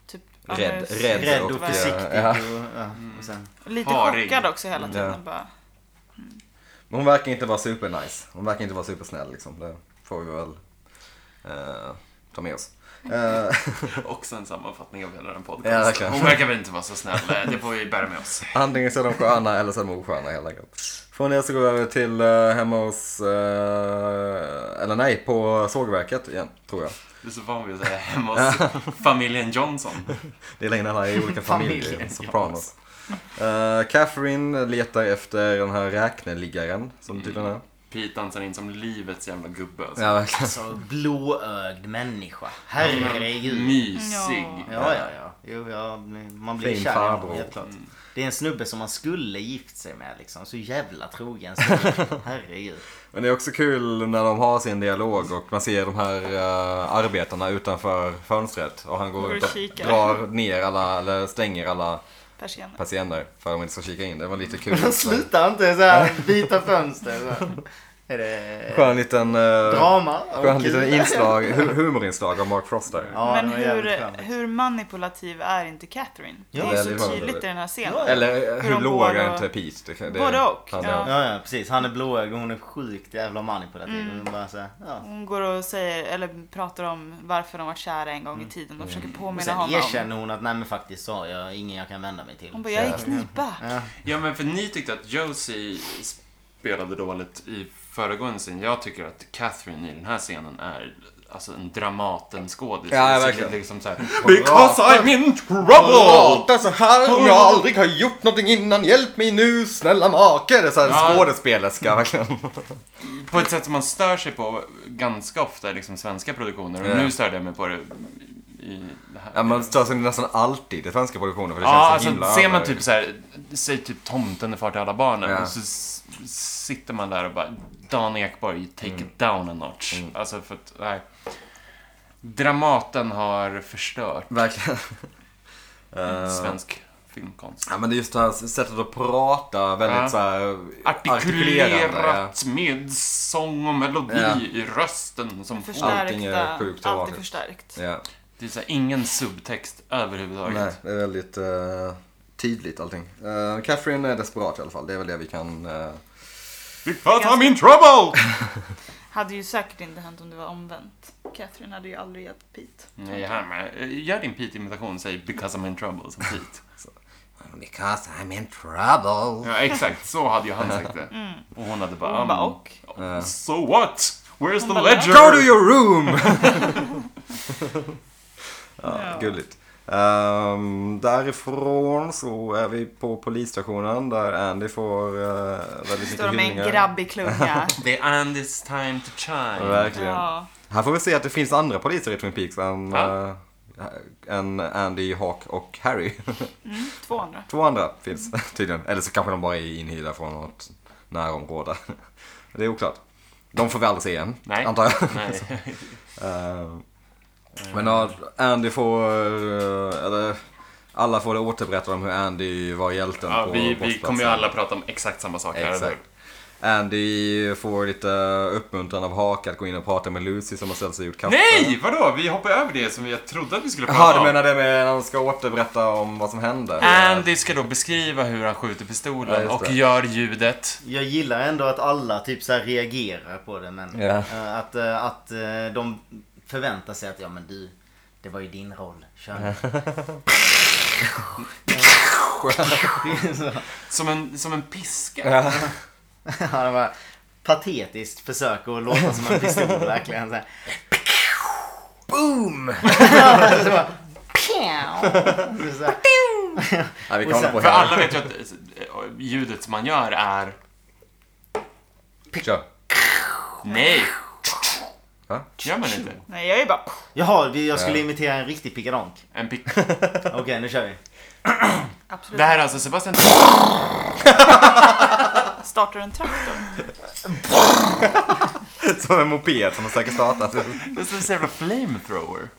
[SPEAKER 3] typ... ja,
[SPEAKER 4] Rädd-
[SPEAKER 3] men-
[SPEAKER 4] rädd
[SPEAKER 1] Rädd och
[SPEAKER 4] Och, eh,
[SPEAKER 1] försiktig.
[SPEAKER 4] ja.
[SPEAKER 1] Och, ja, och sen,
[SPEAKER 3] Lite
[SPEAKER 2] Harig.
[SPEAKER 3] chockad också hela tiden.
[SPEAKER 4] Ja.
[SPEAKER 3] Bara,
[SPEAKER 4] Men hon verkar inte vara supernice. Hon verkar inte vara supersnäll liksom. Det får vi väl eh, ta med oss. Eh,
[SPEAKER 2] Också en sammanfattning av hela den
[SPEAKER 4] Ja,
[SPEAKER 2] podcasten.
[SPEAKER 4] verkligen.
[SPEAKER 2] hon verkar väl inte vara så snäll. Det får vi bära med oss.
[SPEAKER 4] antingen så är de sköna eller så är de osköna helt enkelt. Från det så går vi över till eh, hemma hos... eh, eller nej, på sågverket igen, tror jag.
[SPEAKER 2] Du är så van vid att säga hemma hos familjen Johnson.
[SPEAKER 4] Det är längre alla i
[SPEAKER 3] [laughs]
[SPEAKER 4] olika familjer.
[SPEAKER 1] Familjen,
[SPEAKER 4] Sopranos. Eh, Catherine letar efter den här räkneliggaren som
[SPEAKER 3] Mm.
[SPEAKER 4] tydligen är.
[SPEAKER 2] Pete dansar in som livets jävla gubbe. Alltså.
[SPEAKER 4] Ja, verkligen.
[SPEAKER 1] alltså, blåögd människa.
[SPEAKER 4] Mm.
[SPEAKER 1] Herregud.
[SPEAKER 2] Mysig.
[SPEAKER 1] Ja, ja, ja. Jo, ja man blir
[SPEAKER 4] Fin
[SPEAKER 1] kär i
[SPEAKER 4] farbror. Mm.
[SPEAKER 1] honom, helt klart. Det är en snubbe som man skulle gift sig med liksom. Så jävla
[SPEAKER 4] [laughs]
[SPEAKER 1] trogen snubbe. Herregud.
[SPEAKER 4] Men det är också kul när de har sin dialog och man ser de här eh, arbetarna utanför fönstret. Och han går
[SPEAKER 3] Går och
[SPEAKER 4] ut och
[SPEAKER 3] kikar.
[SPEAKER 4] drar ner alla, eller stänger alla
[SPEAKER 3] persienner.
[SPEAKER 4] patienter för att de inte ska kika in. Det var lite kul.
[SPEAKER 1] De slutar inte så här byta fönster. Så. här. Är det
[SPEAKER 4] Skön liten... eh,
[SPEAKER 1] drama?
[SPEAKER 4] Skön
[SPEAKER 1] Och
[SPEAKER 4] liten
[SPEAKER 1] kul.
[SPEAKER 4] inslag, hu- humorinslag av Mark Frost där.
[SPEAKER 1] Ja,
[SPEAKER 3] Men
[SPEAKER 1] det var jävligt
[SPEAKER 3] hur,
[SPEAKER 1] skönt. liksom.
[SPEAKER 3] hur manipulativ är inte Catherine?
[SPEAKER 1] Ja,
[SPEAKER 3] det är
[SPEAKER 4] väldigt
[SPEAKER 3] så tydligt i
[SPEAKER 4] manipulativ.
[SPEAKER 3] den här scenen.
[SPEAKER 4] Eller eh,
[SPEAKER 3] Hur
[SPEAKER 4] hur
[SPEAKER 3] de
[SPEAKER 4] låg
[SPEAKER 3] båda-
[SPEAKER 4] är inte Pete? Det- det-
[SPEAKER 3] Både och,
[SPEAKER 4] han-
[SPEAKER 3] ja.
[SPEAKER 1] Ja, ja, precis. Han är blåögd och hon är sjukt jävla manipulativ. Mm. Hon bara så här, ja.
[SPEAKER 3] Hon går och säger, eller pratar om varför de var kära en gång i tiden
[SPEAKER 4] Mm.
[SPEAKER 3] och försöker
[SPEAKER 1] Mm. Och
[SPEAKER 3] påminna
[SPEAKER 1] sen
[SPEAKER 3] honom.
[SPEAKER 1] erkänner hon att nej men faktiskt så har jag ingen jag kan vända mig till.
[SPEAKER 3] Hon bara, jag är i knipa.
[SPEAKER 2] Ja, men för ni tyckte att Josie spelade dåligt i föregående scen. Jag tycker att Catherine i den här scenen är alltså en Dramaten-skådis.
[SPEAKER 4] Ja,
[SPEAKER 2] Det är
[SPEAKER 4] verkligen. [laughs]
[SPEAKER 2] Liksom så här, Because I'm in trouble!
[SPEAKER 4] så här om jag aldrig har gjort någonting innan. Hjälp mig nu, snälla make. Det är så här
[SPEAKER 2] Ja.
[SPEAKER 4] skådespelerska verkligen.
[SPEAKER 2] På ett sätt som man stör sig på ganska ofta i liksom svenska produktioner. Och
[SPEAKER 4] Ja.
[SPEAKER 2] nu störde jag mig på det i det här.
[SPEAKER 4] [laughs] Ja, man stör sig nästan alltid i svenska produktioner för det
[SPEAKER 2] Ja,
[SPEAKER 4] känns så
[SPEAKER 2] alltså
[SPEAKER 4] himla
[SPEAKER 2] ser man
[SPEAKER 4] över-
[SPEAKER 2] typ så här, säg typ tomten är far till alla barnen.
[SPEAKER 4] Ja.
[SPEAKER 2] Och så s- sitter man där och bara, Dan Ekborg, take
[SPEAKER 4] Mm.
[SPEAKER 2] it down a notch. Alltså för att, nej. Dramaten har förstört
[SPEAKER 4] [laughs] Verkligen. Eh,
[SPEAKER 2] svensk filmkonst.
[SPEAKER 4] Ja men det är just det här sättet att prata väldigt
[SPEAKER 2] Ja.
[SPEAKER 4] så här artikulerande. ja.
[SPEAKER 2] Artikulerat med sång och melodi
[SPEAKER 4] Ja.
[SPEAKER 2] i rösten som
[SPEAKER 3] Förstärkta,
[SPEAKER 4] Allting är sjukt
[SPEAKER 3] alltid
[SPEAKER 4] ovanligt.
[SPEAKER 3] förstärkt.
[SPEAKER 4] Ja.
[SPEAKER 2] Det är så här, ingen subtext överhuvudtaget.
[SPEAKER 4] Nej, det är väldigt eh, tydligt allting. Eh, Catherine är desperat i alla fall. Det är väl det vi kan... eh,
[SPEAKER 2] Because I'm in trouble!
[SPEAKER 3] Hade ju säkert inte hänt om det var omvänt. Catherine hade ju aldrig hjälpt Pete.
[SPEAKER 2] Nej, jag här med. Eh, Gör din Pete-imitation, säg because I'm in trouble som Pete.
[SPEAKER 4] Because I'm in trouble.
[SPEAKER 2] Ja, exakt. Så hade ju han sagt det. Och Mm. hon hade bara...
[SPEAKER 3] Hon bara,
[SPEAKER 2] "Mm,
[SPEAKER 3] och?
[SPEAKER 2] So what? Where's the
[SPEAKER 3] bara,
[SPEAKER 2] ledger?
[SPEAKER 4] Go to your room! ja, gulligt. Ehm, därifrån så är vi på polisstationen där Andy får eh, väldigt mycket
[SPEAKER 3] Står de med
[SPEAKER 4] hyllningar.
[SPEAKER 3] en
[SPEAKER 4] [laughs]
[SPEAKER 3] grabbig klunga.
[SPEAKER 2] The and it's time to chime.
[SPEAKER 4] Verkligen.
[SPEAKER 3] ja.
[SPEAKER 4] Här får vi se att det finns andra poliser i Twin Peaks än
[SPEAKER 2] Ja.
[SPEAKER 4] eh, en Andy, Hawk och Harry. [laughs]
[SPEAKER 3] Två andra.
[SPEAKER 4] Två andra finns
[SPEAKER 3] Mm.
[SPEAKER 4] tydligen. Eller så kanske de bara är inhyrda från något närområde. [laughs] Det är oklart. De får vi aldrig se igen,
[SPEAKER 2] Nej.
[SPEAKER 4] antar jag.
[SPEAKER 2] Nej.
[SPEAKER 4] Eh, Men ja, Andy får, eh, eller alla får återberätta om hur Andy var hjälten
[SPEAKER 2] Ja,
[SPEAKER 4] på
[SPEAKER 2] vi, vi
[SPEAKER 4] brottsplatsen.
[SPEAKER 2] kommer ju alla prata om exakt samma sak här.
[SPEAKER 4] Exakt. Andy får lite uppmuntran av Hak att gå in och prata med Lucy som har ställt sig och gjort kaffe.
[SPEAKER 2] Nej, vadå? Vi hoppar över det som jag trodde att vi skulle prata
[SPEAKER 4] Jaha, du
[SPEAKER 2] om.
[SPEAKER 4] menar det med när han ska återberätta om vad som hände?
[SPEAKER 2] Andy ska då beskriva hur han skjuter
[SPEAKER 4] Ja,
[SPEAKER 2] pistolen
[SPEAKER 4] just
[SPEAKER 2] och
[SPEAKER 4] det.
[SPEAKER 2] gör ljudet.
[SPEAKER 1] Jag gillar ändå att alla typ så här reagerar på det men
[SPEAKER 4] Ja.
[SPEAKER 1] eh, att, eh, att eh, de förväntar sig att ja men du, det var ju din roll. Kör
[SPEAKER 4] [laughs]
[SPEAKER 1] nu. Så,
[SPEAKER 2] Som en, som en piska.
[SPEAKER 4] Ja.
[SPEAKER 1] ja, det var patetiskt försök att låta som en pistol verkligen. Så här. Boom! Ja, så bara, så här.
[SPEAKER 4] Nej, vi
[SPEAKER 1] Och
[SPEAKER 4] kan hålla
[SPEAKER 1] sen-
[SPEAKER 4] på
[SPEAKER 2] För
[SPEAKER 4] hela...
[SPEAKER 2] alla vet ju att eh, ljudet som man gör är...
[SPEAKER 4] Kör.
[SPEAKER 2] Nej!
[SPEAKER 4] Va?
[SPEAKER 2] Gör man inte?
[SPEAKER 3] Nej, jag är bara...
[SPEAKER 1] Jaha, vi- jag skulle
[SPEAKER 4] Ja.
[SPEAKER 1] imitera en riktig pickadonk.
[SPEAKER 2] En pick.
[SPEAKER 1] Okej, nu kör vi.
[SPEAKER 3] Absolut.
[SPEAKER 2] Det här är alltså Sebastian...
[SPEAKER 3] Startar
[SPEAKER 4] [laughs]
[SPEAKER 3] en traktor.
[SPEAKER 4] Som en moped som har säkert startat.
[SPEAKER 2] Det är som en jävla flamethrower.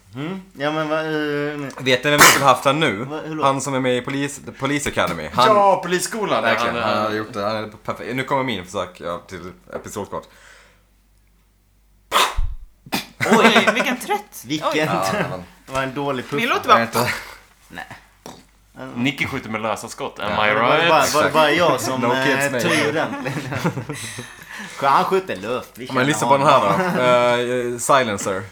[SPEAKER 1] Ja men vad... eh,
[SPEAKER 4] Vet ni vem vi skulle haft han nu?
[SPEAKER 1] Vad- hur låter
[SPEAKER 4] Han som är med i Police, Police Academy. Han,
[SPEAKER 2] ja, polisskolan! där
[SPEAKER 4] verkligen, han
[SPEAKER 2] han,
[SPEAKER 4] har gjort det. Han är perfekt. Nu kommer min försök ja, till pistolskott.
[SPEAKER 3] Oj, vilken trött.
[SPEAKER 1] Vilken?
[SPEAKER 3] Oj.
[SPEAKER 4] Ja, men,
[SPEAKER 1] [laughs] Det var en dålig puff.
[SPEAKER 3] Min låter
[SPEAKER 4] jag är
[SPEAKER 3] bara...
[SPEAKER 4] inte...
[SPEAKER 2] Nicky skjuter med lösa skott, am
[SPEAKER 4] Ja.
[SPEAKER 2] I
[SPEAKER 1] Det Var det bara,
[SPEAKER 2] right?
[SPEAKER 1] var det bara jag som
[SPEAKER 4] No
[SPEAKER 1] no
[SPEAKER 4] kids, nej.
[SPEAKER 1] tog ur den? Han skjuter luft. Vi
[SPEAKER 4] Men
[SPEAKER 1] känner
[SPEAKER 4] lyssna på den
[SPEAKER 1] honom.
[SPEAKER 4] här då. Eh, silencer.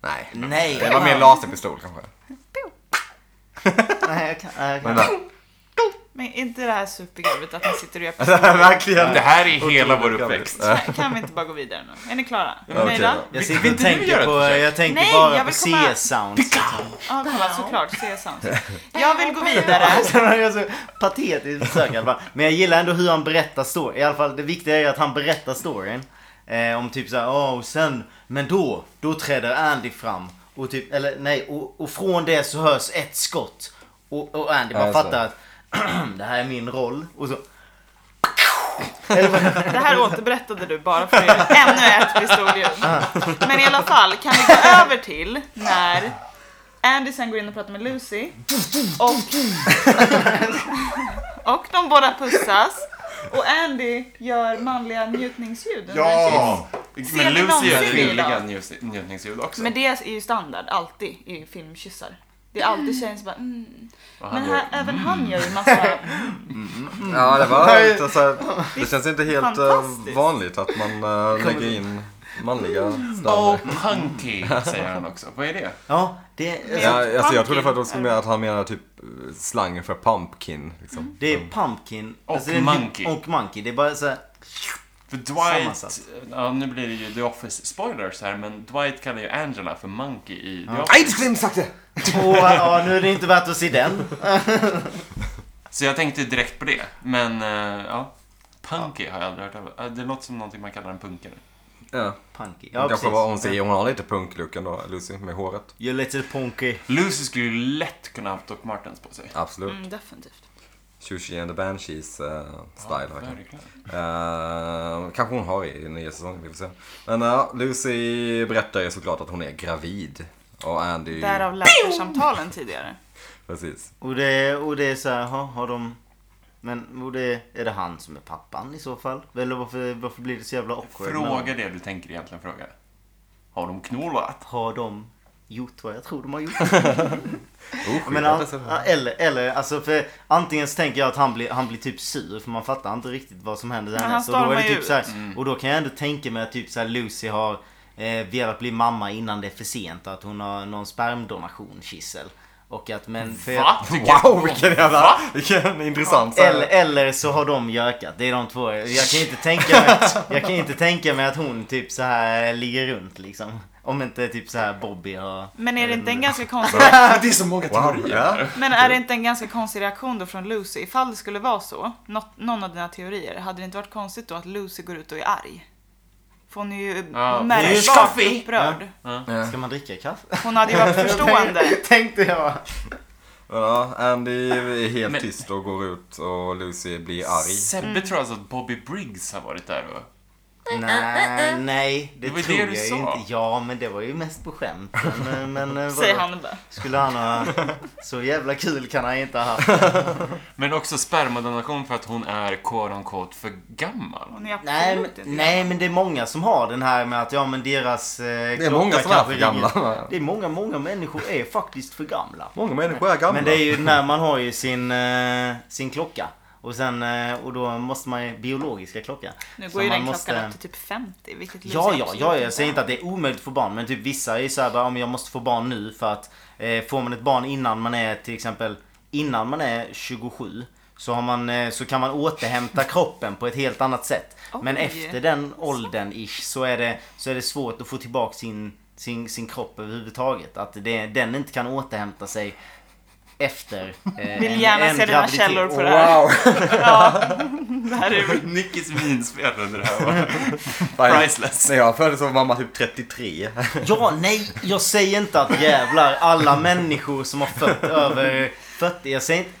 [SPEAKER 4] Nej.
[SPEAKER 1] Nej.
[SPEAKER 4] Det var mer laserpistol kanske.
[SPEAKER 1] Nej, jag kan, nej, jag kan.
[SPEAKER 4] Men,
[SPEAKER 3] Men inte det här supergulvet att ni sitter och gör
[SPEAKER 4] det här är verkligen.
[SPEAKER 2] Det här är hela vår
[SPEAKER 4] [laughs]
[SPEAKER 2] uppväxt. [laughs]
[SPEAKER 3] pistoler. Kan vi inte bara gå vidare nu? Är ni klara?
[SPEAKER 4] Ja, okej
[SPEAKER 3] Nöjda?
[SPEAKER 4] då.
[SPEAKER 1] Jag
[SPEAKER 2] Vill-
[SPEAKER 1] sitter
[SPEAKER 2] vill
[SPEAKER 1] och
[SPEAKER 2] inte du göra
[SPEAKER 1] tänker
[SPEAKER 2] ett
[SPEAKER 1] på,
[SPEAKER 2] försök?
[SPEAKER 1] jag tänker
[SPEAKER 3] Nej,
[SPEAKER 1] bara
[SPEAKER 3] jag
[SPEAKER 1] på
[SPEAKER 3] vill komma-
[SPEAKER 1] CS-sounds. [laughs]
[SPEAKER 3] Ja, kolla såklart. CSAM.
[SPEAKER 4] [laughs]
[SPEAKER 3] Jag vill gå vidare.
[SPEAKER 1] så patetiskt försök i alla fall. Men jag gillar ändå hur han berättar storyn. I alla fall det viktiga är ju att han berättar storyn. Eh, om typ såhär, åh och sen, men då, då träder Andy fram. Och typ, eller nej, och, och från det så hörs ett skott. Och, och Andy bara
[SPEAKER 4] Ja, just det.
[SPEAKER 1] fattar att [clears throat] det här är min roll. Och så,
[SPEAKER 3] Det här återberättade du bara för er. ännu ett pistolljud. Men i alla fall, kan vi gå över till när Andy sen går in och pratar med Lucy och, och de båda pussas och Andy gör manliga njutningsljud under en kyss. Ser
[SPEAKER 2] Men
[SPEAKER 3] ni
[SPEAKER 2] Lucy gör
[SPEAKER 3] någonsin
[SPEAKER 2] ljuvliga
[SPEAKER 3] idag?
[SPEAKER 2] njut- njutningsljud också.
[SPEAKER 3] Men det är ju standard alltid i filmkyssar. Det är alltid tjejen som bara mm.
[SPEAKER 2] Och han
[SPEAKER 3] Men
[SPEAKER 2] gör- Mm.
[SPEAKER 3] här, även han gör ju massa
[SPEAKER 4] Ja, det var inte så här, Det känns inte helt eh,
[SPEAKER 3] Fantastiskt.
[SPEAKER 4] vanligt att man eh, lägger in manliga
[SPEAKER 2] Oh,
[SPEAKER 4] standarder.
[SPEAKER 2] punky, säger han också. Vad är det?
[SPEAKER 1] ja, det,
[SPEAKER 4] Ja,
[SPEAKER 1] alltså,
[SPEAKER 4] alltså, jag trodde faktiskt mer att han menade typ eh, slang för pumpkin. Liksom.
[SPEAKER 1] det är pumpkin.
[SPEAKER 2] Mm. Och
[SPEAKER 1] alltså, det är,
[SPEAKER 2] monkey.
[SPEAKER 1] Och monkey. Det är bara såhär,
[SPEAKER 2] För
[SPEAKER 1] Sammansatt.
[SPEAKER 2] Dwight, ja nu blir det ju The Office spoilers här, men Dwight kallar ju Angela för Monkey i The
[SPEAKER 4] Nej, du
[SPEAKER 2] Office.
[SPEAKER 4] skulle inte sagt det!
[SPEAKER 1] åh, ja, nu är det inte värt att se den.
[SPEAKER 2] Så jag tänkte direkt på det, men eh, ja. Punky har jag aldrig hört av. Eh, Det låter som någonting man kallar en punkare.
[SPEAKER 4] Ja,
[SPEAKER 1] Punky. Ja,
[SPEAKER 4] ja kanske
[SPEAKER 1] precis.
[SPEAKER 4] var hon säger, hon har lite punklook ändå, Lucy, med håret.
[SPEAKER 1] You're little punky.
[SPEAKER 2] Lucy skulle ju lätt kunna ha haft Doc Martens på sig.
[SPEAKER 4] Absolut.
[SPEAKER 3] mm, definitivt.
[SPEAKER 4] Sushi and the Banshees eh, style.
[SPEAKER 2] Ja,
[SPEAKER 4] verkligen.
[SPEAKER 2] verkligen.
[SPEAKER 4] Eh, kanske hon har i nya säsongen, vi får se. Men ja, Lucy berättar ju såklart att hon är gravid. Och Andy...
[SPEAKER 3] Därav läkarsamtalen tidigare.
[SPEAKER 4] Precis.
[SPEAKER 1] Och det, och det är så här, ha, har de... Men och det, är det han som är pappan i så fall? Eller varför, varför blir det så jävla awkward?
[SPEAKER 2] Fråga det du tänker egentligen fråga. Har de knålat?
[SPEAKER 1] Har de gjort vad jag tror de har gjort?
[SPEAKER 4] Oh,
[SPEAKER 1] Men, an- eller, eller, alltså för antingen så tänker jag att han blir, han blir typ sur för man fattar inte riktigt vad som händer
[SPEAKER 3] Men han
[SPEAKER 1] därnäst. Och då,
[SPEAKER 3] stormar
[SPEAKER 1] är det
[SPEAKER 3] ju
[SPEAKER 1] typ
[SPEAKER 3] ut. Mm.
[SPEAKER 1] så här, och då kan jag ändå tänka mig att typ så här, Lucy har eh, velat bli mamma innan det är för sent. Att hon har någon spermdonation kissel. Och att men... För
[SPEAKER 2] Va?
[SPEAKER 4] [laughs] Wow, vilken jävla...
[SPEAKER 2] Va?
[SPEAKER 4] Vilken intressant... så här- [laughs]
[SPEAKER 1] Eller, eller så har de gökat. Det är de två. Jag kan inte tänka mig,
[SPEAKER 3] [laughs]
[SPEAKER 1] jag kan inte tänka mig att hon typ så här ligger runt liksom. Om inte typ så här Bobby har...
[SPEAKER 3] Men är det inte en ganska konstig
[SPEAKER 2] Det är så många
[SPEAKER 4] Wow, ja.
[SPEAKER 3] Men är det inte en ganska konstig reaktion då från Lucy? Ifall det skulle vara så, något, någon av dina teorier, hade det inte varit konstigt då att Lucy går ut och är arg? För hon är ju
[SPEAKER 2] Ja.
[SPEAKER 3] ja.
[SPEAKER 1] Det är ju
[SPEAKER 3] märkbart
[SPEAKER 1] kaffe!
[SPEAKER 3] upprörd.
[SPEAKER 1] Ska man dricka kaffe?
[SPEAKER 3] Hon hade ju varit förstående.
[SPEAKER 1] [laughs] Tänkte jag.
[SPEAKER 4] Ja, Andy är helt
[SPEAKER 2] Men-
[SPEAKER 4] tyst och går ut och Lucy blir arg.
[SPEAKER 2] Sebbe tror alltså att Bobby Briggs har varit där och...
[SPEAKER 1] Nej,
[SPEAKER 3] [laughs]
[SPEAKER 1] nej, det,
[SPEAKER 2] Det var ju
[SPEAKER 1] tror
[SPEAKER 2] det du
[SPEAKER 1] jag
[SPEAKER 2] sa.
[SPEAKER 1] inte. Ja, men det var ju mest på skämt. Men,
[SPEAKER 3] [laughs]
[SPEAKER 1] men eh,
[SPEAKER 3] Säger
[SPEAKER 1] vadå?
[SPEAKER 3] han bara.
[SPEAKER 1] Skulle han ha... Så jävla kul kan han inte ha haft.
[SPEAKER 2] Men också spermadonation för att hon är quote unquote för gammal.
[SPEAKER 3] Hon är absolut
[SPEAKER 1] Nej, men,
[SPEAKER 3] inte
[SPEAKER 1] nej, men det är många som har den här med att ja, men deras eh,
[SPEAKER 4] Det är många som är för
[SPEAKER 1] Ringer.
[SPEAKER 4] gamla.
[SPEAKER 1] Det är många, många människor är faktiskt för gamla.
[SPEAKER 4] Många människor är gamla.
[SPEAKER 1] Men det är ju när man har ju sin, eh, sin klocka. Och sen, eh, och då måste man ju, biologiska klocka.
[SPEAKER 3] Nu
[SPEAKER 1] Så
[SPEAKER 3] går ju
[SPEAKER 1] man
[SPEAKER 3] den
[SPEAKER 1] måste-
[SPEAKER 3] klockan upp till typ liksom. 50, vilket
[SPEAKER 1] Ja, ja, ja, jag säger inte att det är omöjligt att få barn. Men typ vissa är ju såhär bara, om jag måste få barn nu för att eh, får man ett barn innan man är till exempel, innan man är 27 så, har man, eh, så kan man
[SPEAKER 3] [laughs]
[SPEAKER 1] återhämta kroppen på ett helt annat sätt. Men
[SPEAKER 3] Oj.
[SPEAKER 1] efter den åldern ish så är det, så är det svårt att få tillbaka sin, sin, sin kropp överhuvudtaget. Att det, den inte kan återhämta sig efter eh,
[SPEAKER 3] Vill gärna se dina
[SPEAKER 1] graviditet.
[SPEAKER 3] källor på
[SPEAKER 1] Och-
[SPEAKER 3] det här.
[SPEAKER 1] [laughs]
[SPEAKER 3] Ja, det här är
[SPEAKER 2] Nickis vinspel under det här [laughs] var
[SPEAKER 4] Priceless.
[SPEAKER 2] priceless.
[SPEAKER 4] När jag föddes så var mamma typ 33.
[SPEAKER 1] Ja, nej, jag säger inte att jävlar alla människor som har fött över 40. Jag säger, inte,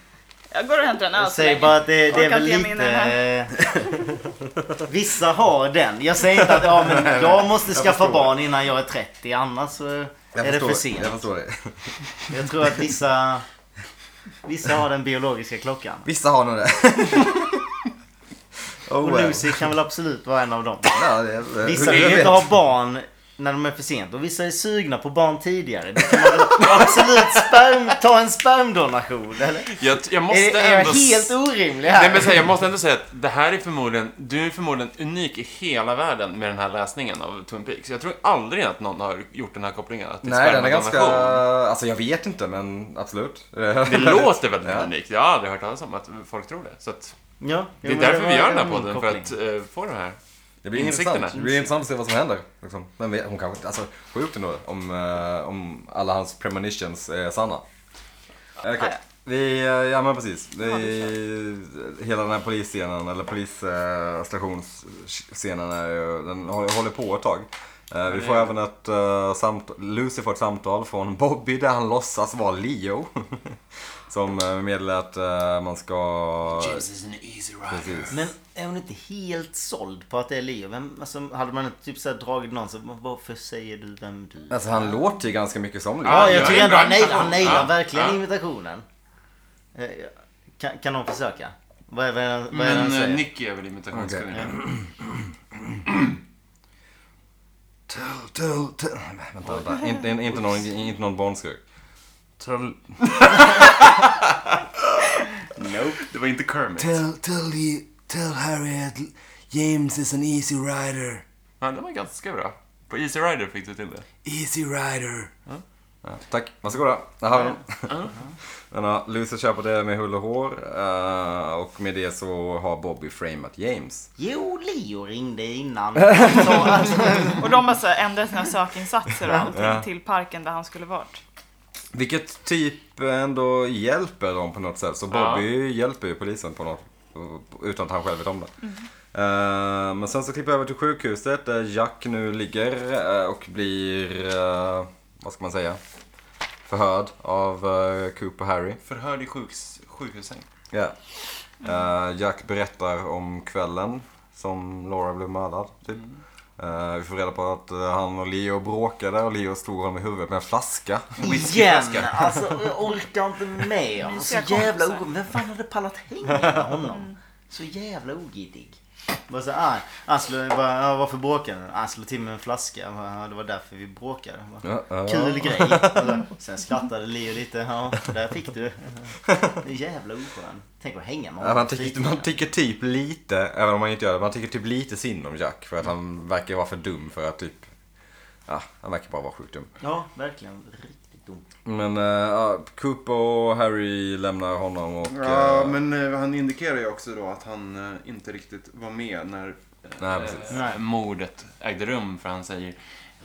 [SPEAKER 3] Jag går och hämtar en öl
[SPEAKER 1] jag
[SPEAKER 3] så
[SPEAKER 1] säger
[SPEAKER 3] länge.
[SPEAKER 1] bara att det, det är
[SPEAKER 3] Alltså, Orkar
[SPEAKER 1] väl
[SPEAKER 3] inte ge mig in i den
[SPEAKER 1] lite... [laughs] Vissa har den. Jag säger inte att ja, men jag måste skaffa
[SPEAKER 4] förstår.
[SPEAKER 1] barn innan jag är 30 annars eh,
[SPEAKER 4] Jag
[SPEAKER 1] är det
[SPEAKER 4] förstår,
[SPEAKER 1] för sent.
[SPEAKER 4] Jag förstår det.
[SPEAKER 1] Jag tror att vissa, vissa har den biologiska klockan.
[SPEAKER 4] Vissa har
[SPEAKER 1] [laughs]
[SPEAKER 4] nog det. Oh,
[SPEAKER 1] Och
[SPEAKER 4] well.
[SPEAKER 1] Lucy kan väl absolut vara en av dem.
[SPEAKER 4] Ja, det-
[SPEAKER 1] Vissa
[SPEAKER 4] hur
[SPEAKER 1] vill
[SPEAKER 4] du
[SPEAKER 1] ju
[SPEAKER 4] vet.
[SPEAKER 1] inte ha barn när de är för sent och vissa är sugna på barn tidigare. Då kan man väl absolut sperm, ta en spermdonation eller?
[SPEAKER 2] Jag, jag
[SPEAKER 1] Är,
[SPEAKER 2] måste
[SPEAKER 1] är jag
[SPEAKER 2] ändå... s-
[SPEAKER 1] helt orimlig här?
[SPEAKER 2] Nej, men så här, jag måste ändå säga att det här är förmodligen, du är förmodligen unik i hela världen med den här läsningen av Twin Peaks. Jag tror aldrig att någon har gjort den här kopplingen. Att det är
[SPEAKER 4] Nej, den är ganska...
[SPEAKER 2] spermadonation.
[SPEAKER 4] Alltså jag vet inte, men absolut.
[SPEAKER 2] Det
[SPEAKER 4] [laughs]
[SPEAKER 2] låter väldigt
[SPEAKER 4] Ja.
[SPEAKER 2] unikt. Jag har aldrig hört talas om att folk tror det. Så att
[SPEAKER 1] Ja,
[SPEAKER 2] det är därför vi gör den här podden, för att eh, få det här.
[SPEAKER 4] Det blir
[SPEAKER 2] Insikterna.
[SPEAKER 4] intressant. Det blir intressant att se vad som händer. Liksom. Vem vet, hon kanske... Alltså, sjukt ändå om, eh, om alla hans premonitions är sanna. Okej.
[SPEAKER 3] Ja, ja.
[SPEAKER 4] Vi, eh, ja men precis. Vi,
[SPEAKER 3] Ja,
[SPEAKER 4] hela den här polisscenen, eller polisstationsscenen, är ju- den håller håller på ett tag. Eh, Vi
[SPEAKER 2] det
[SPEAKER 4] får
[SPEAKER 2] gör
[SPEAKER 4] även ett eh, samtal, Lucy får ett samtal från Bobby där han låtsas vara Leo. [laughs] Som eh, meddelar att eh, man ska...
[SPEAKER 2] is an easy
[SPEAKER 4] Precis.
[SPEAKER 1] Men är hon inte helt såld på att det är Leo? Vem, alltså, hade man inte typ så här dragit någon så varför säger du vem du är?
[SPEAKER 4] Alltså han låter ju ganska mycket som Leo.
[SPEAKER 2] Ja,
[SPEAKER 1] Ja, jag
[SPEAKER 2] ja,
[SPEAKER 1] tycker
[SPEAKER 2] en
[SPEAKER 1] ändå
[SPEAKER 2] bra
[SPEAKER 1] han nailar, han nailar
[SPEAKER 2] imitation. Ja,
[SPEAKER 1] verkligen
[SPEAKER 2] ja.
[SPEAKER 1] imitationen. Eh, Kan, kan någon försöka? Vad är, vad är, vad är det han
[SPEAKER 2] Men
[SPEAKER 1] säger?
[SPEAKER 2] eh, Nicky är väl imitationskunnig.
[SPEAKER 4] Okej. Tell, tell, tell. Vänta, vänta. Inte, inte, inte någon, inte någon barnskräck. Tell,
[SPEAKER 2] Nope. Det var inte Kermit.
[SPEAKER 5] Tell, tell, you, tell Harriet James is an easy rider.
[SPEAKER 2] Ja, det var ganska bra. På Easy Rider fick du till det.
[SPEAKER 5] Easy rider.
[SPEAKER 4] ja, tack, varsågoda. Där har vi den. [laughs] Den har Lucy köper det med hull och hår. eh, Och med det så har Bobby framat James.
[SPEAKER 1] Jo, Leo ringde [laughs] innan.
[SPEAKER 3] Och de har så ändrat sina sökinsatser och allting till parken där han skulle varit.
[SPEAKER 4] Vilket typ ändå hjälper dem på något sätt. Så Bobby hjälper ju polisen på något. Utan att han själv vet om det. Eh, men sen så klipper jag över till sjukhuset där Jack nu ligger eh, och blir, eh, vad ska man säga, förhörd av eh, Coop och Harry.
[SPEAKER 2] Förhörd i sjuks, sjukhussäng.
[SPEAKER 4] Ja. Eh, Jack berättar om kvällen som Laura blev mördad. Typ. Eh, vi får reda på att eh, han och Leo bråkade och Leo slog honom i huvudet med en flaska.
[SPEAKER 1] Mm. Igen! Alltså jag orkar inte med honom. Så
[SPEAKER 3] Mysiga
[SPEAKER 1] jävla
[SPEAKER 3] kompisar.
[SPEAKER 1] ogittig. Vem fan hade pallat [laughs] hänga med honom? Så jävla ogittig. Bara så, ah, han slog, bara, ah, varför bråkade ni? Han slog till med en flaska. Jag Bara, ah, det var därför vi bråkade. Jag Bara,
[SPEAKER 4] Ja, ja.
[SPEAKER 1] Kul grej. Alltså, Sen skrattade Leo lite. Ja, där fick du. Det är jävla oskön. Tänk att hänga med honom.
[SPEAKER 4] Ja, Eh, man, tycker, man tycker typ lite, även om man inte gör det, man tycker typ lite synd om Jack. För att han verkar vara för dum för att typ, ja, han verkar bara vara sjukt dum.
[SPEAKER 1] Ja, verkligen. Riktigt dumt.
[SPEAKER 4] Men eh, ja, Coop och Harry lämnar honom och...
[SPEAKER 6] Ja,
[SPEAKER 4] eh,
[SPEAKER 6] men eh, han indikerar ju också då att han eh, inte riktigt var med när...
[SPEAKER 4] Nej, precis.
[SPEAKER 1] Nej.
[SPEAKER 2] Eh, mordet ägde rum för han säger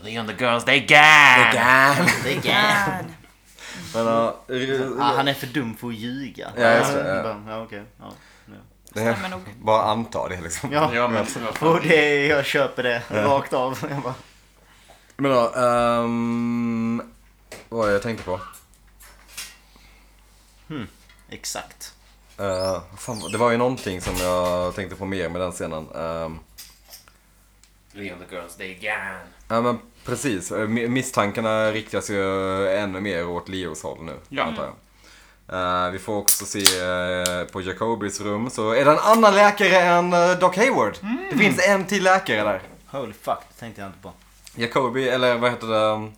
[SPEAKER 2] Leon the girls, they gang!
[SPEAKER 1] Det är gärna.
[SPEAKER 3] Järn.
[SPEAKER 4] Men, ja,
[SPEAKER 1] ah, Han är för dum för att ljuga.
[SPEAKER 4] Ja, just det, ja.
[SPEAKER 1] Bara, Ja, okej. Ja.
[SPEAKER 3] Stämmer nog.
[SPEAKER 4] Bara anta det liksom.
[SPEAKER 1] Ja.
[SPEAKER 2] Ja, men vad fan.
[SPEAKER 1] Och det, jag köper det rakt av. Jag bara,
[SPEAKER 4] Men då, ehm, vad var det jag tänkte på?
[SPEAKER 1] exakt.
[SPEAKER 4] Eh, fan, det var ju någonting som jag tänkte på mer med den scenen. Ehm,
[SPEAKER 2] Leon the Girls Day Gang.
[SPEAKER 4] Ja men precis. Eh, mi- Misstankarna riktas ju ännu mer åt Leos håll nu.
[SPEAKER 2] Ja.
[SPEAKER 4] Antar jag. Eh, vi får också se eh, på Jacobis rum så är det en annan läkare än eh, Doc Hayward. Det finns en till läkare där.
[SPEAKER 1] Holy fuck, det tänkte jag inte på.
[SPEAKER 4] Jacobi, eller vad heter det? um,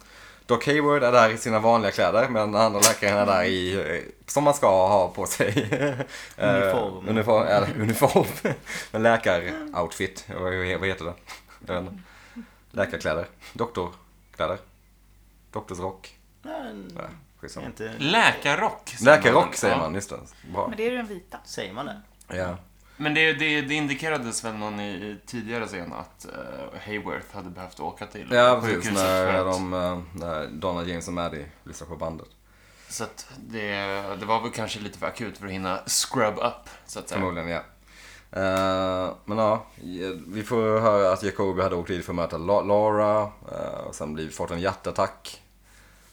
[SPEAKER 4] Doc Hayward är där i sina vanliga kläder men den andra läkaren är där i, eh, som man ska ha på sig. [laughs] Eh,
[SPEAKER 1] Uniform.
[SPEAKER 4] uniform, eller [laughs] uniform. Men läkaroutfit, vad vad heter det? Jag vet inte. Läkarkläder, doktorkläder, doktorsrock.
[SPEAKER 1] Men,
[SPEAKER 4] Nej, skitsamma.
[SPEAKER 1] inte,
[SPEAKER 2] Läkarrock. säger man.
[SPEAKER 4] Läkarrock säger
[SPEAKER 2] Ja.
[SPEAKER 4] man, just det. Bra.
[SPEAKER 3] Men det är ju den vita.
[SPEAKER 1] säger man det?
[SPEAKER 4] Ja.
[SPEAKER 2] Men det, det, det indikerades väl någon i, i tidigare scen att eh, Hayworth hade behövt åka till
[SPEAKER 4] Ja, precis.
[SPEAKER 2] sjukhuset för
[SPEAKER 4] När,
[SPEAKER 2] att-
[SPEAKER 4] de, eh, när Donald James och Maddie lyssnar på bandet.
[SPEAKER 2] Så att det, det var väl kanske lite för akut för att hinna scrub up, så att säga.
[SPEAKER 4] Förmodligen, ja. Eh, men ja, vi får höra att Jacobi hade åkt dit för att möta La- Laura. eh, och sen blivit, fått en hjärtattack.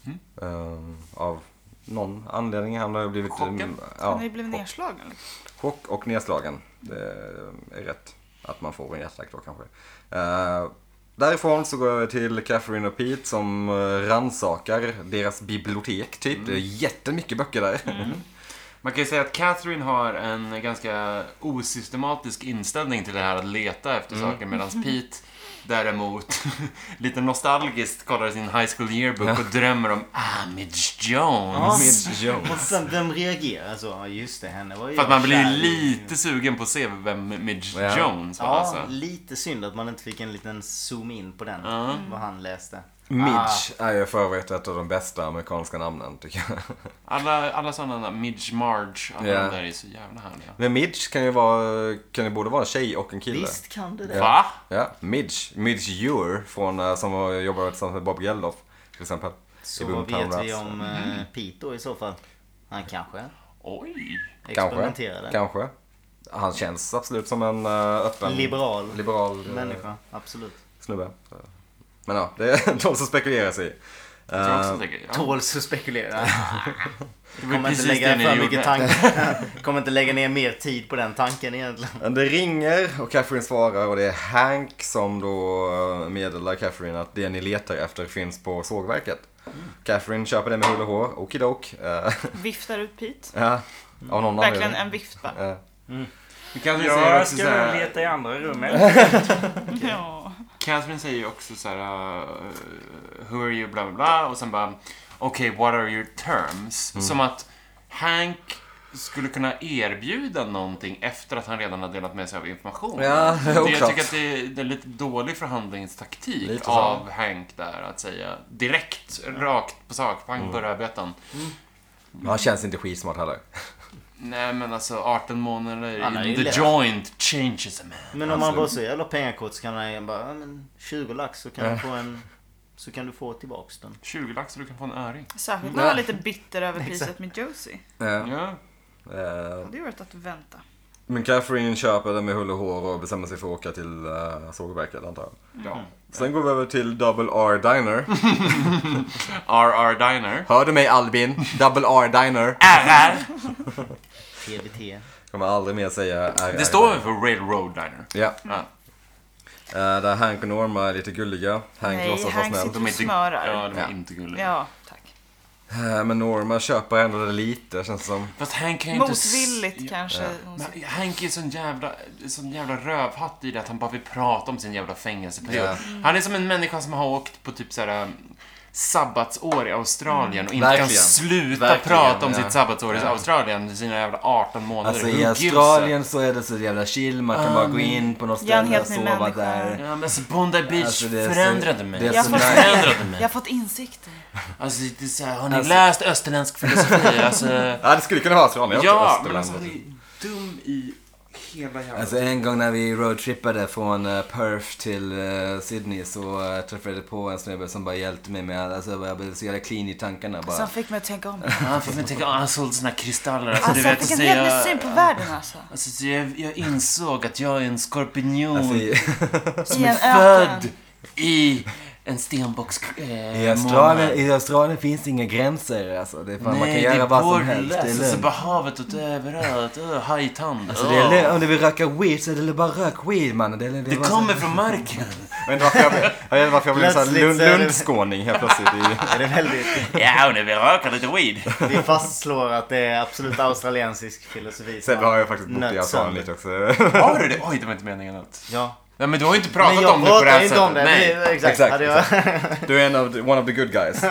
[SPEAKER 3] Mm.
[SPEAKER 4] Eh, av någon anledning. Han har blivit... mm,
[SPEAKER 3] Chocken.
[SPEAKER 4] ja,
[SPEAKER 3] Han har ju blivit
[SPEAKER 4] chock-
[SPEAKER 3] nedslagen.
[SPEAKER 4] Chock och nedslagen. Det är rätt att man får en hjärtattack då kanske. Eh, därifrån så går jag över till Catherine och Pete som uh, rannsakar deras bibliotek typ. Det är
[SPEAKER 3] Mm.
[SPEAKER 4] jättemycket böcker där.
[SPEAKER 2] Man kan ju säga att Catherine har en ganska osystematisk inställning till det här att leta efter
[SPEAKER 1] Mm.
[SPEAKER 2] saker medan
[SPEAKER 1] [laughs]
[SPEAKER 2] Pete däremot [laughs] lite nostalgiskt kollar sin high school yearbook och drömmer om Amidge Jones.
[SPEAKER 1] Och sen vem reagerar så? Ja, just det, henne var ju
[SPEAKER 2] För att man blir ju
[SPEAKER 1] kär i-
[SPEAKER 2] lite sugen på att se vem Midge
[SPEAKER 4] Ja.
[SPEAKER 2] Jones var
[SPEAKER 1] Ja,
[SPEAKER 2] alltså.
[SPEAKER 1] lite synd att man inte fick en liten zoom in på den. Vad han läste. Ah,
[SPEAKER 4] Midge är ju för övrigt ett av de bästa amerikanska namnen tycker jag. [laughs]
[SPEAKER 2] Alla, alla sådana, Midge Marge, alla
[SPEAKER 4] Ja.
[SPEAKER 2] de där är så jävla härliga.
[SPEAKER 4] Men Midge kan ju vara, kan ju både vara en tjej och en kille.
[SPEAKER 1] Visst kan det det.
[SPEAKER 2] Va?
[SPEAKER 4] Ja, Midge. Midge Ure från, eh, som var- jobbade tillsammans med Bob Geldof till exempel.
[SPEAKER 1] Så
[SPEAKER 4] I
[SPEAKER 1] vad vet
[SPEAKER 4] Boomtown
[SPEAKER 1] vi
[SPEAKER 4] Rats.
[SPEAKER 2] alltså.
[SPEAKER 1] om eh, Pete då i så fall? Han kanske
[SPEAKER 2] Oj.
[SPEAKER 1] experimenterade.
[SPEAKER 4] Kanske. Kanske. Han känns absolut som en eh, öppen...
[SPEAKER 1] Liberal.
[SPEAKER 4] Liberal eh,
[SPEAKER 1] Människa, absolut.
[SPEAKER 4] snubbe. Så. Men ja, det är [laughs] de som spekulerar sig.
[SPEAKER 2] Jag tror också att det- ja.
[SPEAKER 1] Tåls att spekulera.
[SPEAKER 2] Det var
[SPEAKER 1] Kommer inte
[SPEAKER 2] precis
[SPEAKER 1] lägga
[SPEAKER 2] det ni
[SPEAKER 1] för
[SPEAKER 2] gjorde.
[SPEAKER 1] mycket
[SPEAKER 2] [laughs]
[SPEAKER 1] tankar. Kommer inte lägga ner mer tid på den tanken egentligen.
[SPEAKER 4] Men Det ringer och Catherine svarar och det är Hank som då eh, meddelar Catherine att det ni letar efter finns på sågverket.
[SPEAKER 2] Mm.
[SPEAKER 4] Catherine köper det med hull och hår, okidok. Eh, [laughs]
[SPEAKER 3] Viftar ut Pete.
[SPEAKER 4] Ja, av någon
[SPEAKER 3] Verkligen
[SPEAKER 4] anledning. [laughs]
[SPEAKER 3] en vifta.
[SPEAKER 4] Eh,
[SPEAKER 2] Catherine säger
[SPEAKER 7] Jag
[SPEAKER 2] också
[SPEAKER 7] ska
[SPEAKER 2] så
[SPEAKER 7] nog
[SPEAKER 2] här,
[SPEAKER 7] leta i andra rummet.
[SPEAKER 2] [laughs]
[SPEAKER 3] Ja.
[SPEAKER 2] Catherine säger ju också så här, uh, who are you, bla bla bla, och sen bara, okay, what are your terms? Som att Hank skulle kunna erbjuda någonting efter att han redan har delat med sig av information.
[SPEAKER 4] Ja,
[SPEAKER 2] det, jag
[SPEAKER 4] oklart.
[SPEAKER 2] tycker att det är, det är lite dålig förhandlingstaktik
[SPEAKER 4] Lite så.
[SPEAKER 2] av Hank där, att säga direkt, rakt på sak, pang på rödbetan.
[SPEAKER 4] Men han känns inte skitsmart heller.
[SPEAKER 2] Nej men alltså 18 månader
[SPEAKER 1] Han är
[SPEAKER 2] in
[SPEAKER 1] ju
[SPEAKER 2] the
[SPEAKER 1] lätt.
[SPEAKER 2] joint changes a man.
[SPEAKER 1] Men om man bara säger jag la pengakort så kan man bara, ja, men 20 lax så kan du få en... Så kan du få tillbaks den.
[SPEAKER 2] 20 lax så du kan få en öring.
[SPEAKER 3] Särskilt när han var lite bitter över priset med Josie.
[SPEAKER 2] Ja.
[SPEAKER 4] Eh,
[SPEAKER 3] Det hade ju varit att vänta.
[SPEAKER 4] Men Catherine köper det med hull och hår och bestämmer sig för att åka till eh, sågverket antar jag.
[SPEAKER 2] ja.
[SPEAKER 4] Sen går vi över till Double R Diner.
[SPEAKER 2] Mm. RR Diner.
[SPEAKER 4] Hör du mig Albin? Double R Diner.
[SPEAKER 2] RR!
[SPEAKER 1] TBT.
[SPEAKER 4] Kommer aldrig mer säga RR.
[SPEAKER 2] Det står väl för Railroad Diner?
[SPEAKER 4] Ja.
[SPEAKER 3] Mm.
[SPEAKER 2] Ja.
[SPEAKER 4] Eh, där Hank och Norma är lite gulliga. Hank
[SPEAKER 3] Nej,
[SPEAKER 4] låtsas vara
[SPEAKER 3] Hank
[SPEAKER 4] snäll.
[SPEAKER 3] sitter- Du smörar.
[SPEAKER 2] Ja, de är
[SPEAKER 4] Ja.
[SPEAKER 2] inte gulliga.
[SPEAKER 3] Ja, tack.
[SPEAKER 4] Eh, men Norma köper ändå det lite känns det som.
[SPEAKER 2] Fast Hank kan ju inte... s-
[SPEAKER 3] Motvilligt kanske. hon
[SPEAKER 2] Men Hank är sån jävla, sån jävla rövhatt i det att han bara vill prata om sin jävla fängelseperiod.
[SPEAKER 4] Ja.
[SPEAKER 3] Mm.
[SPEAKER 2] Han är som en människa som har åkt på typ såhär um, sabbatsår i Australien och inte
[SPEAKER 4] Verkligen.
[SPEAKER 2] kan sluta
[SPEAKER 4] Verkligen,
[SPEAKER 2] prata om
[SPEAKER 4] ja.
[SPEAKER 2] sitt sabbatsår i Australien under sina jävla 18 månader.
[SPEAKER 4] Alltså
[SPEAKER 2] Who
[SPEAKER 4] i
[SPEAKER 2] gives a-
[SPEAKER 4] Australien så är det så jävla chill. Man kan bara gå in på något
[SPEAKER 3] Jag är
[SPEAKER 4] ställe
[SPEAKER 3] en
[SPEAKER 4] och
[SPEAKER 3] helt ny
[SPEAKER 4] sova
[SPEAKER 3] människa.
[SPEAKER 4] där.
[SPEAKER 2] Ja men alltså Bondi Beach
[SPEAKER 4] Alltså, det är så-
[SPEAKER 2] förändrade mig.
[SPEAKER 4] det är
[SPEAKER 3] Jag
[SPEAKER 4] så
[SPEAKER 3] får-
[SPEAKER 4] nice.
[SPEAKER 2] förändrade
[SPEAKER 3] Jag
[SPEAKER 2] mig.
[SPEAKER 3] har fått insikter.
[SPEAKER 2] Alltså det är så här, har ni läst österländsk filosofi? Alltså,
[SPEAKER 4] Ja, det skulle kunna vara Australien.
[SPEAKER 2] ja,
[SPEAKER 4] Österland.
[SPEAKER 2] men alltså han är dum i
[SPEAKER 6] hela jävla...
[SPEAKER 5] Alltså en gång när vi roadtrippade från eh, Perth till eh, Sydney så eh, träffade jag på en snubbe som bara hjälpte mig med allt. Alltså, jag blev så jävla clean i tankarna bara.
[SPEAKER 3] Som fick mig att tänka om.
[SPEAKER 2] Han fick mig tänka, ah, han sålde såna här kristaller. Alltså,
[SPEAKER 3] Alltså
[SPEAKER 2] du
[SPEAKER 3] jag
[SPEAKER 2] vet,
[SPEAKER 3] fick
[SPEAKER 2] så
[SPEAKER 3] en helt ny
[SPEAKER 2] jag,
[SPEAKER 3] syn på världen alltså.
[SPEAKER 2] alltså, så jag, jag insåg att jag är en skorpion
[SPEAKER 5] Alltså, i,
[SPEAKER 3] I en
[SPEAKER 2] född
[SPEAKER 3] öken.
[SPEAKER 2] i en stenbox. Eh,
[SPEAKER 5] i, Australien, I Australien finns det inga gränser alltså. Det är fan,
[SPEAKER 2] Nej,
[SPEAKER 5] man kan göra vad som helst.
[SPEAKER 2] Det är borrlöst.
[SPEAKER 5] Det är
[SPEAKER 2] Alltså,
[SPEAKER 5] lugnt.
[SPEAKER 2] bara havet åt överallt. Öh, hajtand.
[SPEAKER 5] Alltså, det är
[SPEAKER 2] Åh.
[SPEAKER 5] lugnt. Om du vill röka weed så är det bara rök weed mannen. Det, är- det, är
[SPEAKER 2] Det
[SPEAKER 5] bara så-
[SPEAKER 2] kommer från marken.
[SPEAKER 4] Men varför jag, jag vet inte varför jag blev såhär
[SPEAKER 1] Plötsligt
[SPEAKER 4] lund,
[SPEAKER 1] så är det-
[SPEAKER 4] lundskåning helt plötsligt. I,
[SPEAKER 1] [laughs] Är
[SPEAKER 4] [laughs]
[SPEAKER 1] det väldigt,
[SPEAKER 2] Ja, och nu vill jag röka lite weed.
[SPEAKER 1] vi fastslår att det är absolut australiensisk filosofi. som
[SPEAKER 4] sen har jag faktiskt bott
[SPEAKER 1] nött
[SPEAKER 4] i Australien
[SPEAKER 1] sönder.
[SPEAKER 4] lite också.
[SPEAKER 2] Har du det? Oj, det var inte meningen att...
[SPEAKER 1] Ja.
[SPEAKER 2] Nej, men du har ju inte
[SPEAKER 1] Men
[SPEAKER 2] pratat
[SPEAKER 1] jag
[SPEAKER 2] om det på det
[SPEAKER 1] pratar
[SPEAKER 2] här
[SPEAKER 1] inte om det.
[SPEAKER 2] sättet.
[SPEAKER 1] Nej.
[SPEAKER 2] Nej.
[SPEAKER 1] exakt.
[SPEAKER 4] Exakt,
[SPEAKER 1] Hade jag,
[SPEAKER 4] [laughs] Du är en av, the- one of the good guys.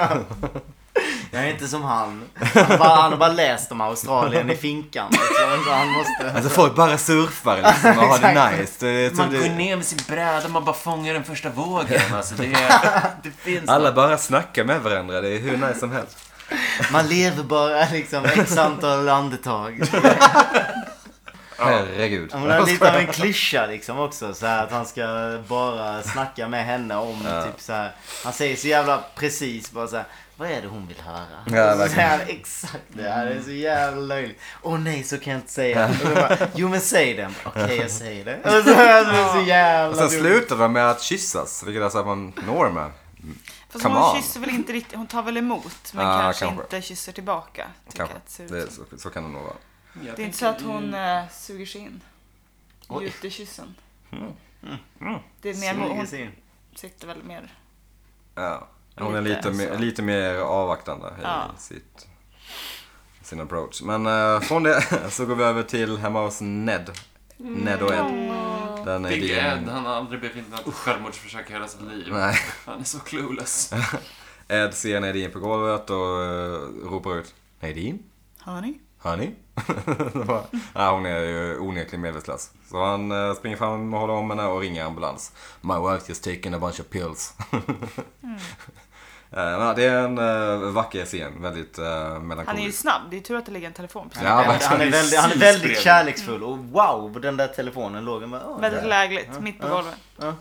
[SPEAKER 1] jag är inte som han. Han, bara, han har bara läst om Australien i finkan. Liksom, så han måste...
[SPEAKER 5] Alltså folk bara surfar liksom och har
[SPEAKER 1] [laughs]
[SPEAKER 5] det
[SPEAKER 1] Exakt.
[SPEAKER 5] nice. Det, är typ
[SPEAKER 2] Man
[SPEAKER 5] det-
[SPEAKER 2] går ner med sin bräda, man bara fångar den första vågen. Alltså, det,
[SPEAKER 5] [laughs]
[SPEAKER 2] är, det finns
[SPEAKER 4] Alla
[SPEAKER 2] något.
[SPEAKER 4] bara snackar med varandra, det är hur nice som helst.
[SPEAKER 1] Man lever bara liksom x antal andetag.
[SPEAKER 5] Herregud.
[SPEAKER 1] Ja, men det är lite av en klyscha liksom också. Så här, att han ska bara snacka med henne om typ så här. Han säger så jävla precis bara så här. Vad är det hon vill höra?
[SPEAKER 5] Ja,
[SPEAKER 1] Och så
[SPEAKER 5] verkligen.
[SPEAKER 1] säger han exakt det här. Det är så jävla löjligt. Åh nej, så kan jag inte säga. Och då bara, jo men säg den. Okej, jag säger det. Och så, det är så
[SPEAKER 4] Och
[SPEAKER 1] jävla
[SPEAKER 4] sen
[SPEAKER 1] dumt.
[SPEAKER 4] slutar de med att kyssas, vilket alltså att man når med.
[SPEAKER 3] Fast
[SPEAKER 4] Come
[SPEAKER 3] hon
[SPEAKER 4] on.
[SPEAKER 3] kysser väl inte riktigt, hon tar väl emot men
[SPEAKER 4] Ah,
[SPEAKER 3] kanske,
[SPEAKER 4] kanske.
[SPEAKER 3] inte kysser tillbaka. tycker
[SPEAKER 4] Kanske.
[SPEAKER 3] jag att det ser ut
[SPEAKER 4] Det är,
[SPEAKER 3] som.
[SPEAKER 4] så, så kan det nog vara.
[SPEAKER 3] det är inte så att hon eh, suger sig in.
[SPEAKER 1] Oj.
[SPEAKER 3] Djupt i kyssen. Det är mer,
[SPEAKER 1] Smyger
[SPEAKER 3] hon
[SPEAKER 1] sig in.
[SPEAKER 3] sitter väl mer
[SPEAKER 4] Ja. Hon är
[SPEAKER 3] Lite
[SPEAKER 4] lite, mer,
[SPEAKER 3] så.
[SPEAKER 4] lite mer avvaktande i
[SPEAKER 3] Ja.
[SPEAKER 4] sitt, sin approach. Men eh, från det [laughs] så går vi över till hemma hos Ned.
[SPEAKER 3] Mm.
[SPEAKER 4] Ned och Ed. Den är
[SPEAKER 2] Big
[SPEAKER 4] din-
[SPEAKER 2] Ed, han har aldrig bevittnat något självmordsförsök i hela sitt liv.
[SPEAKER 4] Nej.
[SPEAKER 2] Han är
[SPEAKER 4] [laughs]
[SPEAKER 2] så clueless.
[SPEAKER 4] Ed ser Nadine på golvet och eh, ropar ut Nadine?
[SPEAKER 3] honey.
[SPEAKER 4] Honey? [laughs] Så bara, Nej, hon är ju onekligen medvetslös. Så han eh, springer fram och håller om henne och ringer ambulans. My wife just taken a bunch of pills. [laughs]
[SPEAKER 3] Mm.
[SPEAKER 4] Eh, men Det är en eh, vacker scen, väldigt eh,
[SPEAKER 3] Han är ju
[SPEAKER 4] melankolisk.
[SPEAKER 3] snabb, det är tur att det ligger en telefon precis.
[SPEAKER 4] Ja, verkligen.
[SPEAKER 1] Han är väldigt, han är väldigt
[SPEAKER 2] Precis.
[SPEAKER 1] kärleksfull och wow, den där telefonen låg. Jag bara, åh,
[SPEAKER 3] Väldigt lägligt, mitt på golvet.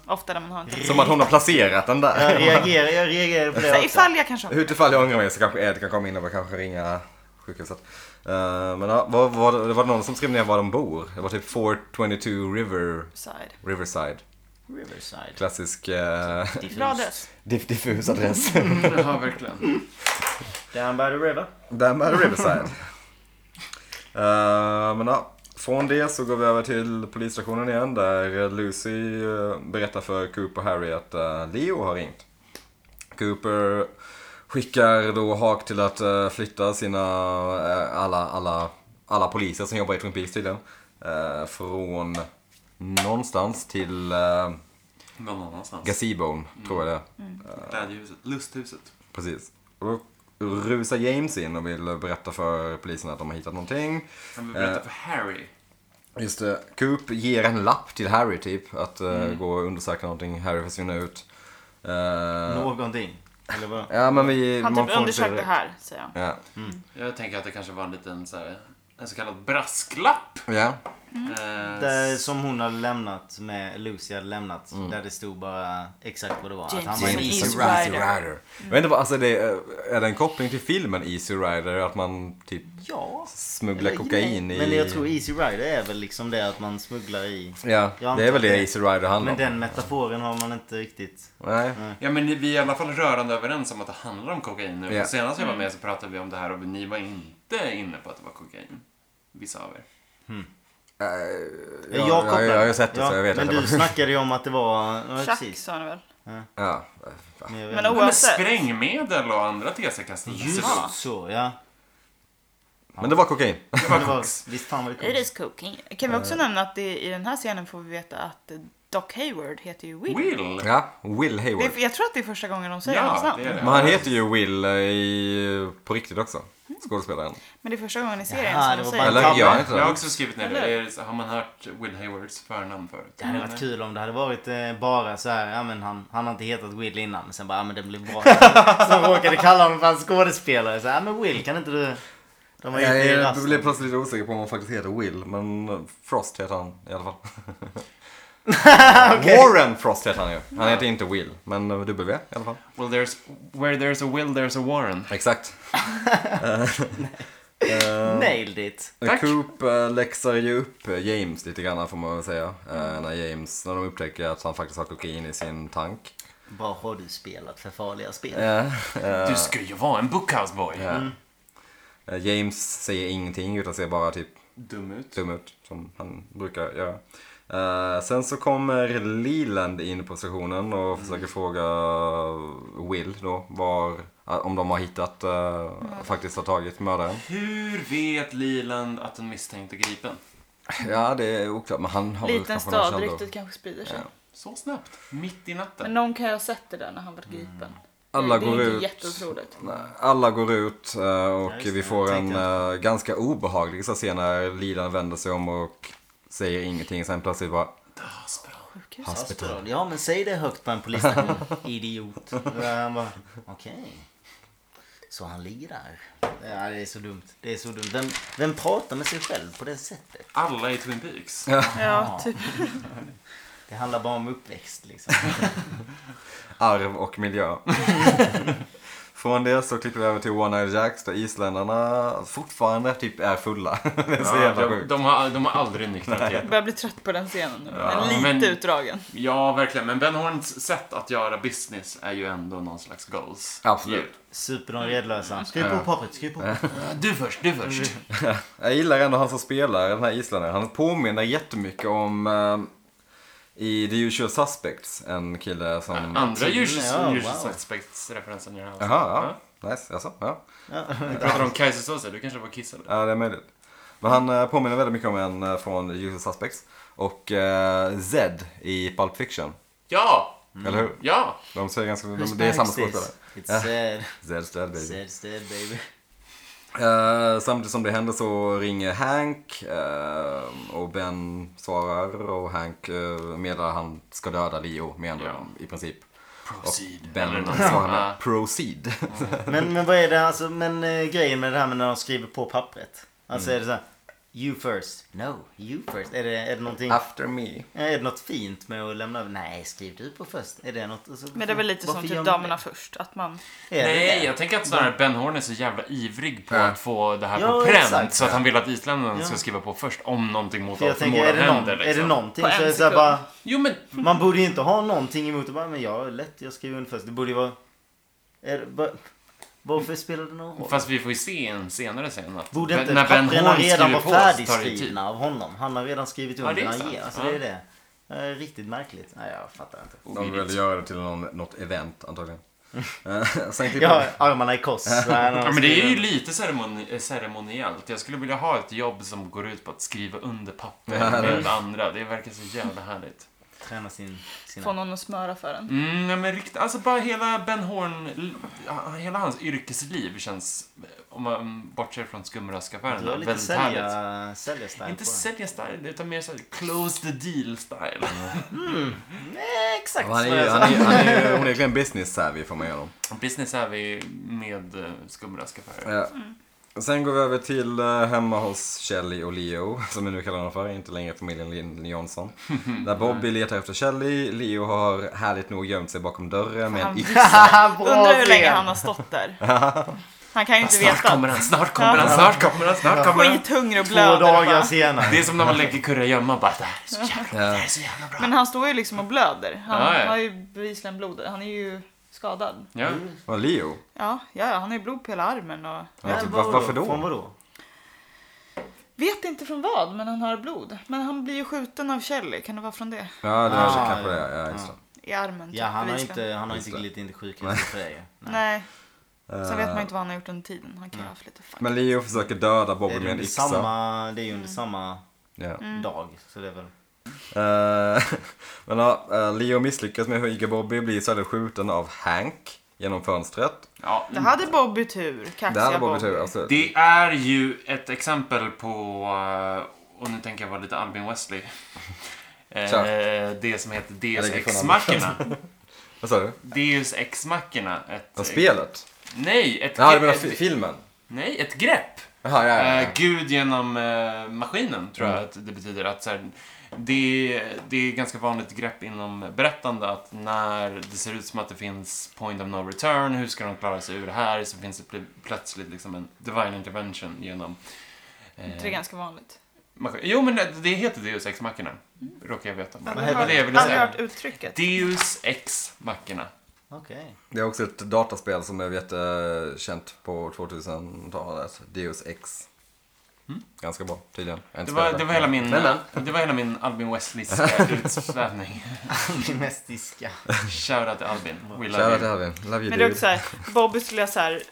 [SPEAKER 3] Ofta där man har en telefon.
[SPEAKER 4] Som att hon har placerat den
[SPEAKER 1] Jag
[SPEAKER 4] [laughs] där.
[SPEAKER 1] reagerar, jag reagerar på det
[SPEAKER 3] Så
[SPEAKER 1] också.
[SPEAKER 3] ifall jag kanske har...
[SPEAKER 4] Utifall jag ångrar mig så kanske Ed kan komma in och kanske ringa sjukhuset. Eh, men ja, var, var, det var någon som skrev ner var de bor. Det var typ 422 River,
[SPEAKER 3] Side.
[SPEAKER 4] Riverside.
[SPEAKER 1] Riverside.
[SPEAKER 4] Klassisk eh, [laughs]
[SPEAKER 3] Bra adress.
[SPEAKER 4] diff- diffus adress.
[SPEAKER 2] Ja, verkligen.
[SPEAKER 1] Down by the river.
[SPEAKER 4] Där med Riverside. Eh, men ja, från det så går vi över till polisstationen igen där Lucy eh, berättar för Cooper och Harry att eh, Leo har ringt. Cooper skickar då Hawk till att eh, flytta sina, eh, alla, alla, alla poliser som jobbar i Twin Peaks tydligen. eh, från någonstans till uh,
[SPEAKER 2] Någon annanstans.
[SPEAKER 4] Gazebon, tror jag det är.
[SPEAKER 2] Glädjehuset. Lusthuset.
[SPEAKER 4] Precis. Och då rusar James in och vill berätta för polisen att de har hittat någonting.
[SPEAKER 2] Han vill berätta för Harry.
[SPEAKER 4] Just det. Coop ger en lapp till Harry typ. Att eh, gå och undersöka någonting. Harry försvinner ut. Eh,
[SPEAKER 1] Någonting. Eller vad?
[SPEAKER 4] Ja men vi... man
[SPEAKER 3] Han
[SPEAKER 4] får
[SPEAKER 3] typ
[SPEAKER 4] inte
[SPEAKER 3] undersökte
[SPEAKER 4] direkt-
[SPEAKER 3] här, säger han.
[SPEAKER 4] Ja.
[SPEAKER 2] Jag tänker att det kanske var en liten så här, en så kallad brasklapp.
[SPEAKER 4] ja.
[SPEAKER 2] Eh,
[SPEAKER 1] Mm. Där, som hon hade lämnat med, Lucy hade lämnat.
[SPEAKER 4] Mm.
[SPEAKER 1] Där det stod bara exakt vad det var.
[SPEAKER 3] James
[SPEAKER 1] att han var
[SPEAKER 3] is
[SPEAKER 1] en
[SPEAKER 3] an
[SPEAKER 1] is.
[SPEAKER 3] easy
[SPEAKER 4] Easy
[SPEAKER 3] rider.
[SPEAKER 4] Rider. Jag vet inte vad, alltså det är, är det en koppling till filmen Easy Rider? Att man typ
[SPEAKER 1] Ja.
[SPEAKER 4] smugglar
[SPEAKER 1] Eller
[SPEAKER 4] kokain
[SPEAKER 1] nej.
[SPEAKER 4] i...
[SPEAKER 1] Men jag tror Easy Rider är väl liksom det att man smugglar i.
[SPEAKER 4] Ja,
[SPEAKER 1] Jag
[SPEAKER 4] det är väl
[SPEAKER 1] antar
[SPEAKER 4] det
[SPEAKER 1] det.
[SPEAKER 4] Easy Rider handlar
[SPEAKER 1] Men
[SPEAKER 4] om.
[SPEAKER 1] den metaforen har man inte riktigt.
[SPEAKER 4] Nej.
[SPEAKER 2] Ja, men vi är i alla fall rörande överens om att det handlar om kokain nu.
[SPEAKER 4] Ja.
[SPEAKER 2] Senast jag var
[SPEAKER 1] Mm.
[SPEAKER 2] med så pratade vi om det här och ni var inte inne på att det var kokain. Vissa av er.
[SPEAKER 4] Ja, jag, jag, jag har ju sett det
[SPEAKER 1] ja,
[SPEAKER 4] så jag vet
[SPEAKER 1] Men
[SPEAKER 4] att
[SPEAKER 1] du
[SPEAKER 4] det var...
[SPEAKER 1] snackade ju om att det var... Ja,
[SPEAKER 3] Chuck
[SPEAKER 1] precis.
[SPEAKER 3] sa han väl?
[SPEAKER 4] [laughs]
[SPEAKER 1] Men jag
[SPEAKER 4] Ja.
[SPEAKER 1] vet
[SPEAKER 3] Men
[SPEAKER 1] inte.
[SPEAKER 2] Ja, Men
[SPEAKER 3] oavsett.
[SPEAKER 2] sprängmedel och andra tesekastare.
[SPEAKER 1] alltså- Just så, ja.
[SPEAKER 4] Men det var kokain. [laughs]
[SPEAKER 1] Men Det var, visst fan var det
[SPEAKER 3] It
[SPEAKER 1] coolt.
[SPEAKER 3] is cooking. Kan vi också nämna att det, i den här scenen får vi veta att Doc Hayward heter ju Will.
[SPEAKER 2] Will!
[SPEAKER 4] Ja, Will Hayward.
[SPEAKER 3] Det är, jag tror att det är första gången de säger hans
[SPEAKER 2] Ja,
[SPEAKER 3] namn.
[SPEAKER 2] det är det.
[SPEAKER 4] Men han heter ju Will eh, i, på riktigt också. Skådespelaren.
[SPEAKER 3] Men det är första gången i serien
[SPEAKER 1] Jaha, det
[SPEAKER 3] som de
[SPEAKER 1] var
[SPEAKER 3] säger
[SPEAKER 1] bara en
[SPEAKER 4] Eller
[SPEAKER 1] tabbe.
[SPEAKER 4] gör Mm. han inte
[SPEAKER 2] Jag har
[SPEAKER 4] det?
[SPEAKER 2] också skrivit ner det. det. är- Har man hört Will Haywards förnamn förut?
[SPEAKER 1] Det hade varit kul om det hade varit eh, bara så här, ja men han, han har inte hetat Will innan, men sen [laughs] bara, ja men det blev bra. Sen råkade kalla honom för en skådespelare, så här, ja men Will kan inte du... De har gjort det i
[SPEAKER 4] Jag
[SPEAKER 1] rasten.
[SPEAKER 4] blev plötsligt lite osäker på om han faktiskt heter Will, men Frost heter han i [laughs] alla fall. Warren Frost heter han ju. Han heter inte Will, men eh, W i alla fall.
[SPEAKER 2] Well, there's, where there's a will, there's a Warren.
[SPEAKER 4] Exakt.
[SPEAKER 1] Nailed it.
[SPEAKER 2] Tack.
[SPEAKER 4] Coop eh, läxar ju upp eh, James lite grann får man väl säga. Eh, När James, när de upptäcker att han faktiskt har kokain i sin tank.
[SPEAKER 1] Vad har du spelat för farliga spel?
[SPEAKER 4] Eh, eh,
[SPEAKER 2] Du ska ju vara en bookhouseboy.
[SPEAKER 4] Ja. Eh, James säger ingenting utan ser bara typ
[SPEAKER 6] Dum ut.
[SPEAKER 4] dum ut som han brukar göra. Eh, sen så kommer Leland in på stationen
[SPEAKER 1] Mm.
[SPEAKER 4] och försöker fråga Will då var, eh, om de har hittat, eh,
[SPEAKER 3] Mm.
[SPEAKER 4] faktiskt har tagit mördaren.
[SPEAKER 2] Hur vet Liland att den misstänkte är gripen?
[SPEAKER 4] Ja det är oklart men han har väl
[SPEAKER 3] Liten
[SPEAKER 4] kanske någon
[SPEAKER 3] stad,
[SPEAKER 4] källor.
[SPEAKER 3] ryktet kanske sprider sig.
[SPEAKER 2] Så snabbt? Mitt i
[SPEAKER 3] Men
[SPEAKER 2] natten?
[SPEAKER 3] någon kan ju ha sett det där när han var gripen.
[SPEAKER 4] Alla
[SPEAKER 3] det
[SPEAKER 4] går
[SPEAKER 3] är
[SPEAKER 4] ut.
[SPEAKER 3] inte jätteotroligt.
[SPEAKER 4] Nej, Alla går ut eh, och
[SPEAKER 1] Ja, just
[SPEAKER 4] vi
[SPEAKER 1] det.
[SPEAKER 4] får
[SPEAKER 1] Jag
[SPEAKER 4] en
[SPEAKER 1] tänkte
[SPEAKER 4] eh, ganska obehaglig så scen när Leland vänder sig om och säger ingenting. Sen plötsligt bara
[SPEAKER 2] Ah,
[SPEAKER 1] Hospital. Ja men säg det högt på en polisstation. [laughs] Idiot. Och Han bara, okej. Så han ligger där. Ja, det är så dumt. Det är så dumt. Vem, vem pratar med sig själv på det sättet?
[SPEAKER 2] Alla i Twin Peaks?
[SPEAKER 3] Ja, typ.
[SPEAKER 1] Det handlar bara om uppväxt liksom.
[SPEAKER 4] arv och miljö. [laughs] Från det så klipper vi över till One Eye Jacks där isländarna fortfarande typ är fulla. [laughs] Det är så
[SPEAKER 2] Ja,
[SPEAKER 4] jävla
[SPEAKER 2] de,
[SPEAKER 4] sjukt.
[SPEAKER 2] de, har, de har aldrig nyktrat
[SPEAKER 3] Jag
[SPEAKER 2] igen.
[SPEAKER 3] börjar bli trött på den scenen nu.
[SPEAKER 2] Ja,
[SPEAKER 3] Den är lite
[SPEAKER 2] men-
[SPEAKER 3] utdragen.
[SPEAKER 2] Ja, verkligen. Men Ben Horns sätt att göra business är ju ändå någon slags goals.
[SPEAKER 4] Absolut.
[SPEAKER 1] Super de redlösa. Skriv på pappret, skriv på pappret.
[SPEAKER 2] Du först, du först.
[SPEAKER 1] Mm.
[SPEAKER 4] Jag gillar ändå han som spelar den här isländaren. Han påminner jättemycket om eh, i The Usual Suspects, en kille som...
[SPEAKER 2] Andra Djurs-
[SPEAKER 1] Ja, wow.
[SPEAKER 2] djursuspektsreferensen gör han.
[SPEAKER 4] Jaha, ja. Nice, jaså, ja.
[SPEAKER 2] Vi pratar om kajsersåser, du kanske var kissad?
[SPEAKER 4] Ja, det är möjligt. Men han eh, påminner väldigt mycket om en eh, från The Usual Suspects. Och eh, Zed i Pulp Fiction.
[SPEAKER 2] Ja!
[SPEAKER 4] Eller hur?
[SPEAKER 2] Ja!
[SPEAKER 4] De säger ganska... De, det är samma skådespelare.
[SPEAKER 1] It's
[SPEAKER 4] Ja. [laughs]
[SPEAKER 1] sad.
[SPEAKER 4] Zed, Zed, baby.
[SPEAKER 1] Sad, sad baby.
[SPEAKER 4] Eh, samtidigt som det händer så ringer Hank eh, och Ben svarar och Hank uh, meddelar att han ska döda Leo med andra
[SPEAKER 2] Ja.
[SPEAKER 4] i princip.
[SPEAKER 2] Proceed.
[SPEAKER 4] Ben
[SPEAKER 2] något.
[SPEAKER 4] svarar
[SPEAKER 2] Ja.
[SPEAKER 4] med proceed.
[SPEAKER 1] Men, men vad är det alltså, men eh, grejen med det här med när de skriver på pappret? Alltså
[SPEAKER 4] Mm.
[SPEAKER 1] är det så här, you first, no, you first. Är det, är det någonting,
[SPEAKER 4] After me.
[SPEAKER 1] är det något fint med att lämna över? Nej, skriv du på först. Är det något? Alltså,
[SPEAKER 3] Men det är väl lite
[SPEAKER 1] varför
[SPEAKER 3] som
[SPEAKER 1] gör
[SPEAKER 3] typ
[SPEAKER 1] man det?
[SPEAKER 3] damerna först. Att man...
[SPEAKER 1] Är det
[SPEAKER 2] Nej,
[SPEAKER 1] det?
[SPEAKER 2] jag tänker att snarare Ben Horn är så jävla ivrig på
[SPEAKER 4] Ja.
[SPEAKER 2] att få det här
[SPEAKER 1] Ja,
[SPEAKER 2] på pränt
[SPEAKER 1] exakt.
[SPEAKER 2] så att han vill att isländarna
[SPEAKER 1] Ja.
[SPEAKER 2] ska skriva på först om någonting mot
[SPEAKER 1] För
[SPEAKER 2] all
[SPEAKER 1] jag tänker, är det,
[SPEAKER 2] förmodan
[SPEAKER 1] någon,
[SPEAKER 2] händer.
[SPEAKER 1] är det
[SPEAKER 2] liksom.
[SPEAKER 1] någonting
[SPEAKER 3] På
[SPEAKER 1] så
[SPEAKER 3] en
[SPEAKER 1] är det så här
[SPEAKER 3] sekund.
[SPEAKER 1] bara,
[SPEAKER 2] Jo, men
[SPEAKER 1] man borde ju inte ha någonting emot det. Bara, men jag är lätt, jag skriver under först. Det borde ju vara... Är det, bara, varför spelar det någon roll?
[SPEAKER 2] Fast vi får ju se en senare scen att
[SPEAKER 1] Borde inte
[SPEAKER 2] när Ben
[SPEAKER 1] papperna
[SPEAKER 2] Horn
[SPEAKER 1] redan
[SPEAKER 2] skriver
[SPEAKER 1] var
[SPEAKER 2] på oss tar det ju tid.
[SPEAKER 1] färdigskrivna av honom? Han har redan skrivit
[SPEAKER 2] Ja, det
[SPEAKER 1] under
[SPEAKER 2] är
[SPEAKER 1] när han
[SPEAKER 2] sant.
[SPEAKER 1] ger. Alltså,
[SPEAKER 2] Ja.
[SPEAKER 1] det är det. Eh, Riktigt märkligt. Nej, jag fattar inte.
[SPEAKER 4] De vill väl göra det till någon, något event antagligen. Eh, Sen klipper
[SPEAKER 1] Jag har armarna i kors.
[SPEAKER 2] [laughs] Ja, men det är
[SPEAKER 1] Alltså,
[SPEAKER 2] ju lite ceremoni eh, ceremoniellt. Jag skulle vilja ha ett jobb som går ut på att skriva under papper med andra. Det verkar så jävla härligt.
[SPEAKER 1] Träna sin... Sina.
[SPEAKER 3] Få någon att smöra för en.
[SPEAKER 2] Mm, ja, men rikt, alltså bara hela Ben Horn, l- ha- hela hans yrkesliv känns, eh, om man bortser från
[SPEAKER 1] Du har
[SPEAKER 2] skumraskaffärerna,
[SPEAKER 1] lite
[SPEAKER 2] väldigt härligt.
[SPEAKER 1] sälja... Säljarstyle
[SPEAKER 2] Inte
[SPEAKER 1] på den.
[SPEAKER 2] sälja-style, utan mer såhär close the deal-style.
[SPEAKER 1] Mm. Nej, exakt
[SPEAKER 4] han är,
[SPEAKER 1] vad
[SPEAKER 4] ju-
[SPEAKER 1] jag sa.
[SPEAKER 4] han är, han är, ju onekligen business savvy får man göra dem.
[SPEAKER 2] [laughs] Business är vi med eh, skumraskaffärer.
[SPEAKER 4] Ja.
[SPEAKER 1] Mm.
[SPEAKER 4] Sen går vi över till eh, hemma hos Shelly och Leo, [laughs] som vi nu kallar honom för, inte längre familjen Lin- Johnson.
[SPEAKER 2] [laughs]
[SPEAKER 4] Där Bobby letar efter Shelly, Leo har härligt nog gömt sig bakom dörren med en
[SPEAKER 3] Han
[SPEAKER 1] [laughs]
[SPEAKER 4] yxa.
[SPEAKER 1] Haha, bra
[SPEAKER 3] Undrar hur länge
[SPEAKER 1] scen. Alltså,
[SPEAKER 3] han har
[SPEAKER 1] [laughs]
[SPEAKER 3] stått där. Han kan ju inte
[SPEAKER 2] Snart
[SPEAKER 3] veta.
[SPEAKER 2] kommer han, snart kommer han, snart kommer han, snart kommer han.
[SPEAKER 3] Skithungrig och blöder.
[SPEAKER 1] Två
[SPEAKER 3] och
[SPEAKER 1] dagar
[SPEAKER 3] bara-
[SPEAKER 1] senare.
[SPEAKER 2] [laughs] Det är som när man lägger kurragömma bara det här är så jävla bra, det här är så jävla bra.
[SPEAKER 3] Men han står ju liksom och blöder. Han
[SPEAKER 2] Ja, ja.
[SPEAKER 3] har ju bevisligen blod. Han är ju skadad.
[SPEAKER 2] Ja.
[SPEAKER 1] Mm.
[SPEAKER 4] Vad Leo?
[SPEAKER 3] Ja, ja, ja, han har ju blod på hela armen och...
[SPEAKER 4] Ja, typ,
[SPEAKER 1] Men
[SPEAKER 4] var, varför
[SPEAKER 1] Från
[SPEAKER 4] då?
[SPEAKER 1] vadå?
[SPEAKER 3] Vet inte från vad, men han har blod. Men han blir ju skjuten av Shelly. Kan det vara från det?
[SPEAKER 4] Ja, det var
[SPEAKER 1] Ah,
[SPEAKER 4] kanske
[SPEAKER 1] ja.
[SPEAKER 4] det. Ja, just det.
[SPEAKER 3] I armen, typ,
[SPEAKER 1] Ja, han har
[SPEAKER 3] bevisligen.
[SPEAKER 1] inte, han har inte
[SPEAKER 4] Just det.
[SPEAKER 1] glidit in till sjukhuset för dig.
[SPEAKER 3] Nej. Sen vet man
[SPEAKER 4] Eh,
[SPEAKER 3] ju inte vad han har gjort under tiden. Han kan ju ha haft lite fuck.
[SPEAKER 4] Men Leo försöker döda
[SPEAKER 1] Det
[SPEAKER 4] Bobby
[SPEAKER 1] är ju
[SPEAKER 4] med en
[SPEAKER 1] under
[SPEAKER 4] yxa.
[SPEAKER 1] samma, Mm. det är ju under
[SPEAKER 3] Mm.
[SPEAKER 1] samma
[SPEAKER 4] Ja.
[SPEAKER 1] dag. Så det är väl...
[SPEAKER 4] Eh, [laughs] Men ja, eh, Leo misslyckas med att hugga Bobby blir istället skjuten av Hank genom fönstret.
[SPEAKER 2] Ja,
[SPEAKER 3] Det hade Bobby tur. Kaxiga
[SPEAKER 4] Det hade Bobby tur,
[SPEAKER 1] alltså.
[SPEAKER 4] alltså. absolut.
[SPEAKER 2] Det är ju ett exempel på, eh, och nu tänker jag vara lite Albin Wesley. [laughs] Eh,
[SPEAKER 4] Kör.
[SPEAKER 2] Det som heter
[SPEAKER 4] Jag
[SPEAKER 2] Deus
[SPEAKER 4] lägger ifrån
[SPEAKER 2] Ex
[SPEAKER 4] honom.
[SPEAKER 2] Machina.
[SPEAKER 4] Vad sa du?
[SPEAKER 2] Deus Ex Machina. Ett,
[SPEAKER 4] Av spelet?
[SPEAKER 2] Nej, ett,
[SPEAKER 4] Ja, du menar
[SPEAKER 2] ett-
[SPEAKER 4] fi- filmen?
[SPEAKER 2] Nej, ett grepp.
[SPEAKER 8] Jaha, ja, ja, ja.
[SPEAKER 2] Eh, Gud genom eh, maskinen, tror jag att det betyder. Att, så här, det, det är ganska vanligt grepp inom berättande att när det ser ut som att det finns point of no return, hur ska de klara sig ur det här? Så finns det pl- plötsligt liksom en divine intervention genom... eh,
[SPEAKER 3] Det är ganska vanligt.
[SPEAKER 2] maskin- Jo, men det, det heter Deus Ex Machina, råkar jag veta.
[SPEAKER 3] Jag
[SPEAKER 1] Vad
[SPEAKER 3] har
[SPEAKER 1] heter
[SPEAKER 2] det?
[SPEAKER 3] aldrig
[SPEAKER 2] Jag ville säga.
[SPEAKER 3] hört uttrycket.
[SPEAKER 2] Deus Ex Machina.
[SPEAKER 1] Okej.
[SPEAKER 4] Det är också ett dataspel som blev jättekänt på 2000-talet. Deus Ex. Ganska bra, tydligen. Jag har inte
[SPEAKER 2] Mm. Det var,
[SPEAKER 4] spelat
[SPEAKER 2] det var hela min, eh,
[SPEAKER 4] Men, men.
[SPEAKER 2] det var hela min Albin Westleyska utsvävning.
[SPEAKER 1] Min mest diska.
[SPEAKER 2] Shoutout till Albin. We love
[SPEAKER 4] Kära till
[SPEAKER 2] you.
[SPEAKER 4] Alvin. Love you
[SPEAKER 3] Men det
[SPEAKER 4] dude.
[SPEAKER 3] är också såhär, Bobby skulle göra såhär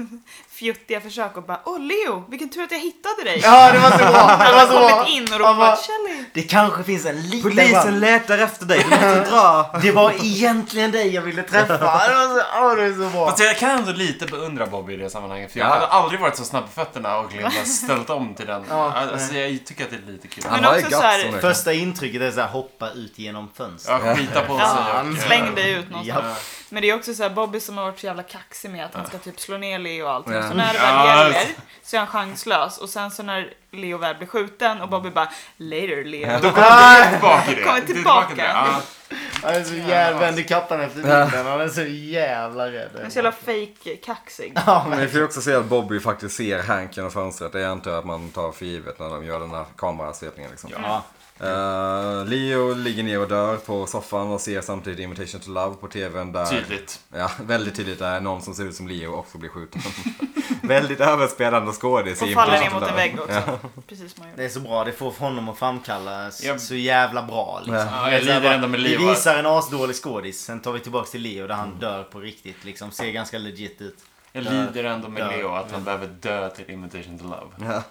[SPEAKER 3] [laughs] fjuttiga försök och bara Åh Leo, vilken tur att jag hittade dig.
[SPEAKER 1] Ja, det var så bra. Det
[SPEAKER 3] Han
[SPEAKER 1] var
[SPEAKER 3] har
[SPEAKER 1] så bra.
[SPEAKER 3] kommit in och
[SPEAKER 1] Han bara,
[SPEAKER 3] ropat Kelly.
[SPEAKER 1] Det kanske finns en liten chans.
[SPEAKER 4] Polisen letar efter dig,
[SPEAKER 1] [laughs]
[SPEAKER 4] du måste dra!
[SPEAKER 1] Det var egentligen dig jag ville träffa. [laughs] Det var så, åh, det är så bra.
[SPEAKER 2] Fast jag kan ändå lite beundra Bobby i det sammanhanget. För jag
[SPEAKER 4] Ja.
[SPEAKER 2] hade aldrig varit så snabb på fötterna och liksom
[SPEAKER 4] [laughs]
[SPEAKER 2] bara ställt om till den.
[SPEAKER 1] Ja,
[SPEAKER 2] alltså, jag tycker att det är lite kul.
[SPEAKER 4] Han
[SPEAKER 3] Men
[SPEAKER 4] har ju
[SPEAKER 3] också
[SPEAKER 4] guts
[SPEAKER 3] så här-
[SPEAKER 4] som det [laughs] kan.
[SPEAKER 1] Första intrycket är så här, hoppa ut genom fönstret.
[SPEAKER 2] Ja, skita på sig.
[SPEAKER 3] Ja,
[SPEAKER 2] och-
[SPEAKER 3] släng dig ut någonstans.
[SPEAKER 1] Ja.
[SPEAKER 3] Men det är också såhär Bobby som har varit så jävla kaxig med att han ska typ slå ner Leo och allting.
[SPEAKER 4] Ja.
[SPEAKER 3] Så när det
[SPEAKER 2] Ja,
[SPEAKER 3] väl gäller
[SPEAKER 2] alltså.
[SPEAKER 3] så är han chanslös. Och sen så när Leo väl blir skjuten och Bobby bara Later Leo.
[SPEAKER 2] Då kommer vi tillbaka i det.
[SPEAKER 3] Kommer
[SPEAKER 2] Det är
[SPEAKER 3] tillbaka.
[SPEAKER 2] till det. Ja.
[SPEAKER 1] Han är så jävla vänd i kappan efter vinden. Han är så jävla
[SPEAKER 3] Han är
[SPEAKER 1] rädd.
[SPEAKER 3] så jävla fake kaxig.
[SPEAKER 4] Men vi får ju också se att Bobby faktiskt ser Hank genom fönstret. Det är inte att man tar för givet när de gör den här kamerasvepningen liksom.
[SPEAKER 1] Ja.
[SPEAKER 4] Eh, Leo ligger ner och dör på soffan och ser samtidigt Invitation to Love på tvn där...
[SPEAKER 2] Tydligt.
[SPEAKER 4] Ja, väldigt tydligt där någon som ser ut som Leo också blir skjuten. [laughs] väldigt överspelande skådis
[SPEAKER 3] Och
[SPEAKER 4] i
[SPEAKER 3] faller ner
[SPEAKER 4] Invitation to
[SPEAKER 3] mot en
[SPEAKER 4] Love.
[SPEAKER 3] vägg också. Precis som han
[SPEAKER 1] Det
[SPEAKER 3] gjorde.
[SPEAKER 1] är så bra, det får honom att framkalla s-
[SPEAKER 2] Ja.
[SPEAKER 1] så jävla bra. Liksom.
[SPEAKER 2] Ja,
[SPEAKER 1] Det är
[SPEAKER 2] jag
[SPEAKER 1] så här
[SPEAKER 2] lider
[SPEAKER 1] bara,
[SPEAKER 2] ändå med
[SPEAKER 1] vi
[SPEAKER 2] Leo.
[SPEAKER 1] visar en asdålig skådis, sen tar vi tillbaks till Leo där han dör på riktigt. Liksom. Ser ganska legit ut.
[SPEAKER 2] Jag lider ändå med
[SPEAKER 1] Ja.
[SPEAKER 2] Leo att han behöver dö till Imitation to Love.
[SPEAKER 4] Ja.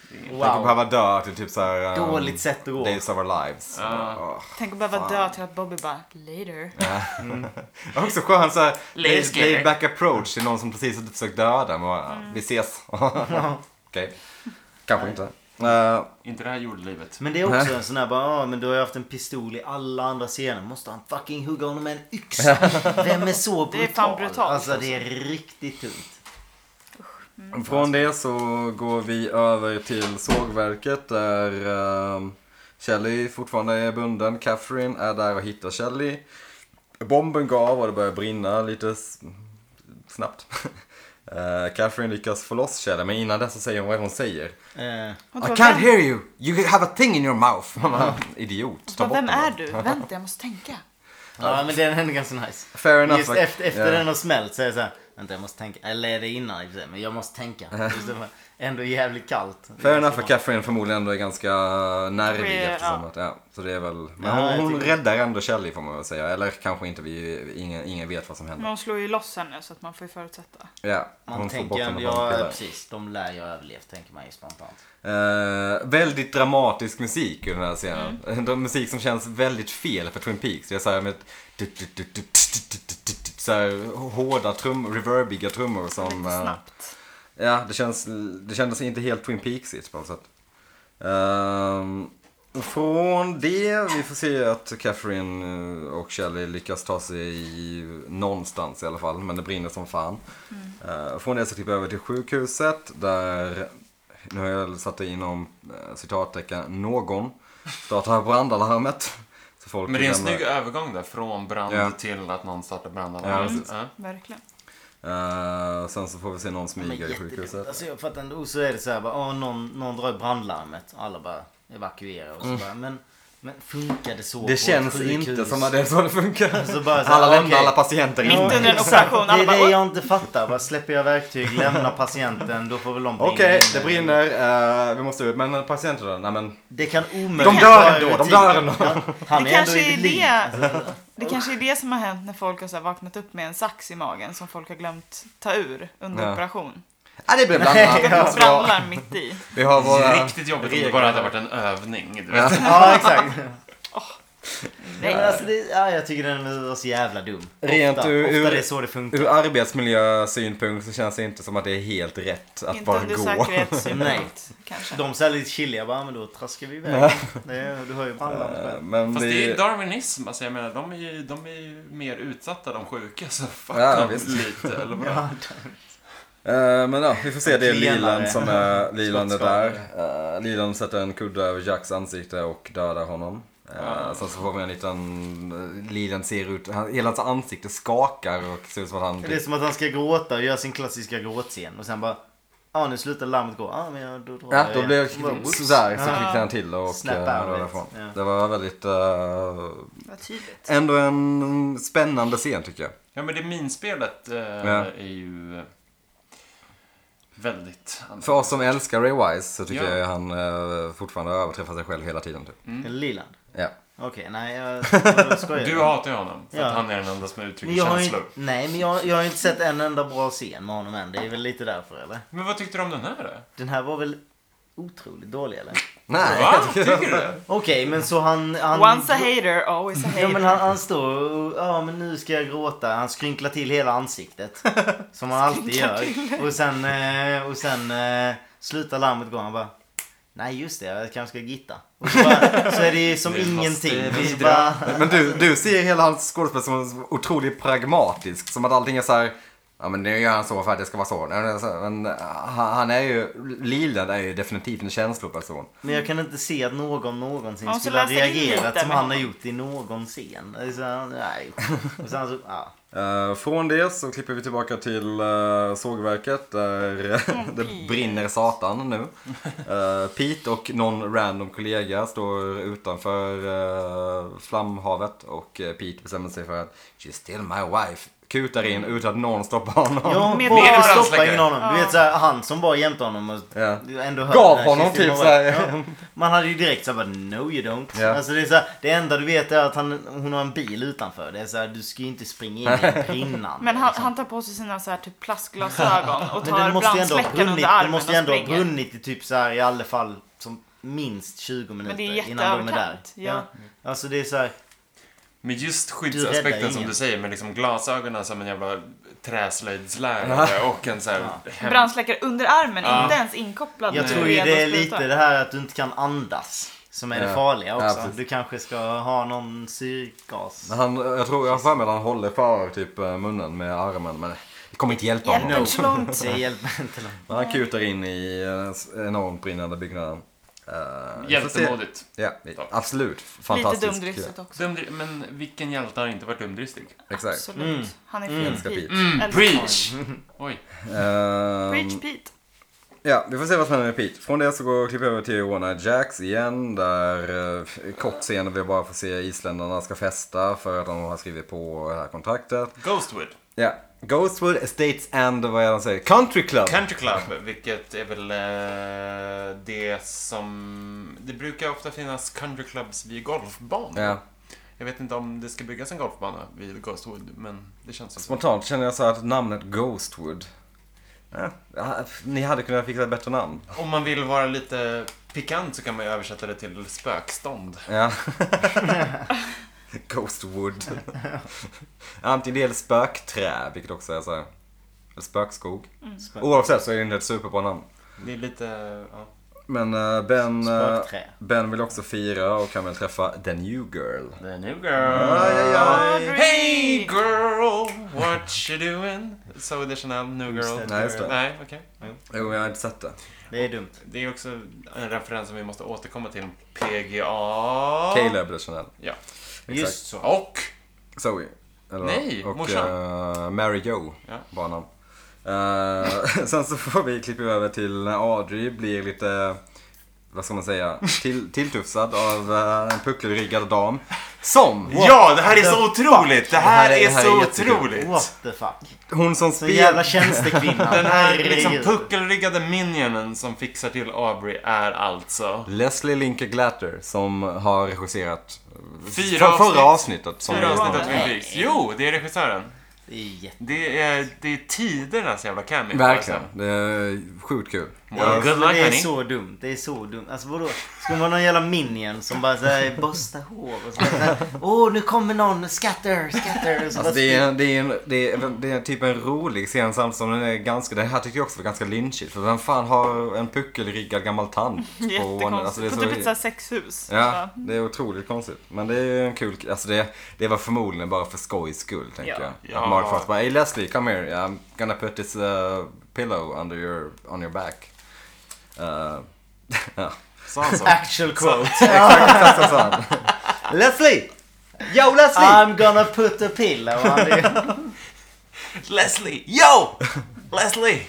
[SPEAKER 4] Tänk att
[SPEAKER 1] Wow.
[SPEAKER 4] behöva dö till typ såhär... ehm,
[SPEAKER 1] Dåligt sätt att gå.
[SPEAKER 4] Days of our lives.
[SPEAKER 2] Ja.
[SPEAKER 4] Åh.
[SPEAKER 3] Tänk att behöva dö till att Bobby bara Later.
[SPEAKER 4] Det var också skön såhär
[SPEAKER 2] Lite
[SPEAKER 4] laid,
[SPEAKER 2] scary.
[SPEAKER 4] laid
[SPEAKER 2] Mm.
[SPEAKER 4] back approach till någon som precis har typ försökt döda en. Bara, Vi ses. [laughs] Okej. Kanske inte. Eh,
[SPEAKER 2] Inte det här jordlivet.
[SPEAKER 1] Men det är också en sån här bara, ah, men du har ju haft en pistol i alla andra scener. Måste han fucking hugga honom med en yxa? Vem är så brutal?
[SPEAKER 3] Det är fan brutalt,
[SPEAKER 1] Alltså det är riktigt tungt.
[SPEAKER 4] från det så går vi över till sågverket där ehm, Shelley fortfarande är bunden. Catherine är där och hittar Shelley. Bomben gav och det börjar brinna lite s- snabbt. [laughs] Eh, Catherine lyckas få loss Shelley men innan dess så säger hon vad hon säger.
[SPEAKER 1] Eh,
[SPEAKER 3] Hon
[SPEAKER 4] I
[SPEAKER 3] bara,
[SPEAKER 4] can't
[SPEAKER 3] "Vem-
[SPEAKER 4] hear you! You have a thing in your [laughs] mouth! Man bara, Idiot, ta
[SPEAKER 3] Bara,
[SPEAKER 4] bort
[SPEAKER 3] Vem
[SPEAKER 4] den.
[SPEAKER 3] är du? Vänta, jag måste tänka.
[SPEAKER 1] ja men den hände ganska nice.
[SPEAKER 4] Fair enough.
[SPEAKER 1] Just efter, efter
[SPEAKER 4] Ja.
[SPEAKER 1] den har smält så är det så här, vänta jag måste tänka. Eller är det innan i och för sig, men jag måste tänka. Just det, men ändå jävligt kallt.
[SPEAKER 4] Fair enough att Catherine förmodligen ändå är ganska nervig
[SPEAKER 3] Ja.
[SPEAKER 4] eftersom att, ja. Så det är väl, men
[SPEAKER 1] Ja, jag
[SPEAKER 4] hon, hon
[SPEAKER 1] tycker-
[SPEAKER 4] räddar ändå Shelley får man väl säga. Eller kanske inte, vi, ingen, ingen vet vad som
[SPEAKER 3] Men
[SPEAKER 4] händer.
[SPEAKER 3] hon slår ju loss henne så att man får ju förutsätta.
[SPEAKER 4] Ja,
[SPEAKER 1] Man
[SPEAKER 4] hon får bort
[SPEAKER 1] tänker,
[SPEAKER 4] henne
[SPEAKER 1] ändå,
[SPEAKER 4] från
[SPEAKER 1] ja
[SPEAKER 4] killar.
[SPEAKER 1] precis, de lär ju ha överlevt tänker man ju spontant.
[SPEAKER 4] Eh, väldigt dramatisk musik i den här scenen. [laughs] Mm. Musik som känns väldigt fel för Twin Peaks. Det är såhär med ett tut, tut, tut, tut, tut, tut, tut, tut, tut, så här hårda trummor, reverbiga trummor som...
[SPEAKER 3] Lite
[SPEAKER 4] eh,
[SPEAKER 3] snabbt.
[SPEAKER 4] Ja, det, känns, det kändes inte helt Twin Peaksigt på något sätt. Ehm, från det, vi får se att Catherine eh, och Shelley lyckas ta sig i, någonstans i alla fall, men det brinner som fan. Eh, från det så klipper jag över till sjukhuset där, nu har jag satt det inom eh, citattecken, någon startar brandalarmet. Så folk
[SPEAKER 2] Men det är en
[SPEAKER 4] kan-
[SPEAKER 2] snygg övergång där, från brand
[SPEAKER 4] Ja.
[SPEAKER 2] till att någon startar
[SPEAKER 4] Ja,
[SPEAKER 2] brandalarm.
[SPEAKER 4] precis.
[SPEAKER 2] Ja.
[SPEAKER 3] Verkligen.
[SPEAKER 4] Eh, sen så får vi se någon
[SPEAKER 1] Men
[SPEAKER 4] smyga i
[SPEAKER 1] jättedumt.
[SPEAKER 4] sjukhuset.
[SPEAKER 1] Alltså jag fattar ändå så är det så här bara, åh, någon, någon drar i brandlarmet. Alla bara evakuerar och så bara, men, men funkar det så på
[SPEAKER 4] Mm. Det
[SPEAKER 1] ett
[SPEAKER 4] känns
[SPEAKER 1] sjukhus?
[SPEAKER 4] inte som att det är så det funkar.
[SPEAKER 1] Alltså bara så här,
[SPEAKER 4] alla lämnar
[SPEAKER 1] okej.
[SPEAKER 4] alla patienter
[SPEAKER 3] Mitt
[SPEAKER 4] in.
[SPEAKER 3] under en
[SPEAKER 1] Exakt,
[SPEAKER 3] operation, alla
[SPEAKER 1] Det
[SPEAKER 3] bara,
[SPEAKER 1] är det
[SPEAKER 3] "Oj."
[SPEAKER 1] jag inte fattar. Bara släpper jag verktyg, lämnar patienten, då får väl de brinna
[SPEAKER 4] Okej,
[SPEAKER 1] in.
[SPEAKER 4] det brinner. eh, vi måste ut. Men patienterna, nej men.
[SPEAKER 1] Det kan omöjligt
[SPEAKER 4] De dör
[SPEAKER 1] vara
[SPEAKER 4] ändå, de
[SPEAKER 1] rutin.
[SPEAKER 4] dör ändå.
[SPEAKER 1] Ja, Han
[SPEAKER 3] Det
[SPEAKER 1] är ändå
[SPEAKER 3] kanske
[SPEAKER 1] i
[SPEAKER 3] är
[SPEAKER 1] vid liv.
[SPEAKER 3] det, det kanske är det som har hänt när folk har så här vaknat upp med en sax i magen som folk har glömt ta ur under
[SPEAKER 4] Ja.
[SPEAKER 3] operation.
[SPEAKER 4] Ja, det blir
[SPEAKER 1] Nej,
[SPEAKER 4] [laughs] blandat.
[SPEAKER 1] ja.
[SPEAKER 4] Så,
[SPEAKER 3] Brandlarm mitt i.
[SPEAKER 4] alltså, vi har våra...
[SPEAKER 2] Riktigt jobbigt om det bara hade varit en övning. Du vet.
[SPEAKER 1] Ja, exakt.
[SPEAKER 3] Nej.
[SPEAKER 1] Men alltså, det, ja, jag tycker den var så jävla dum. Ofta,
[SPEAKER 4] Rent ur-
[SPEAKER 1] ofta
[SPEAKER 4] ur-
[SPEAKER 1] det är så det funkar.
[SPEAKER 4] Ur arbetsmiljösynpunkt så känns det inte som att det är helt rätt att
[SPEAKER 3] Inte
[SPEAKER 4] bara
[SPEAKER 3] under
[SPEAKER 4] gå.
[SPEAKER 1] [laughs]
[SPEAKER 3] säkerhetssynpunkt kanske.
[SPEAKER 1] De så här lite chilliga bara, "Ah, men då traskar vi iväg. Det är- Du hör ju brandlarmet själv.
[SPEAKER 4] Eh, Men
[SPEAKER 2] Fast det är ju
[SPEAKER 4] vi...
[SPEAKER 2] darwinism, alltså jag menar de är ju, de är ju mer utsatta de sjuka så fuck
[SPEAKER 4] Ja,
[SPEAKER 2] dem
[SPEAKER 4] visst.
[SPEAKER 2] lite eller vadå?
[SPEAKER 4] Eh, men ja, vi får se. Det är
[SPEAKER 1] Klenare.
[SPEAKER 4] Lilan
[SPEAKER 1] [laughs]
[SPEAKER 4] som är lilandet där. Eh, Lilan sätter en kudde över Jacks ansikte och dödar honom.
[SPEAKER 1] Ah.
[SPEAKER 4] Uh, sen så får vi en liten... eh, Lilan ser ut... Han, hela hans ansikte skakar och ser ut som att han...
[SPEAKER 1] Det är som att han ska gråta och göra sin klassiska gråtscen och sen bara Ja nu slutar larmet gå. Ja men jag, då drar
[SPEAKER 4] Ja,
[SPEAKER 1] jag
[SPEAKER 4] då
[SPEAKER 1] igen."
[SPEAKER 4] blev
[SPEAKER 1] Så bara,
[SPEAKER 4] jag
[SPEAKER 1] "Whoops."
[SPEAKER 4] sådär, så klickade han till och
[SPEAKER 1] Snap
[SPEAKER 4] eh,
[SPEAKER 1] out
[SPEAKER 4] drar
[SPEAKER 1] it.
[SPEAKER 4] därifrån.
[SPEAKER 1] Ja.
[SPEAKER 4] Det var väldigt... eh,
[SPEAKER 3] Vad tydligt.
[SPEAKER 4] ändå en spännande scen tycker jag.
[SPEAKER 2] Ja, men det minspelet eh,
[SPEAKER 4] Ja.
[SPEAKER 2] är ju eh, väldigt...
[SPEAKER 4] För oss som älskar Ray Wise så tycker
[SPEAKER 2] Ja.
[SPEAKER 4] jag han eh, fortfarande överträffar sig själv hela tiden. Typ.
[SPEAKER 1] Mm. Liland?
[SPEAKER 4] Ja.
[SPEAKER 1] Okej, nej jag, jag skojar.
[SPEAKER 2] Du hatar ju honom, för
[SPEAKER 1] Ja.
[SPEAKER 2] att han är den enda som
[SPEAKER 1] Men
[SPEAKER 2] uttrycker
[SPEAKER 1] jag har ju,
[SPEAKER 2] känslor.
[SPEAKER 1] nej men jag, jag har ju inte sett en enda bra scen med honom än. Det är väl lite därför eller?
[SPEAKER 2] Men vad tyckte du om den här då?
[SPEAKER 1] Den här var väl otroligt dålig eller?
[SPEAKER 4] Nej,
[SPEAKER 2] Va?
[SPEAKER 4] jag tycker-
[SPEAKER 2] Tycker du det?
[SPEAKER 1] Okej men så han... han
[SPEAKER 3] Once a hater, always a hater.
[SPEAKER 1] Ja men han, han står och, ja men nu ska jag gråta. Han skrynklar till hela ansiktet. Som han alltid gör. Och sen, eh, och sen eh, slutar larmet gå. Han bara, nej just det jag kanske ska gitta. Och så, bara, så är det ju som
[SPEAKER 2] Det är fast
[SPEAKER 1] ingenting.
[SPEAKER 2] det
[SPEAKER 1] Det är bara,
[SPEAKER 4] Men du, du ser hela hans skådespel som otroligt pragmatisk. Som att allting är så här. Ja men nu gör han så för att det ska vara så. Nej, men så- Men eh, han han är ju, Lilan är ju definitivt en känsloperson.
[SPEAKER 1] men jag kan inte se att någon någonsin
[SPEAKER 3] Man måste
[SPEAKER 1] skulle ha
[SPEAKER 3] läsa in lite
[SPEAKER 1] reagerat som han
[SPEAKER 3] med
[SPEAKER 1] har
[SPEAKER 3] honom.
[SPEAKER 1] gjort i någon scen. Det är Så, här, nej. Och sen så, ja.
[SPEAKER 4] Eh, från det så klipper vi tillbaka till eh, sågverket där eh, det brinner satan nu. Eh, Pete och någon random kollega står utanför eh, flamhavet och eh, Pete bestämmer sig för att She's still my wife. Kutar in utan att någon stoppar honom.
[SPEAKER 1] Ja,
[SPEAKER 3] Med
[SPEAKER 1] bara
[SPEAKER 2] medelstora
[SPEAKER 1] stoppa in
[SPEAKER 2] släckare.
[SPEAKER 1] honom. Du vet såhär, han som var jämte honom och
[SPEAKER 4] Ja.
[SPEAKER 1] ändå hörde
[SPEAKER 4] Gav
[SPEAKER 1] det här
[SPEAKER 4] honom
[SPEAKER 1] Kristin
[SPEAKER 4] typ
[SPEAKER 1] var-
[SPEAKER 4] såhär.
[SPEAKER 1] Ja. Man hade ju direkt såhär bara no you don't.
[SPEAKER 4] Ja.
[SPEAKER 1] Alltså det är såhär, det enda du vet är att han, hon har en bil utanför. Det är såhär, du ska ju inte springa in i
[SPEAKER 4] [laughs]
[SPEAKER 1] en brinnande.
[SPEAKER 3] Men han,
[SPEAKER 1] liksom.
[SPEAKER 3] han tar på sig sina så här typ plastglasögon och
[SPEAKER 1] [laughs] Men den
[SPEAKER 3] tar
[SPEAKER 1] måste ju ändå ha
[SPEAKER 3] brandsläckaren
[SPEAKER 1] brunnit,
[SPEAKER 3] under
[SPEAKER 1] den
[SPEAKER 3] armen
[SPEAKER 1] måste ju ändå
[SPEAKER 3] och
[SPEAKER 1] ha
[SPEAKER 3] springer.
[SPEAKER 1] brunnit i typ såhär i alla fall som minst 20 minuter
[SPEAKER 3] Men det är
[SPEAKER 1] innan de är där.
[SPEAKER 3] jätteöverkant, ja.
[SPEAKER 1] Alltså det är såhär,
[SPEAKER 2] Men just
[SPEAKER 1] Du räddar
[SPEAKER 2] skyddsaspekten som
[SPEAKER 1] ingen.
[SPEAKER 2] du säger med liksom glasögonen som en jävla träslöjdslärare och en sån här... hem-
[SPEAKER 3] Brandsläckare under armen,
[SPEAKER 2] Ja.
[SPEAKER 3] inte ens inkopplad.
[SPEAKER 1] jag
[SPEAKER 3] när
[SPEAKER 1] tror
[SPEAKER 3] du
[SPEAKER 1] ju
[SPEAKER 3] redo
[SPEAKER 1] det är
[SPEAKER 3] att spruta.
[SPEAKER 1] lite det här att du inte kan andas. Som är det
[SPEAKER 4] Ja.
[SPEAKER 1] farliga
[SPEAKER 4] Ja,
[SPEAKER 1] också.
[SPEAKER 4] precis.
[SPEAKER 1] du kanske ska ha någon syrgas.
[SPEAKER 4] Han, jag tror, jag har för mig att han håller för typ eh, munnen med armen men det kommer inte hjälpa
[SPEAKER 3] Hjälper
[SPEAKER 4] honom.
[SPEAKER 3] inte så [laughs] långt.
[SPEAKER 1] Det hjälper inte långt.
[SPEAKER 4] Men Han kutar in i eh, s- enormt brinnande byggnaden. Eh, vi får se.
[SPEAKER 2] Hjältemodigt.
[SPEAKER 4] Ja, absolut.
[SPEAKER 3] Lite
[SPEAKER 4] Fantastisk.
[SPEAKER 3] dumdristigt också.
[SPEAKER 2] Dumdri- Men vilken hjälte har inte varit dumdristig?
[SPEAKER 4] Exakt.
[SPEAKER 3] Absolut. Han är fin
[SPEAKER 4] Älskar Pete.
[SPEAKER 3] Pete.
[SPEAKER 2] Mm,
[SPEAKER 3] Älskar honom.
[SPEAKER 2] preach! Oj.
[SPEAKER 4] Ehm,
[SPEAKER 3] Preach Pete.
[SPEAKER 4] ja, vi får se vad som händer med Pete. Från det så går och klipper över till One Eye Jacks igen. Där uh, kort scen där vi bara får se isländarna ska festa för att de har skrivit på det här kontraktet.
[SPEAKER 2] Ghostwood.
[SPEAKER 4] Ja. Ghostwood Estates and vad är det han säger? Country Club!
[SPEAKER 2] Country Club, vilket är väl eh, det som... Det brukar ofta finnas country clubs vid golfbanor.
[SPEAKER 4] ja.
[SPEAKER 2] Jag vet inte om det ska byggas en golfbana vid Ghostwood, men det känns ju så.
[SPEAKER 4] Spontant känner jag så här att namnet Ghostwood. Ja, ah, ni hade kunnat fixa ett bättre namn.
[SPEAKER 2] Om man vill vara lite pikant så kan man ju översätta det till spökstånd.
[SPEAKER 4] Ja. [laughs]
[SPEAKER 2] [laughs]
[SPEAKER 4] Ghostwood. Antingen det eller spökträ, vilket också är så här. Eller spökskog.
[SPEAKER 1] Spök-
[SPEAKER 4] Oavsett så är det inte ett superbra namn.
[SPEAKER 2] Det är lite... Ja.
[SPEAKER 4] Men eh, Ben, eh,
[SPEAKER 1] Spökträ.
[SPEAKER 4] ben vill också fira och kan väl träffa the new girl.
[SPEAKER 2] The new girl.
[SPEAKER 3] Audrey!
[SPEAKER 2] Hey girl, what you doing? So additional new girl.
[SPEAKER 4] Nej, just det.
[SPEAKER 2] Nej, okej.
[SPEAKER 4] Jo, jag har inte sett det.
[SPEAKER 1] Det är dumt.
[SPEAKER 2] Det är också en referens som vi måste återkomma till. PGA.
[SPEAKER 4] Caleb det Chanel.
[SPEAKER 2] Ja.
[SPEAKER 1] Just så.
[SPEAKER 2] Och
[SPEAKER 4] Zoe. Eller
[SPEAKER 2] Nej,
[SPEAKER 4] vad? och,
[SPEAKER 2] morsan.
[SPEAKER 4] eh, Mary Jo
[SPEAKER 2] Ja.
[SPEAKER 4] var namn. Eh, [laughs] sen så får vi klippa över till när Audrey blir lite, vad ska man säga,
[SPEAKER 2] [laughs]
[SPEAKER 4] till, tilltufsad av eh, en puckelryggad dam. Som!
[SPEAKER 2] Ja, det här är så otroligt! Det
[SPEAKER 4] Det
[SPEAKER 2] här,
[SPEAKER 4] här är-
[SPEAKER 2] är,
[SPEAKER 4] det här är
[SPEAKER 2] så
[SPEAKER 4] jättekul.
[SPEAKER 2] otroligt!
[SPEAKER 1] What the fuck.
[SPEAKER 4] Hon som
[SPEAKER 1] Så jävla
[SPEAKER 4] spelar...
[SPEAKER 1] tjänstekvinna.
[SPEAKER 2] Den här liksom
[SPEAKER 1] Herregud.
[SPEAKER 2] puckelryggade minionen som fixar till Aubrey är alltså...
[SPEAKER 4] Leslie Linka Glatter som har regisserat eh, för,
[SPEAKER 2] Fyra
[SPEAKER 4] förra
[SPEAKER 2] avsnitt.
[SPEAKER 4] avsnittet. Som
[SPEAKER 2] Fyra
[SPEAKER 4] vi-
[SPEAKER 2] avsnitt av Twin Peaks. Jo, det är regissören.
[SPEAKER 1] Det är jätte...
[SPEAKER 2] Det är, det är tidernas jävla cameo.
[SPEAKER 4] Verkligen.
[SPEAKER 2] alltså.
[SPEAKER 4] Det är sjukt kul.
[SPEAKER 2] Well, good luck
[SPEAKER 1] det är
[SPEAKER 2] honey.
[SPEAKER 1] så dumt. Det är så dumt. Alltså vadå? Ska man vara någon jävla minion som bara såhär borstar hår och sådär. Åh, nu kommer någon. Scatter, scatter. Och så bara
[SPEAKER 4] Alltså det, är, en- det, är en, det, är, det är typ en rolig scen samtidigt som den är ganska, det här tyckte jag också var ganska lynchigt. För vem fan har en puckelryggad gammal tant på
[SPEAKER 3] Jättekonstigt.
[SPEAKER 4] Alltså det är
[SPEAKER 3] på typ ett
[SPEAKER 4] så,
[SPEAKER 3] såhär sexhus.
[SPEAKER 4] ja, det är otroligt konstigt. Men det är ju en kul, alltså det, det var förmodligen bara för skojs skull tänker
[SPEAKER 3] Ja.
[SPEAKER 4] jag. Att
[SPEAKER 2] Ja.
[SPEAKER 4] Mark Frost bara, hey Leslie, come here, I'm gonna put this uh, pillow under your, on your back. Uh, [laughs] ja,
[SPEAKER 2] Sa han så?
[SPEAKER 1] Actual quote.
[SPEAKER 4] exakt så sa han.
[SPEAKER 1] Leslie!
[SPEAKER 4] Yo Leslie!
[SPEAKER 1] I'm gonna put a pillow on
[SPEAKER 2] [laughs]
[SPEAKER 1] you.
[SPEAKER 2] Leslie! Yo! Leslie!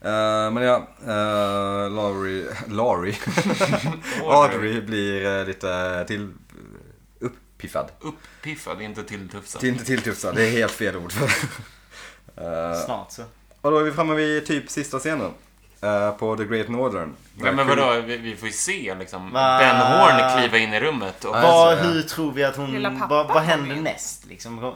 [SPEAKER 4] Eh, men ja, uh, Laurie, [laughs]
[SPEAKER 2] [laughs]
[SPEAKER 4] Laurie. Audrey blir eh, lite till uppiffad.
[SPEAKER 2] Upppiffad, inte tilltufsad.
[SPEAKER 4] Till, inte tilltufsad, det är helt fel ord. [laughs] Eh,
[SPEAKER 1] Snart så.
[SPEAKER 4] och då är vi framme vid typ sista scenen. eh, på The Great Northern.
[SPEAKER 2] Ja, men vadå, vi, vi får ju se liksom
[SPEAKER 1] Va?
[SPEAKER 2] Ben Horn kliva in i rummet och...
[SPEAKER 4] Ja.
[SPEAKER 1] Vad,
[SPEAKER 4] Alltså,
[SPEAKER 1] hur tror vi att hon...
[SPEAKER 3] Lilla pappa
[SPEAKER 1] Vad, vad
[SPEAKER 3] kom
[SPEAKER 1] händer
[SPEAKER 3] in.
[SPEAKER 1] näst liksom?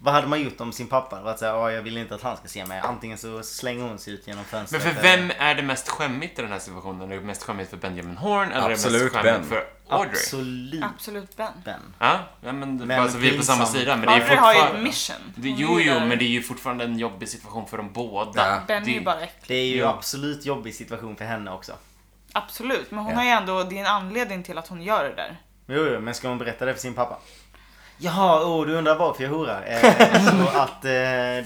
[SPEAKER 1] Vad hade man gjort om sin pappa? Var att säga, "Ja, jag vill inte att han ska se mig. Antingen så slänger hon sig ut genom
[SPEAKER 2] Men
[SPEAKER 1] fönstret.
[SPEAKER 2] för vem är det mest skämmigt i den här situationen? Är det mest skämmigt för Benjamin Horn eller är det
[SPEAKER 4] Absolut
[SPEAKER 2] mest skämmigt
[SPEAKER 4] Ben.
[SPEAKER 2] för Audrey?
[SPEAKER 1] Absolut
[SPEAKER 3] Absolut Ben.
[SPEAKER 1] Ben.
[SPEAKER 2] Ja, ja, men,
[SPEAKER 1] Men
[SPEAKER 2] alltså, vi är på samma
[SPEAKER 1] pinsamt.
[SPEAKER 2] sida. Men det är
[SPEAKER 3] Audrey har ju ett
[SPEAKER 2] fortfarande...
[SPEAKER 3] mission.
[SPEAKER 2] Det,
[SPEAKER 3] Hon
[SPEAKER 2] jo, jo,
[SPEAKER 3] gillar-
[SPEAKER 2] men det är ju fortfarande en jobbig situation för dem båda.
[SPEAKER 4] Ja.
[SPEAKER 3] Ben är
[SPEAKER 2] det,
[SPEAKER 3] ju bara äcklig.
[SPEAKER 1] Det är ju
[SPEAKER 2] Ja.
[SPEAKER 1] absolut jobbig situation för henne också.
[SPEAKER 3] Absolut, men hon
[SPEAKER 4] Ja.
[SPEAKER 3] har ju ändå, det är en anledning till att hon gör det där.
[SPEAKER 1] Jo, jo, men ska hon berätta det för sin pappa? Jaha, åh, du undrar varför jag horar?
[SPEAKER 3] [laughs]
[SPEAKER 1] Eh, så att eh,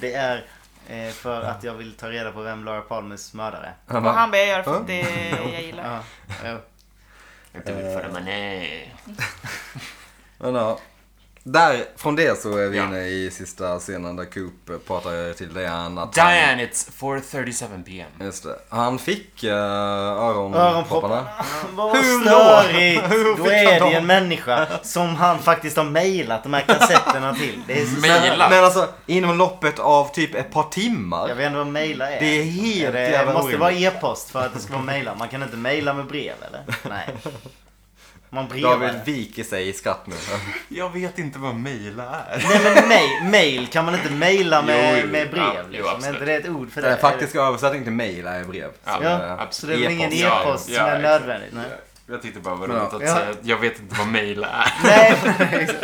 [SPEAKER 1] det är eh, för att jag vill ta reda på vem Laura Palmes mördare är.
[SPEAKER 4] Han
[SPEAKER 3] Och
[SPEAKER 4] bara,
[SPEAKER 3] han bara, jag gör det för
[SPEAKER 4] Ja.
[SPEAKER 3] att det jag gillar.
[SPEAKER 1] Ja, jo.
[SPEAKER 2] Inte vill föra man är.
[SPEAKER 4] Men ja. Där, från det så är vi
[SPEAKER 2] Ja.
[SPEAKER 4] inne i sista scenen där Coop pratar till Diane att han-
[SPEAKER 2] Diane, it's 4.37 PM.
[SPEAKER 4] Just det. Han fick eh, öronpropparna.
[SPEAKER 1] Öronpropparna. Vad
[SPEAKER 4] Hur då?
[SPEAKER 1] störigt!
[SPEAKER 4] Hur
[SPEAKER 1] Då
[SPEAKER 4] fick
[SPEAKER 1] är
[SPEAKER 4] han
[SPEAKER 1] det ju
[SPEAKER 4] dem?
[SPEAKER 1] en människa som han faktiskt har mejlat de här kassetterna till. Det är så
[SPEAKER 2] Mejla?
[SPEAKER 1] störigt.
[SPEAKER 4] Men alltså, inom loppet av typ ett par timmar.
[SPEAKER 1] Jag vet inte vad mejla är.
[SPEAKER 4] Det är helt
[SPEAKER 1] det
[SPEAKER 4] jävla
[SPEAKER 1] måste
[SPEAKER 4] orimligt.
[SPEAKER 1] vara e-post för att det ska vara mejla. Man kan inte mejla med brev eller? Nej. Man brevar.
[SPEAKER 4] David viker sig i skratt
[SPEAKER 1] [laughs]
[SPEAKER 4] nu.
[SPEAKER 2] Jag vet inte vad mejla är.
[SPEAKER 1] Nej men mej- mail kan man inte mejla med,
[SPEAKER 2] Jo, jo,
[SPEAKER 1] med brev?
[SPEAKER 2] ja, jo,
[SPEAKER 1] liksom.
[SPEAKER 2] absolut.
[SPEAKER 1] är inte det ett ord för det?
[SPEAKER 4] Den faktiska översättningen till mail är brev.
[SPEAKER 2] Ja,
[SPEAKER 4] Så,
[SPEAKER 1] Ja,
[SPEAKER 4] eh,
[SPEAKER 1] Så det är väl ingen
[SPEAKER 4] e-post.
[SPEAKER 1] e-post
[SPEAKER 2] Ja,
[SPEAKER 1] som
[SPEAKER 2] ja,
[SPEAKER 1] är
[SPEAKER 2] exakt.
[SPEAKER 1] nödvändigt? Nej.
[SPEAKER 2] Jag tyckte bara vad
[SPEAKER 4] Men ja.
[SPEAKER 2] roligt att
[SPEAKER 1] Ja.
[SPEAKER 2] säga att jag vet inte vad mejla är.
[SPEAKER 1] Nej, precis.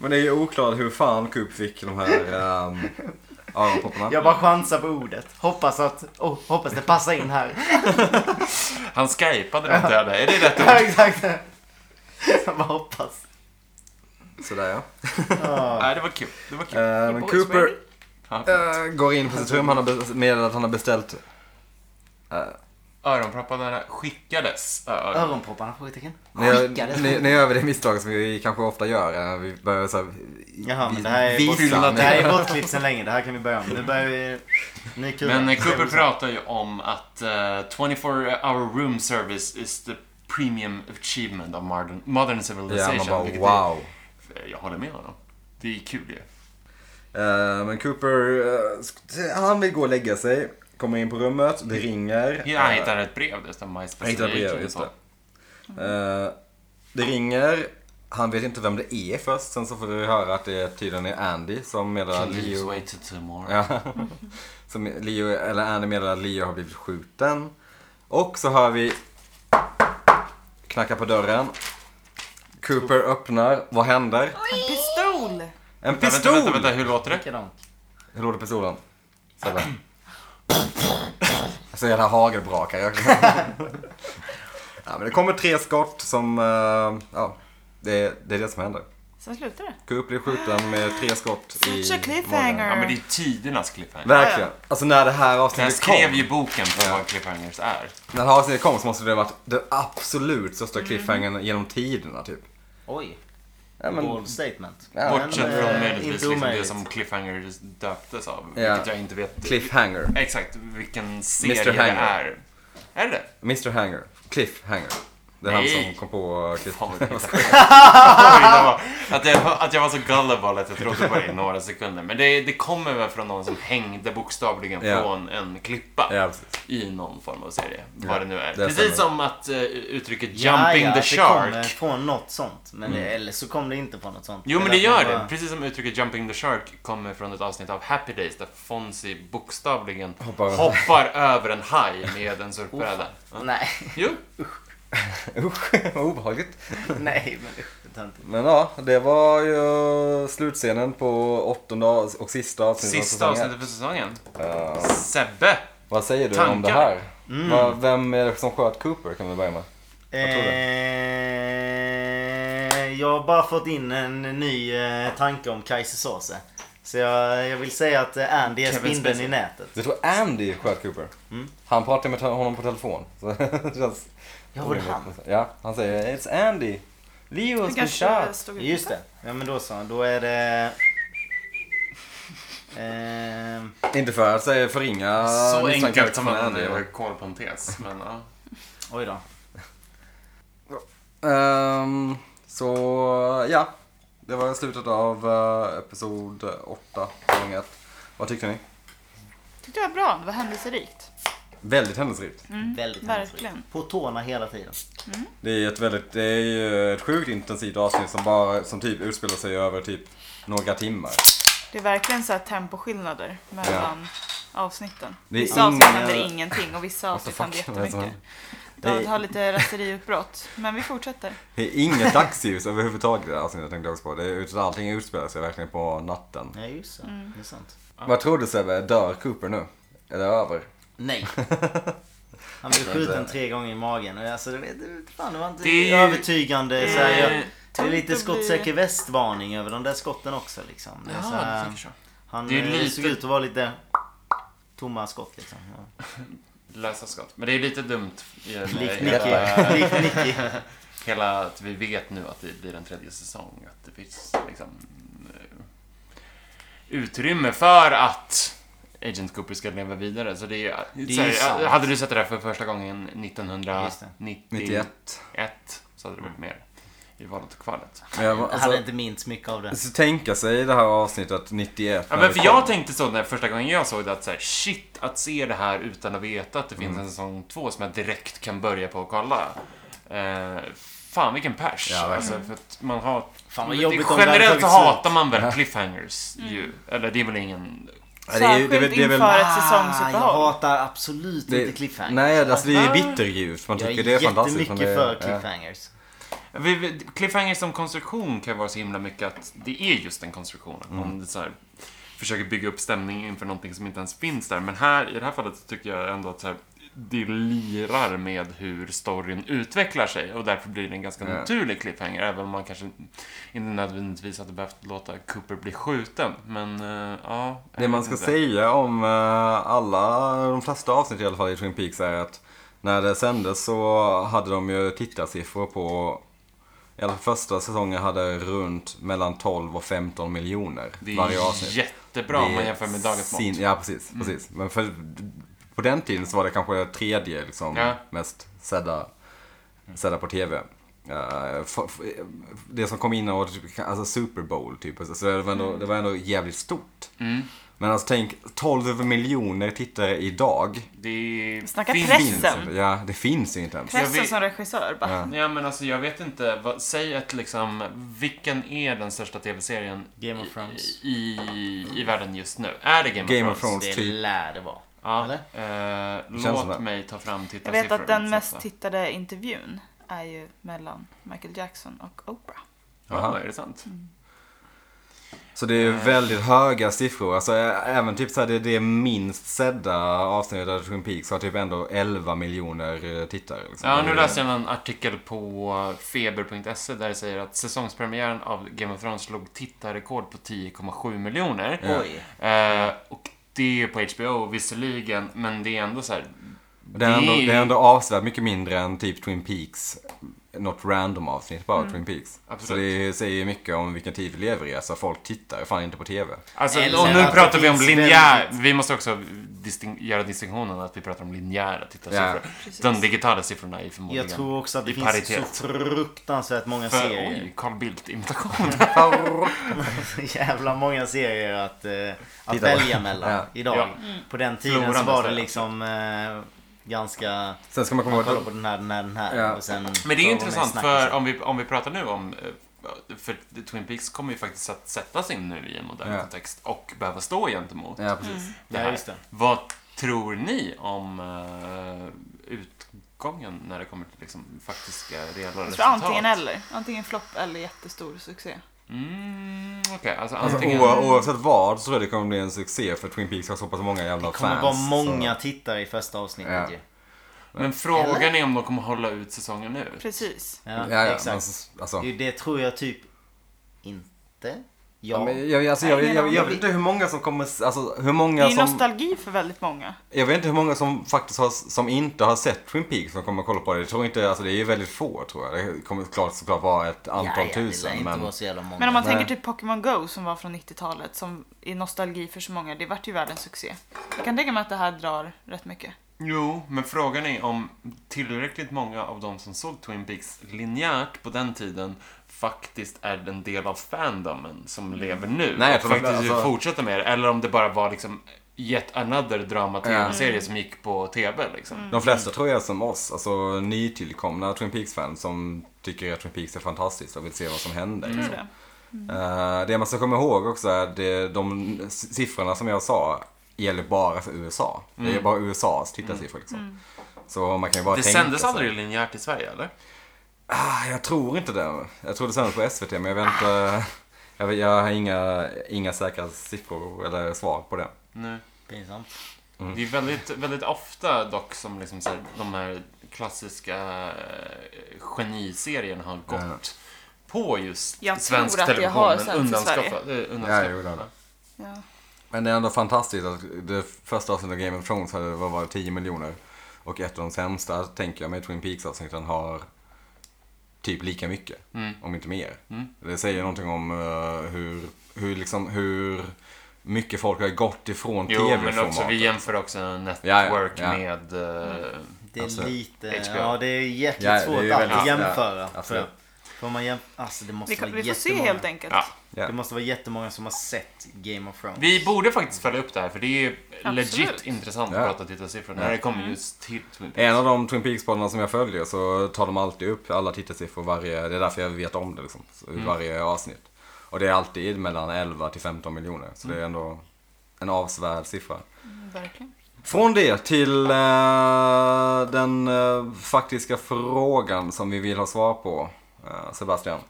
[SPEAKER 4] Men det är ju oklart hur fan Coop fick de här
[SPEAKER 1] [laughs]
[SPEAKER 4] um, öronpropparna.
[SPEAKER 1] jag bara chansar på ordet. Hoppas att, oh, hoppas det passar in här.
[SPEAKER 2] Han skypade den döda. Är det rätt
[SPEAKER 1] Ja,
[SPEAKER 2] ord?
[SPEAKER 1] [laughs] exakt. Jag bara hoppas.
[SPEAKER 4] Sådär ja.
[SPEAKER 2] Nej, det var kul. Det var kul.
[SPEAKER 4] Eh, men
[SPEAKER 3] boys
[SPEAKER 4] Cooper
[SPEAKER 3] ready?
[SPEAKER 2] Ja.
[SPEAKER 4] eh, går in på sitt rum. Han har bes- meddelat att han har beställt... eh,
[SPEAKER 2] Öronpropparna skickades. Ö- ö-
[SPEAKER 1] Öronpropparna? Frågetecken.
[SPEAKER 4] Ni
[SPEAKER 1] Skickades.
[SPEAKER 4] gör, ni, ni gör väl det misstag som vi kanske ofta gör. eh, Vi börjar så här,
[SPEAKER 1] Jaha,
[SPEAKER 4] vi-
[SPEAKER 1] men det här är
[SPEAKER 4] visa.
[SPEAKER 1] bortklippt. Det här är bortklippt sen länge. Det här kan vi börja om. Nu börjar vi... Ny kul.
[SPEAKER 2] Men eh, Cooper pratar ju om att eh, 24-hour room service is the premium achievement of modern, modern
[SPEAKER 4] Ja,
[SPEAKER 2] civilization.
[SPEAKER 4] man bara
[SPEAKER 2] vilket
[SPEAKER 4] wow.
[SPEAKER 2] Är, jag håller med honom. Det är kul ju.
[SPEAKER 4] Eh, men Cooper, eh, sk- han vill gå och lägga sig. Kommer in på rummet, det ringer.
[SPEAKER 2] Ja, Han
[SPEAKER 4] Eh,
[SPEAKER 2] hittar ett brev dessutom.
[SPEAKER 4] Jag hittade brev, just det. Eh, det ringer. Han vet inte vem det är först. Sen så får vi höra att det tydligen är Andy som meddelar att
[SPEAKER 2] Please
[SPEAKER 4] Leo...
[SPEAKER 2] wait till tomorrow.
[SPEAKER 4] Ja. [laughs] som Leo, eller Andy meddelar att Leo har blivit skjuten. Och så hör vi knacka på dörren. Cooper öppnar. Vad händer?
[SPEAKER 3] En
[SPEAKER 4] En
[SPEAKER 3] pistol!
[SPEAKER 2] Vänta,
[SPEAKER 4] pistol!
[SPEAKER 2] vänta, vänta, hur låter det?
[SPEAKER 1] Likadant.
[SPEAKER 4] Hur låter pistolen? Så här bara. Så jävla hagelbrakar. Jag... ja, men det kommer tre skott som... eh, ja, det, är- det är det som händer.
[SPEAKER 3] Sen slutar det.
[SPEAKER 4] Coop blir skjuten med tre skott i...
[SPEAKER 3] Such a cliffhanger.
[SPEAKER 4] magen.
[SPEAKER 2] Ja, men det är tidernas cliffhanger.
[SPEAKER 4] Verkligen. Alltså när det här
[SPEAKER 2] Jag
[SPEAKER 4] avsnittet
[SPEAKER 2] skrev
[SPEAKER 4] kom.
[SPEAKER 2] ju boken för
[SPEAKER 4] Ja.
[SPEAKER 2] vad cliffhangers är.
[SPEAKER 4] När det här avsnittet kom så måste det ha varit den absolut största cliffhangern genom tiderna typ.
[SPEAKER 1] Oj.
[SPEAKER 4] Ja, men,
[SPEAKER 1] Bold statement.
[SPEAKER 4] Ja.
[SPEAKER 2] Bortsett
[SPEAKER 1] Men,
[SPEAKER 2] från
[SPEAKER 1] eh,
[SPEAKER 2] möjligtvis
[SPEAKER 1] inte
[SPEAKER 2] liksom det
[SPEAKER 1] omöjligt.
[SPEAKER 2] som cliffhangers döptes av.
[SPEAKER 4] Ja.
[SPEAKER 2] Vilket jag inte vet
[SPEAKER 4] cliffhanger.
[SPEAKER 2] exakt vilken serie det
[SPEAKER 4] Hanger.
[SPEAKER 2] är. Är det?
[SPEAKER 4] Mr Hanger. Cliffhanger. Det är han
[SPEAKER 2] Nej.
[SPEAKER 4] som kom på... eh,
[SPEAKER 2] Fan,
[SPEAKER 4] [laughs]
[SPEAKER 2] vad jag var- att, jag, att jag var så gullible att jag trodde på det i några sekunder. Men det, det kommer väl från någon som hängde bokstavligen
[SPEAKER 4] Ja.
[SPEAKER 2] från en klippa
[SPEAKER 4] [laughs] Ja, precis.
[SPEAKER 2] i någon form av serie. Vad
[SPEAKER 4] Ja,
[SPEAKER 2] det nu är.
[SPEAKER 4] det
[SPEAKER 2] Precis
[SPEAKER 4] stämmer.
[SPEAKER 2] som att eh, uttrycket
[SPEAKER 1] Ja,
[SPEAKER 2] jumping
[SPEAKER 1] ja,
[SPEAKER 2] the
[SPEAKER 1] att Det kommer
[SPEAKER 2] shark.
[SPEAKER 1] från något sånt. Men
[SPEAKER 4] Mm.
[SPEAKER 1] det, eller så kom det inte från något sånt.
[SPEAKER 2] Jo men det
[SPEAKER 1] Eller att
[SPEAKER 2] gör
[SPEAKER 1] man
[SPEAKER 2] det.
[SPEAKER 1] bara-
[SPEAKER 2] Precis som uttrycket jumping the shark kommer från ett avsnitt av Happy Days där Fonzie bokstavligen
[SPEAKER 4] Hoppar
[SPEAKER 2] hoppar,
[SPEAKER 4] över-
[SPEAKER 2] över en haj med en surfbräda.
[SPEAKER 1] Nej, [laughs]
[SPEAKER 2] Jo,
[SPEAKER 4] Usch, [laughs] vad obehagligt.
[SPEAKER 1] nej men usch, det är inte.
[SPEAKER 4] Men ja, det var ju slutscenen på åttonde av- och sista avsnittet av
[SPEAKER 2] sista
[SPEAKER 4] säsongen.
[SPEAKER 2] avsnittet för säsongen. Sebbe!
[SPEAKER 4] Vad säger du om
[SPEAKER 2] Tankar? Mm.
[SPEAKER 4] det här? Vad- Vem är det som sköt Cooper kan vi börja med? tror det.
[SPEAKER 1] Eh, jag har bara fått in en ny eh, tanke om Kajsesåse. Så jag, jag vill säga att eh, Andy är
[SPEAKER 2] Kevin
[SPEAKER 1] spindeln
[SPEAKER 2] Spacey.
[SPEAKER 1] i nätet.
[SPEAKER 4] Du tror Andy sköt Cooper?
[SPEAKER 2] Mm.
[SPEAKER 4] Han pratade med te- honom på telefon. Så [laughs] det känns
[SPEAKER 1] Ja, var det
[SPEAKER 4] orimligt.
[SPEAKER 1] han?
[SPEAKER 4] Ja, han säger It's Andy. Leo has been
[SPEAKER 3] kanske
[SPEAKER 4] shot.
[SPEAKER 3] stod ut.
[SPEAKER 1] Just det. Ja men då så. Då är det... Eh,
[SPEAKER 4] Inte för att säga förringa
[SPEAKER 2] Så
[SPEAKER 4] misstanken
[SPEAKER 2] enkelt som
[SPEAKER 4] från
[SPEAKER 2] en
[SPEAKER 4] Andy.
[SPEAKER 2] eh, kol på en tes. Men, ja.
[SPEAKER 1] oj då.
[SPEAKER 4] Ehm, så ja, det var slutet av eh, episod 8, säsong 1. Vad tyckte ni?
[SPEAKER 3] Tyckte det var bra. Det var händelserikt.
[SPEAKER 4] Väldigt händelserikt.
[SPEAKER 1] Väldigt
[SPEAKER 3] Verkligen.
[SPEAKER 1] På tårna hela tiden.
[SPEAKER 4] Det är ett väldigt, det är ju ett sjukt intensivt avsnitt som bara, som typ utspelar sig över typ några timmar.
[SPEAKER 3] Det är verkligen så här temposkillnader mellan avsnitten.
[SPEAKER 4] Det är
[SPEAKER 3] Vissa
[SPEAKER 4] inga-
[SPEAKER 3] avsnitt händer ingenting och vissa
[SPEAKER 4] the
[SPEAKER 3] avsnitt händer
[SPEAKER 4] fuck? Vad är det som
[SPEAKER 3] jättemycket.
[SPEAKER 4] händer?
[SPEAKER 3] David har lite raseriutbrott, men vi fortsätter.
[SPEAKER 4] Det är inget dagsljus överhuvudtaget i det här avsnittet tänkte jag också på. Det är, utan allting utspelar sig verkligen på natten.
[SPEAKER 1] Ja just det. Det är sant.
[SPEAKER 4] Vad tror du Sebbe, dör Cooper nu? Är det över?
[SPEAKER 2] [laughs]
[SPEAKER 1] Nej. Han blev skjuten tre gånger i magen. Och alltså, det, det, fan, det var inte
[SPEAKER 2] Det är ju-
[SPEAKER 1] övertygande. så här,
[SPEAKER 2] Eh,
[SPEAKER 1] jag, det är lite
[SPEAKER 3] tungt att bli-
[SPEAKER 1] skottsäker västvarning över de där skotten också. Liksom. Det, är så
[SPEAKER 2] Jaha, du
[SPEAKER 1] här,
[SPEAKER 2] tänker så.
[SPEAKER 1] han
[SPEAKER 2] Det är
[SPEAKER 1] eh,
[SPEAKER 2] lite-
[SPEAKER 1] såg ut att vara lite tomma skott. Liksom. Ja.
[SPEAKER 2] Lösa skott. Men det är lite dumt i den,
[SPEAKER 1] Likt
[SPEAKER 2] hela, [laughs]
[SPEAKER 1] Nicky. Likt Nicky.
[SPEAKER 2] hela att vi vet nu att det blir en tredje säsong. Att det finns liksom eh, utrymme för att Agent Cooper ska leva vidare. Så det är,
[SPEAKER 1] är ju
[SPEAKER 2] så här,
[SPEAKER 1] sant.
[SPEAKER 2] hade du sett det där för första gången
[SPEAKER 1] Just det.
[SPEAKER 2] 1991
[SPEAKER 4] 91.
[SPEAKER 2] så hade det varit mer i valet och kvalet.
[SPEAKER 4] Men jag, alltså,
[SPEAKER 1] Han hade inte minst mycket av det.
[SPEAKER 4] Så tänka sig i det här avsnittet 91.
[SPEAKER 2] Ja,
[SPEAKER 4] när
[SPEAKER 2] men
[SPEAKER 4] det
[SPEAKER 2] för
[SPEAKER 4] kom.
[SPEAKER 2] jag tänkte så när första gången jag såg det att så här, shit, att se det här utan att veta att det finns
[SPEAKER 4] Mm.
[SPEAKER 2] en säsong två som jag direkt kan börja på och kolla. Eh, fan vilken pers.
[SPEAKER 4] Ja, verkligen.
[SPEAKER 2] alltså, för att man har...
[SPEAKER 1] Fan vad
[SPEAKER 2] det-
[SPEAKER 1] jobbigt om det Mm. hade
[SPEAKER 2] Generellt så
[SPEAKER 1] tagit slut.
[SPEAKER 2] hatar man väl cliffhangers ju. Eller det är väl ingen...
[SPEAKER 4] Ja, det är ju-
[SPEAKER 3] Särskilt
[SPEAKER 4] det är väl- det är väl-
[SPEAKER 3] inför ett
[SPEAKER 1] Ah, jag
[SPEAKER 3] säsongsuppehåll.
[SPEAKER 1] hatar absolut
[SPEAKER 4] Det-
[SPEAKER 1] inte cliffhangers.
[SPEAKER 4] Nej, alltså det är bitterljuvt. Man
[SPEAKER 1] jag
[SPEAKER 4] tycker
[SPEAKER 1] är
[SPEAKER 4] det är fantastiskt.
[SPEAKER 1] jättemycket
[SPEAKER 4] men det är-
[SPEAKER 1] för cliffhangers.
[SPEAKER 2] Vi- vi- Cliffhangers som konstruktion kan vara så himla mycket att det är just en konstruktion. Att man
[SPEAKER 4] Mm.
[SPEAKER 2] så här, försöker bygga upp stämning inför någonting som inte ens finns där. Men här, i det här fallet så tycker jag ändå att så här, det lirar med hur storyn utvecklar sig och därför blir det en ganska
[SPEAKER 4] Ja.
[SPEAKER 2] naturlig cliffhanger. Även om man kanske inte nödvändigtvis hade behövt låta Cooper bli skjuten. Men eh, ja.
[SPEAKER 4] Ja. Det man ska säga om eh, alla, de flesta avsnitt i alla fall i Twin Peaks är att när det sändes så hade de ju tittarsiffror på, i alla fall första säsongen hade runt mellan 12 och 15 miljoner
[SPEAKER 2] Det
[SPEAKER 4] varje
[SPEAKER 2] är
[SPEAKER 4] avsnitt.
[SPEAKER 2] jättebra
[SPEAKER 4] Det
[SPEAKER 2] om man
[SPEAKER 4] är
[SPEAKER 2] jämför med dagens Mm. mått.
[SPEAKER 4] sin- Ja, precis. precis. Men för, på den tiden så var det kanske tredje liksom,
[SPEAKER 2] Ja.
[SPEAKER 4] mest sedda, sedda på tv. Eh, f- f- det som kom in och typ, alltså Super Bowl typ. Alltså, det, var
[SPEAKER 2] Mm.
[SPEAKER 4] ändå, det var ändå jävligt stort. Men alltså tänk 12 miljoner tittare idag.
[SPEAKER 2] Det
[SPEAKER 3] Snacka
[SPEAKER 2] finns-
[SPEAKER 3] press.
[SPEAKER 4] Finns,
[SPEAKER 3] Pressen.
[SPEAKER 4] inte. ja, det finns ju inte ens.
[SPEAKER 2] Jag
[SPEAKER 3] Pressen
[SPEAKER 2] vet-
[SPEAKER 3] som regissör bara.
[SPEAKER 4] Ja.
[SPEAKER 2] Ja men alltså jag vet inte, vad, säg ett liksom, vilken är den största tv-serien
[SPEAKER 1] Game of Thrones.
[SPEAKER 2] i, i, i världen just nu? Är det Game,
[SPEAKER 4] Game
[SPEAKER 2] of Thrones?
[SPEAKER 1] Det
[SPEAKER 4] typ.
[SPEAKER 1] lär det vara.
[SPEAKER 2] Ja,
[SPEAKER 1] Eller?
[SPEAKER 2] eh,
[SPEAKER 4] känns som
[SPEAKER 2] låt
[SPEAKER 4] det.
[SPEAKER 2] mig ta fram
[SPEAKER 3] Jag
[SPEAKER 2] tittarsiffror.
[SPEAKER 3] vet att den mest
[SPEAKER 2] tittade...
[SPEAKER 3] tittade intervjun är ju mellan Michael Jackson och Oprah.
[SPEAKER 4] Aha.
[SPEAKER 2] Ja, är det sant?
[SPEAKER 3] Mm.
[SPEAKER 4] Så det är ju väldigt höga siffror. Alltså ä- även typ så här, det, det minst sedda avsnittet av Twin Peaks har typ ändå 11 miljoner eh, tittare. Liksom.
[SPEAKER 2] Ja, nu läste jag en artikel på feber.se där det säger att säsongspremiären av Game of Thrones slog tittarrekord på 10,7 miljoner.
[SPEAKER 1] Oj.
[SPEAKER 2] Eh, och det är på HBO visserligen, men det är ändå så här.
[SPEAKER 4] Det är, ändå,
[SPEAKER 2] det är-
[SPEAKER 4] det är ändå avsevärt mycket mindre än typ Twin Peaks. Något random avsnitt bara,
[SPEAKER 1] Mm.
[SPEAKER 4] Twin Peaks.
[SPEAKER 2] Absolut.
[SPEAKER 4] Så det säger ju mycket om vilken tid vi lever i. Alltså folk tittar ju fan inte på TV.
[SPEAKER 2] Alltså,
[SPEAKER 1] Eller
[SPEAKER 2] och nu
[SPEAKER 1] att det
[SPEAKER 2] pratar vi om
[SPEAKER 1] finns
[SPEAKER 2] linjär.
[SPEAKER 1] väldigt-
[SPEAKER 2] Vi måste också disting- göra distinktionen att vi pratar om linjära
[SPEAKER 4] Ja.
[SPEAKER 2] tittarsiffror. De digitala siffrorna är förmodligen
[SPEAKER 1] Jag tror också att det
[SPEAKER 2] i
[SPEAKER 1] finns
[SPEAKER 2] paritet.
[SPEAKER 1] så fruktansvärt många
[SPEAKER 2] För,
[SPEAKER 1] serier.
[SPEAKER 2] oj, Carl Bildt-imitation.
[SPEAKER 4] [laughs]
[SPEAKER 1] Så [laughs] jävla många serier att, eh, att
[SPEAKER 4] Titta på.
[SPEAKER 1] välja mellan
[SPEAKER 4] Ja. Mm.
[SPEAKER 1] idag.
[SPEAKER 2] Ja.
[SPEAKER 1] På den tiden så
[SPEAKER 2] Floran
[SPEAKER 1] var det
[SPEAKER 2] nästan.
[SPEAKER 1] liksom eh, ganska...
[SPEAKER 4] Sen ska man komma
[SPEAKER 1] Man
[SPEAKER 4] ihåg
[SPEAKER 1] kollar
[SPEAKER 4] att
[SPEAKER 1] på den här, den här, den här.
[SPEAKER 4] Ja.
[SPEAKER 1] Och sen,
[SPEAKER 2] Men det är ju
[SPEAKER 1] Ja,
[SPEAKER 2] intressant
[SPEAKER 1] snackis.
[SPEAKER 2] för om vi, om vi pratar nu om eh, för Twin Peaks kommer ju faktiskt att sättas in nu i en modern
[SPEAKER 4] Ja.
[SPEAKER 2] kontext och behöva stå gentemot
[SPEAKER 4] Ja, precis.
[SPEAKER 2] det
[SPEAKER 1] Ja,
[SPEAKER 2] här.
[SPEAKER 1] just det.
[SPEAKER 2] Vad tror ni om eh, utgången när det kommer till liksom, faktiska reella
[SPEAKER 3] Jag tror Alltså, antingen
[SPEAKER 2] resultat?
[SPEAKER 3] eller. Antingen flopp eller jättestor succé.
[SPEAKER 2] Mm, Okej, alltså
[SPEAKER 4] Alltså,
[SPEAKER 2] antingen...
[SPEAKER 4] oa- oavsett vad så tror jag det kommer bli en succé för Twin Peaks har så pass många jävla
[SPEAKER 1] Det
[SPEAKER 4] fans.
[SPEAKER 1] kommer vara många
[SPEAKER 4] Så.
[SPEAKER 1] tittare i första
[SPEAKER 4] Ja.
[SPEAKER 1] avsnittet ju.
[SPEAKER 2] Men frågan är om de kommer hålla ut säsongen ut.
[SPEAKER 3] Precis.
[SPEAKER 1] ja.
[SPEAKER 4] Ja, ja, men,
[SPEAKER 1] exakt.
[SPEAKER 4] alltså,
[SPEAKER 1] Det- Det tror jag typ inte.
[SPEAKER 4] ja.
[SPEAKER 1] Ja.
[SPEAKER 4] men jag, alltså, jag, jag,
[SPEAKER 3] Nej,
[SPEAKER 4] jag,
[SPEAKER 3] men-
[SPEAKER 4] jag vet inte hur många som kommer, s- alltså hur
[SPEAKER 3] Det är
[SPEAKER 4] många
[SPEAKER 3] ju
[SPEAKER 4] som,
[SPEAKER 3] nostalgi för väldigt många.
[SPEAKER 4] jag vet inte hur många som faktiskt har, som inte har sett Twin Peaks som kommer kolla på det. Jag tror inte, alltså det är väldigt få tror jag. Det kommer klart, såklart vara ett antal
[SPEAKER 1] ja, Det
[SPEAKER 4] tusen
[SPEAKER 1] lär inte
[SPEAKER 4] men.
[SPEAKER 1] vara så jävla många.
[SPEAKER 3] Men om man
[SPEAKER 4] Nej.
[SPEAKER 3] tänker typ Pokémon Go som var från 90-talet som är nostalgi för så många. Det vart ju världens succé. Jag kan tänka mig att det här drar rätt mycket.
[SPEAKER 2] Jo, men frågan är om tillräckligt många av de som såg Twin Peaks linjärt på den tiden faktiskt är en del av fandomen som lever nu
[SPEAKER 4] Nej, jag
[SPEAKER 2] och
[SPEAKER 4] tror
[SPEAKER 2] Mm. faktiskt
[SPEAKER 4] att- alltså-
[SPEAKER 2] fortsätter med det. Eller om det bara var liksom yet another drama-tv-serie som gick på tv liksom.
[SPEAKER 4] De flesta tror jag är som oss, alltså nytillkomna Twin Peaks-fans som tycker att Twin Peaks är fantastiskt och vill se vad som händer.
[SPEAKER 2] Mm.
[SPEAKER 3] Tror
[SPEAKER 4] Liksom.
[SPEAKER 3] du det?
[SPEAKER 1] Mm.
[SPEAKER 4] Eh, det man ska komma ihåg också är att det- de s- siffrorna som jag sa gäller bara för USA. Det
[SPEAKER 1] Mm.
[SPEAKER 4] är bara USAs tittarsiffror liksom. Så man kan ju bara
[SPEAKER 2] Det
[SPEAKER 4] tänka
[SPEAKER 2] sändes
[SPEAKER 4] sig-
[SPEAKER 2] aldrig linjärt i Sverige, eller?
[SPEAKER 4] Ah, jag tror inte det. Jag tror det sändes på SVT men jag vet inte. Jag, vet- jag har inga, inga säkra siffror eller svar på det.
[SPEAKER 2] Nej.
[SPEAKER 1] Pinsamt.
[SPEAKER 2] Det är väldigt, väldigt ofta dock som liksom så här, de här klassiska eh, geniserierna har gått
[SPEAKER 4] Ja.
[SPEAKER 2] på just
[SPEAKER 3] Jag
[SPEAKER 2] svensk
[SPEAKER 3] tror att det
[SPEAKER 2] television.
[SPEAKER 3] har
[SPEAKER 2] men
[SPEAKER 3] sänts i Sverige.
[SPEAKER 2] undanskaffa- eh,
[SPEAKER 4] Ja,
[SPEAKER 2] undanskaffa-
[SPEAKER 4] jo, det har det.
[SPEAKER 3] Ja.
[SPEAKER 4] Men det är ändå fantastiskt att det första avsnittet av Game of Thrones hade vad var det, 10 miljoner. Och ett av de sämsta, tänker jag mig, Twin Peaks-avsnitten har typ lika mycket.
[SPEAKER 2] Mm.
[SPEAKER 4] Om inte mer. Det säger någonting om eh, hur, hur, liksom, hur mycket folk har gått ifrån
[SPEAKER 2] Jo, men också, vi
[SPEAKER 4] tv-formatet.
[SPEAKER 2] jämför också
[SPEAKER 4] Ja,
[SPEAKER 2] Network
[SPEAKER 4] ja, ja.
[SPEAKER 2] med... eh,
[SPEAKER 1] Det är
[SPEAKER 4] Alltså,
[SPEAKER 1] lite...
[SPEAKER 2] HBO.
[SPEAKER 1] Ja, det är jäkligt
[SPEAKER 4] Ja, det är
[SPEAKER 1] svårt
[SPEAKER 4] ju
[SPEAKER 1] alltid
[SPEAKER 4] väldigt-
[SPEAKER 1] att
[SPEAKER 4] ja, alltså-
[SPEAKER 1] jämföra. tror
[SPEAKER 4] absolut.
[SPEAKER 1] jag. För om man jäm... Alltså det måste
[SPEAKER 3] Vi, kan,
[SPEAKER 1] vara
[SPEAKER 3] vi får se
[SPEAKER 1] jättemånga.
[SPEAKER 3] helt enkelt.
[SPEAKER 2] ja.
[SPEAKER 4] Ja.
[SPEAKER 1] Det måste vara jättemånga som har sett Game of Thrones.
[SPEAKER 2] Vi borde faktiskt följa upp det här, för det är
[SPEAKER 3] Absolut. Mm.
[SPEAKER 2] legit intressant
[SPEAKER 4] Ja.
[SPEAKER 2] att prata tittarsiffror när det kommer just till Twin Peaks.
[SPEAKER 4] En av de Twin Peaks-poddarna som jag följer så tar de alltid upp alla tittarsiffror varje, det är därför jag vet om det liksom, så i varje avsnitt. Och det är alltid mellan 11 till 15 miljoner, så det är ändå en avsevärd siffra.
[SPEAKER 3] Mm, Verkligen.
[SPEAKER 4] Från det till eh, den eh, faktiska frågan som vi vill ha svar på, eh, Sebastian.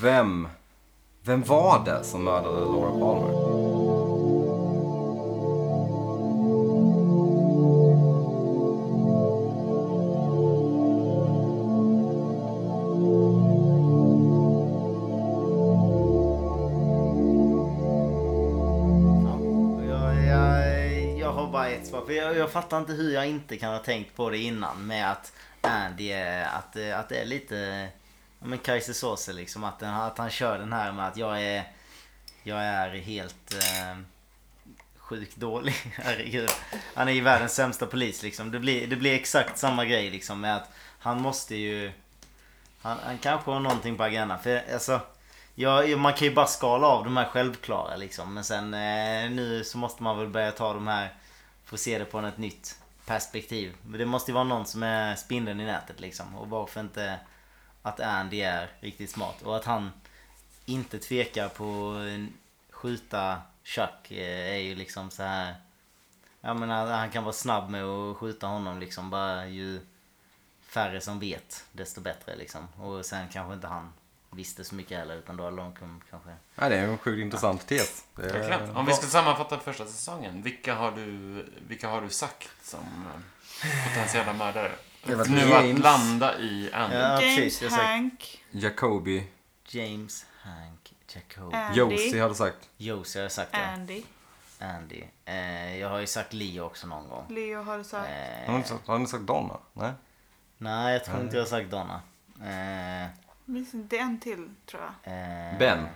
[SPEAKER 4] Vem, vem var det som mördade Laura Palmer?
[SPEAKER 1] Ja, jag, jag, jag har bara ett svar. För jag, jag fattar inte hur jag inte kan ha tänkt på det innan med att Andy är, att, eh, att det är lite... Ja men Kaiser Sauce liksom. Att, den, att han kör den här med att jag är... Jag är helt... Eh, sjukt dålig. [laughs] Herregud. Han är ju världens sämsta polis liksom. Det blir, det blir exakt samma grej liksom med att han måste ju... Han, han kanske har någonting på agendan. För alltså, ja, ja, man kan ju bara skala av de här självklara liksom. Men sen eh, nu så måste man väl börja ta de här, få se det på ett nytt perspektiv. Men det måste ju vara någon som är spindeln i nätet liksom. Och varför inte att Andy är riktigt smart. Och att han inte tvekar på att skjuta Chuck eh, är ju liksom så här. Jag menar, han kan vara snabb med att skjuta honom liksom. Bara ju färre som vet, desto bättre liksom. Och sen kanske inte han visste så mycket heller, utan då hade de kun- kanske...
[SPEAKER 4] Ja, det är en sjukt intressant tes. Det är-
[SPEAKER 1] Eh,
[SPEAKER 2] Verkligen. Om vi ska sammanfatta första säsongen, vilka har du, vilka har du sagt som eh, potentiella mördare?
[SPEAKER 4] Det var
[SPEAKER 2] Nu
[SPEAKER 4] James.
[SPEAKER 2] att landa i Andy.
[SPEAKER 1] Ja,
[SPEAKER 3] James,
[SPEAKER 1] precis. Jag har sagt
[SPEAKER 3] Hank,
[SPEAKER 4] Jacobi,
[SPEAKER 1] James, Hank, Jacob,
[SPEAKER 3] Andy,
[SPEAKER 4] Josie har du sagt.
[SPEAKER 1] Josie har jag sagt det.
[SPEAKER 3] Andy,
[SPEAKER 1] Andy. Eh, jag har ju sagt Leo också någon gång.
[SPEAKER 3] Leo har du sagt.
[SPEAKER 4] Har
[SPEAKER 1] Eh,
[SPEAKER 4] ni sagt, har ni sagt Donna? Nej?
[SPEAKER 1] nej, jag tror inte jag har sagt Donna. Eh,
[SPEAKER 3] Minns inte, det är en till tror jag.
[SPEAKER 1] eh,
[SPEAKER 4] Ben?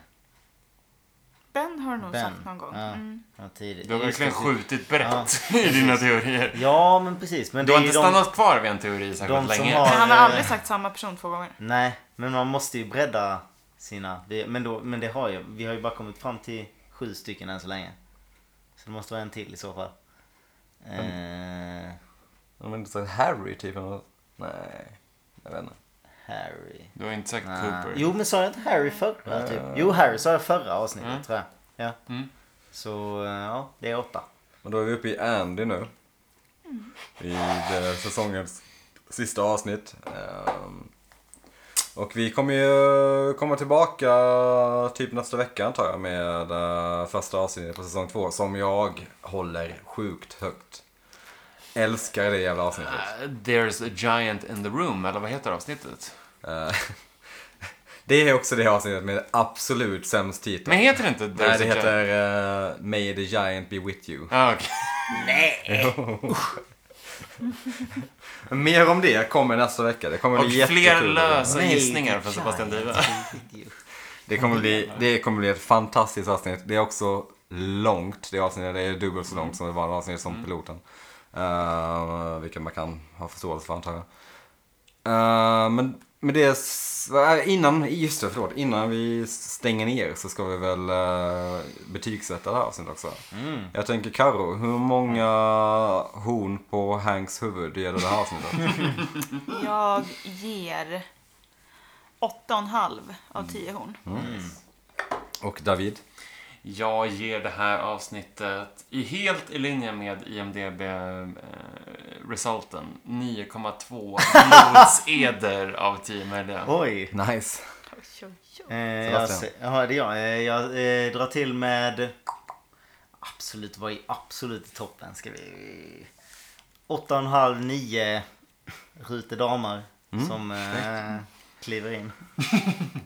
[SPEAKER 3] Ben har du nog
[SPEAKER 1] Ben.
[SPEAKER 3] sagt någon gång.
[SPEAKER 1] Ja.
[SPEAKER 3] Mm.
[SPEAKER 1] Ja, tidigt.
[SPEAKER 2] Du har verkligen
[SPEAKER 1] Just det.
[SPEAKER 2] skjutit brett [laughs] i dina teorier.
[SPEAKER 1] Ja, men precis. Men
[SPEAKER 2] Du
[SPEAKER 1] det
[SPEAKER 2] har
[SPEAKER 1] är ju
[SPEAKER 2] inte
[SPEAKER 1] de...
[SPEAKER 2] stannat kvar vid en teori särskilt
[SPEAKER 1] de som
[SPEAKER 2] länge.
[SPEAKER 1] har-
[SPEAKER 3] Men han har
[SPEAKER 1] Eh.
[SPEAKER 3] aldrig sagt samma person två gånger.
[SPEAKER 1] Nej, men man måste ju bredda sina... vi- Men, då, men det har ju... Vi har ju bara kommit fram till sju stycken än så länge. Så det måste vara en till i så fall.
[SPEAKER 2] Mm.
[SPEAKER 1] Eh,
[SPEAKER 4] Om inte sagt Harry typ eller något. Nej, jag vet inte.
[SPEAKER 1] Harry.
[SPEAKER 2] Du har inte sagt
[SPEAKER 4] Ah.
[SPEAKER 1] Nej.
[SPEAKER 2] Cooper.
[SPEAKER 1] Jo men sa jag inte Harry förra? Typ? Jo Harry sa jag förra avsnittet
[SPEAKER 2] Mm.
[SPEAKER 1] tror jag. Ja.
[SPEAKER 2] Mm.
[SPEAKER 1] Så eh, ja, det är åtta.
[SPEAKER 4] Men då är vi uppe i Andy nu. I det säsongens sista avsnitt. Ehm, Och vi kommer ju komma tillbaka typ nästa vecka antar jag med eh, första avsnittet på säsong två som jag håller sjukt högt. Älskar det jävla avsnittet.
[SPEAKER 2] Eh, There's a giant in the room, eller vad heter avsnittet?
[SPEAKER 4] Eh, [laughs] Det är också det avsnittet med absolut sämst titel.
[SPEAKER 2] Men heter det inte There's
[SPEAKER 4] Nej, det
[SPEAKER 2] a
[SPEAKER 4] heter
[SPEAKER 2] giant?
[SPEAKER 4] eh, May the Giant Be With You.
[SPEAKER 2] Ah, okej.
[SPEAKER 4] Mer om det kommer nästa vecka. Det kommer
[SPEAKER 2] Och
[SPEAKER 4] bli
[SPEAKER 2] fler
[SPEAKER 4] jättekul.
[SPEAKER 2] lösa gissningar för Sebastian Dive.
[SPEAKER 1] [laughs]
[SPEAKER 4] Det kommer, bli, det kommer bli ett fantastiskt avsnittet. Det är också långt. Det avsnittet det är dubbelt så långt som det vanliga avsnittet som piloten. Eh, vilket man kan ha förståelse för antar jag. Eh, men, men det är... s- eh, Innan, just det, förlåt. Innan vi stänger ner så ska vi väl uh, betygsätta det här avsnittet också. Jag tänker Karo, hur många horn på Hanks huvud ger du det här avsnittet?
[SPEAKER 3] Jag ger 8,5 av 10 horn.
[SPEAKER 1] Mm.
[SPEAKER 4] Och David?
[SPEAKER 2] Jag ger det här avsnittet i helt i linje med eh, IMDB-resulten. 9,2
[SPEAKER 4] [laughs]
[SPEAKER 2] blodseder av 10 möjliga.
[SPEAKER 1] Oj!
[SPEAKER 4] Nice.
[SPEAKER 3] Oj, oj, oj.
[SPEAKER 1] Eh, jag,
[SPEAKER 4] Sebastian.
[SPEAKER 1] se- jaha, det är jag. Eh, jag eh, drar till med... Absolut, vad är absolut i toppen? Ska vi... Åtta och en halv, nio rutedamer
[SPEAKER 4] Mm.
[SPEAKER 1] som eh, kliver in.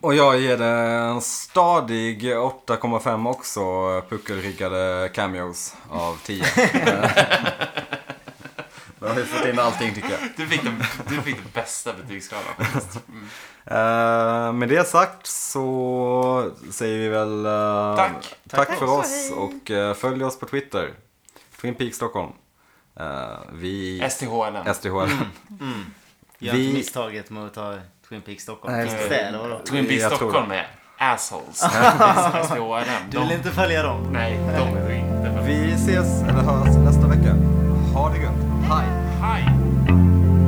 [SPEAKER 4] Och jag ger det en stadig 8,5 också puckelryggade cameos av
[SPEAKER 2] [laughs]
[SPEAKER 4] 10. Då har vi fått in allting tycker jag.
[SPEAKER 2] Du fick den, du fick den bästa betygsskalan
[SPEAKER 4] [laughs]
[SPEAKER 2] faktiskt. Mm.
[SPEAKER 4] Eh, med det sagt så säger vi väl eh,
[SPEAKER 2] Tack.
[SPEAKER 4] tack,
[SPEAKER 3] Tack.
[SPEAKER 4] för
[SPEAKER 3] Tack.
[SPEAKER 4] oss och eh, följ oss på Twitter. Twin Peaks Stockholm. Eh, vi...
[SPEAKER 2] STHLM.
[SPEAKER 4] STHL. [laughs]
[SPEAKER 1] Gör
[SPEAKER 4] Vi-
[SPEAKER 1] inte misstaget mot att ta Twin Peaks Stockholm.
[SPEAKER 4] Nej,
[SPEAKER 1] Finns
[SPEAKER 4] det-
[SPEAKER 1] det städer vadå?
[SPEAKER 2] Twin Peaks
[SPEAKER 4] Jag tror
[SPEAKER 2] Stockholm är
[SPEAKER 4] [laughs]
[SPEAKER 2] assholes. STHLM.
[SPEAKER 1] Du vill
[SPEAKER 2] De,
[SPEAKER 1] inte följa dem?
[SPEAKER 2] nej, de är inte...
[SPEAKER 4] Vi ses eller hörs nästa vecka. Ha det gött. Hej.
[SPEAKER 2] Hej!